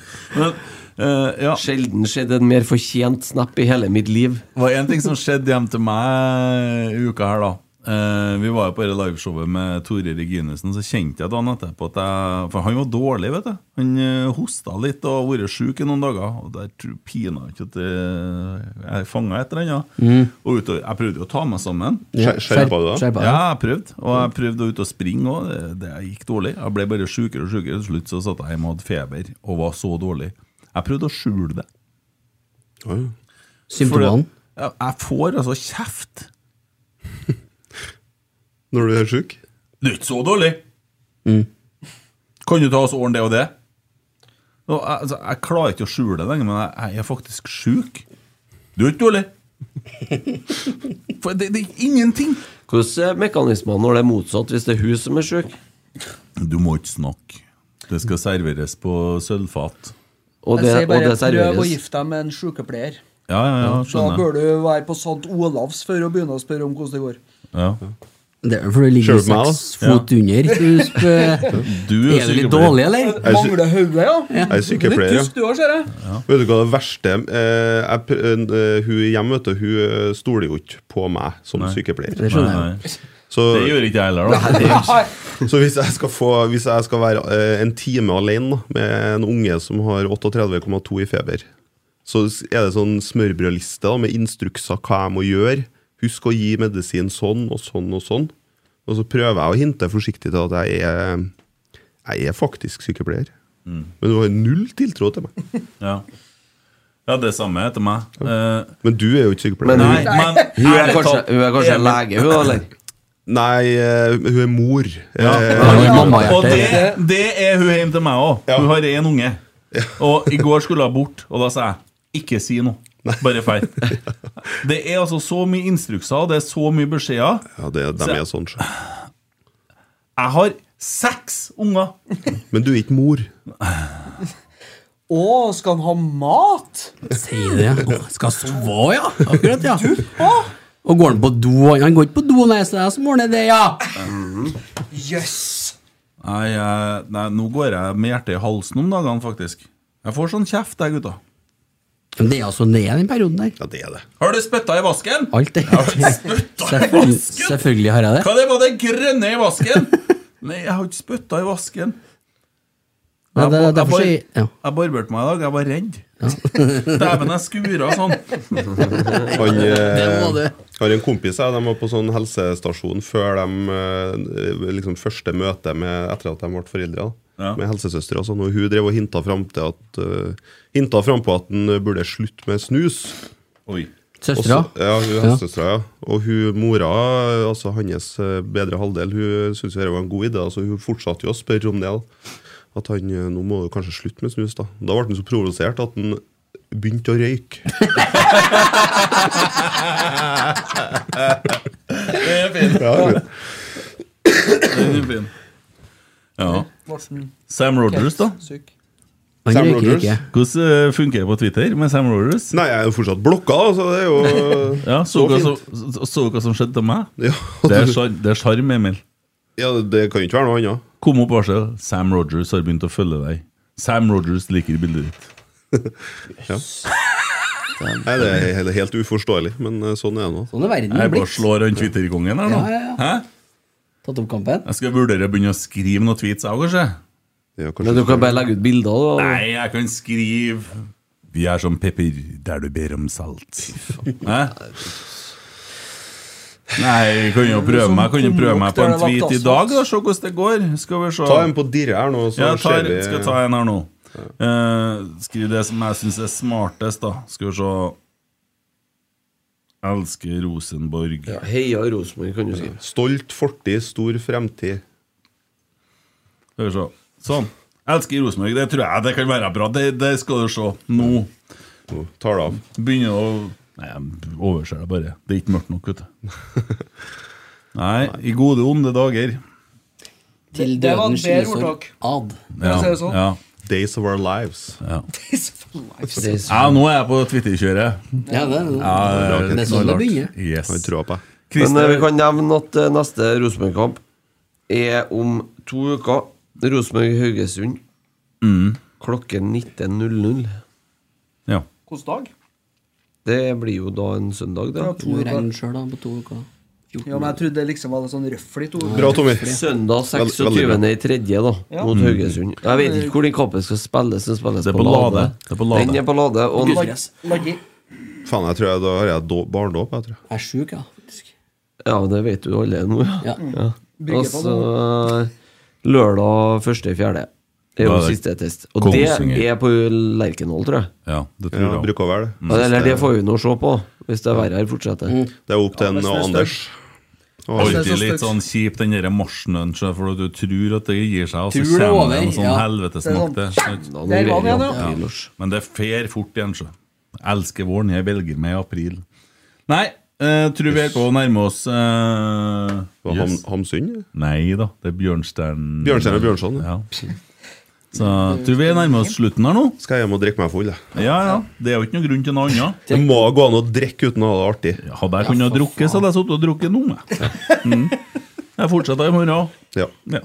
S5: eh,
S7: Sjelden skjedde en mer fortjent snap i hele mitt liv.
S5: Det var en ting som skjedde hjem til meg i uka her, da. Eh, vi var jo på det liveshowet med Tore Reginussen, så kjente jeg dagen etterpå at jeg For han var dårlig, vet du. Han eh, hosta litt og har vært sjuk i noen dager. Og der tror pinadø ikke at eh, jeg fanga et eller annet.
S6: Mm.
S5: Og utover, jeg prøvde jo å ta meg sammen.
S6: Ja, Skjer- skjerpa du da? skjerpa du.
S5: Ja, jeg prøvde. Og jeg prøvde å ut og springe òg. Det, det gikk dårlig. Jeg ble bare sjukere og sjukere. Til slutt så satt jeg hjemme og hadde feber og var så dårlig. Jeg prøvde å skjule det.
S6: Symptomene?
S5: For Jeg jeg får altså kjeft.
S9: Når du er sjuk?
S5: Du er ikke så dårlig.
S7: Mm.
S5: Kan du ta oss ordne det og det? Og, jeg- altså, jeg klarer ikke å skjule det lenger, men jeg, jeg er faktisk sjuk. Du er ikke dårlig. *laughs* For det, det er ingenting.
S7: Hvordan er mekanismene når det er motsatt, hvis det er hun som er sjuk?
S5: Du må ikke snakke. Det skal serveres på sølvfat.
S7: Og
S10: Jeg sier bare prøv å gifte deg med en sykepleier.
S5: Ja, ja, ja,
S10: da
S5: skjønner.
S10: bør du være på St. Olavs før å begynne å spørre om hvordan det går.
S5: Ja.
S6: Det er for du ligger
S5: Skjønner meg,
S6: seks
S5: da. Ja.
S6: fot under.
S5: *laughs*
S6: Du spør,
S5: Du
S6: er du litt dårlig, eller?
S10: Mangler hodet, ja?
S9: Jeg er sykepleier,
S10: Litt
S9: ja.
S10: tysk du òg, ser jeg.
S9: Vet du hva det verste eh, jeg, pr- eh, Hun hjemme vet du, hun eh, stoler jo ikke på meg som sykepleier.
S5: Det skjønner jeg. Nei, nei.
S9: Så-
S5: Det gjør ikke jeg heller, da.
S9: Nei, det gjør ikke. Så hvis jeg skal, få, hvis jeg skal være eh, en time alene da, med en unge som har 38,2 i feber, så s- er det sånn smørbrødliste da, med instrukser hva jeg må gjøre. Husk å gi medisin sånn og sånn og sånn. Og så prøver jeg å hinte forsiktig til at jeg er, jeg er faktisk sykepleier.
S5: Mm.
S9: Men du har null tiltro til meg.
S5: Ja. ja, det samme heter meg. Eh,
S9: Men du er jo ikke sykepleier.
S5: Men hun- Nei, men- Hun er kanskje- hun er kanskje lege, hun, eller?
S9: Nei, eh, hun er mor.
S5: ja.
S9: Eh,
S5: Og det, det er hun hjemme til meg òg. Hun har én unge. Og i går skulle hun bort, og da sa jeg ikke si noe. Bare *laughs* feil. Det er altså så mye instrukser, det er så mye beskjeder.
S9: Ja, det, dem
S5: Så-
S9: er sånn, sjø.
S5: Jeg har seks unger!
S9: Men du er ikke mor.
S10: Å, skal han ha mat?
S6: Si det. Å, Skal sove, ja. Akkurat, ja.
S10: Å,
S6: Og går han på do? Han går ikke på do, nei, så det er jeg som ordner det, ja.
S10: jøss!
S5: Nei, jeg, nei, nå går jeg med hjertet i halsen om dagene, faktisk. Jeg får sånn kjeft, jeg, gutta.
S6: Men det er altså det er den perioden der.
S9: Ja, det er det.
S5: Har du spytta i vasken?
S6: Alt det.
S5: Har du spytta i
S6: Selvfølgelig,
S5: vasken?
S6: selvfølgelig har jeg det.
S5: Hva det var det grønne i vasken? Nei, jeg har ikke spytta i vasken.
S6: Ja, det,
S5: Jeg-
S6: derfor sier
S5: jeg,
S6: jeg ja.
S5: bar- jeg barberte meg i dag. Jeg var redd. *laughs* Dæven, jeg skura sånn.
S9: *laughs* Han,
S5: Det må
S9: eh,
S5: det.
S9: har en kompis her, de var på sånn helsestasjon før de eh, liksom første møte med, etter at de ble foreldre. Da,
S5: Ja.
S9: Med helsesøstre og sånn. Og hun drev og hinta fram, til at, eh, hinta fram på at han burde slutte med snus.
S5: Oi.
S6: Søstera?
S9: Også- Ja, hun er
S6: Ja.
S9: søstera, ja. Og hun mora, altså hans eh, bedre halvdel, hun syntes det var en god idé. Altså, hun fortsatte jo å spørre om det. da. At han eh, nå må du kanskje slutte med snus. Da Da ble han så provosert at han begynte å røyke.
S5: Det er fin.
S9: *laughs* Ja, det er fin.
S5: Den er fin. Ja. Sam Rogers, da?
S10: Syk.
S6: Han Sam røyker Rogers. ikke.
S5: Hvordan eh, funker det på Twitter med Sam Rogers?
S9: Nei, jeg er jo fortsatt blokka, så det er jo
S5: Ja, så
S9: så
S5: dere
S9: fint.
S5: som- så- så dere som skjedde til meg?
S9: *laughs* Ja.
S5: Det er sjar- det er sjarm, Emil.
S9: Ja, Det kan jo ikke være noe annet.
S5: Kom opp varsel. Sam Rogers har begynt å følge deg. Sam Rogers liker bildet ditt.
S9: Ja. Nei, det er helt, helt uforståelig, men eh, sånn er det nå.
S6: Sånn er verden
S5: Jeg bare
S6: blitt.
S5: slår han Twitter-kongen her nå.
S6: Ja, ja, ja.
S5: Hæ?
S6: Tatt opp kampen?
S5: Jeg skal vurdere å begynne å skrive noen tweets, jeg òg, kanskje.
S7: Men du kan bare legge ut bilder, da.
S5: Nei, jeg kan skrive Vi er som pepper der du ber om salt. Hæ? Nei, jeg kan jo prøve meg Jeg kan jo prøve meg på en tweet i dag, da. Se hvordan det går. Skal vi se.
S9: Ta en på dirre her nå, så
S5: Ja, jeg tar,
S9: ser vi
S5: skal jeg ta en her nå. Eh, skriv det som jeg syns er smartest, da. Skal vi se Elsker Rosenborg.
S7: Heia Rosenborg, kan du skrive.
S9: Stolt fortid, stor fremtid.
S5: Skal vi se. Sånn. Elsker Rosenborg. Det tror jeg det kan være bra. Det, det skal du se. Nå
S9: Nå tar det av.
S5: begynner å Nei, jeg overser det bare. Det er ikke mørkt nok, vet du. Nei, i gode onde dager.
S6: Til
S10: det var
S6: døden
S10: et bedre
S6: skilles for
S10: ordtak.
S6: ad.
S10: Ja, ser det sånn.
S5: ja.
S9: Days of our lives.
S5: Ja.
S10: Lives.
S5: ja, nå er jeg på Twitter-kjøret.
S6: Ja, det,
S5: Ja,
S6: det er sånn det begynner.
S5: Yes.
S9: Har trua på deg.
S7: Men
S5: Christer-
S7: eh, vi kan nevne at eh, neste Rosenborg-kamp er om to uker. Rosenborg-Haugesund. Klokken 19.00.
S5: Ja.
S10: Hvilken dag?
S7: Det blir jo da en søndag, det.
S10: Ja, to uker.
S6: Regn sjøl, da, på to uker.
S10: Ja, men jeg trodde det liksom var litt sånn røfflig to uker.
S9: Bra, Tommy.
S7: Søndag
S9: Veld- veldig bra.
S7: 26. i tredje, da,
S10: Ja.
S7: mot Haugesund. Jeg vet ikke hvor den kampen skal spilles. Den spilles
S5: Det er på Lade. Det er på Lade.
S7: Den er på Lade. Og
S10: Laggi.
S9: Faen, jeg tror jeg, da har jeg da- barndåp. Jeg tror jeg.
S6: Jeg er sjuk, ja, faktisk.
S7: ja, det vet du alle nå, ja.
S6: Ja.
S7: ja.
S10: Bygger på
S7: Altså, lørdag 1.4. Det er
S5: Da
S7: jo
S5: er det
S7: siste test. Og det
S5: Kongsvinger.
S7: er på Lerkendal, tror jeg.
S5: Ja, det tror
S9: Ja,
S5: jeg også.
S9: bruker å være det.
S7: Ja, det- Eller det får vi nå se på, hvis det verre her fortsetter.
S9: Mm. Det er opp til Ja, en hvis det er og Anders.
S5: Alltid litt sånn kjip, den der marsjen den, sjef, for du tror at det gir seg, og så
S6: Tror det er
S5: kommer
S6: over,
S5: det en sånn
S6: ja.
S5: helvetesmakt
S6: Det er
S5: der.
S6: sånn,
S5: sant?
S6: Der var den igjen, ja.
S5: Ja, Men det fer fort igjen, sjø. Jeg elsker våren. Jeg velger meg april. Nei, eh, tror vi er på å nærme oss uh,
S9: Ham- Hamsun?
S5: Nei da, det er Bjørnstjern
S9: Bjørnstjerne Bjørnson.
S5: Ja. Så tror vi er nærme oss slutten her nå.
S9: Skal jeg hjem og drikke meg full, jeg.
S5: Ja, ja. Det er jo ikke noe grunn til noe annet.
S9: Det må gå an å drikke uten å ha det artig.
S5: Hadde jeg kunnet drukke, så hadde jeg sittet og drukket nå. jeg. Mm. Jeg fortsetter i morgen.
S9: Ja.
S5: Ja.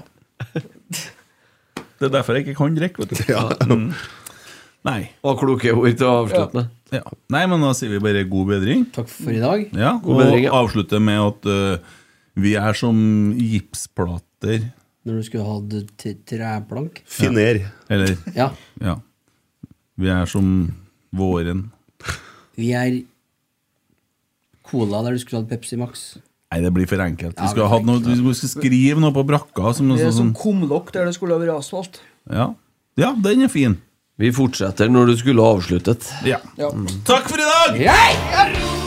S5: Det er derfor jeg ikke kan drikke, vet du. Mm. Nei.
S7: Og kloke ord til å avslutte med.
S5: Ja. Nei, men da sier vi bare god bedring.
S6: Takk for i dag.
S5: Ja,
S7: God
S5: og
S7: bedring, ja.
S5: avslutter med at eh, vi er som gipsplater.
S6: Når du skulle hatt t- treplank.
S5: Ja. Eller
S6: Ja.
S5: ja. Vi er som våren.
S6: Vi er cola der du skulle hatt Pepsi Max.
S5: Nei, det blir for enkelt.
S6: Ja,
S5: Vi skulle, hatt noe, vi skulle skrive noe på brakka. Som,
S10: Det
S5: noe
S10: er som
S5: sånn,
S10: kumlokk der det skulle ha vært asfalt.
S5: ja. ja, den er fin.
S7: Vi fortsetter når du skulle ha avsluttet.
S5: Ja. Takk for i dag!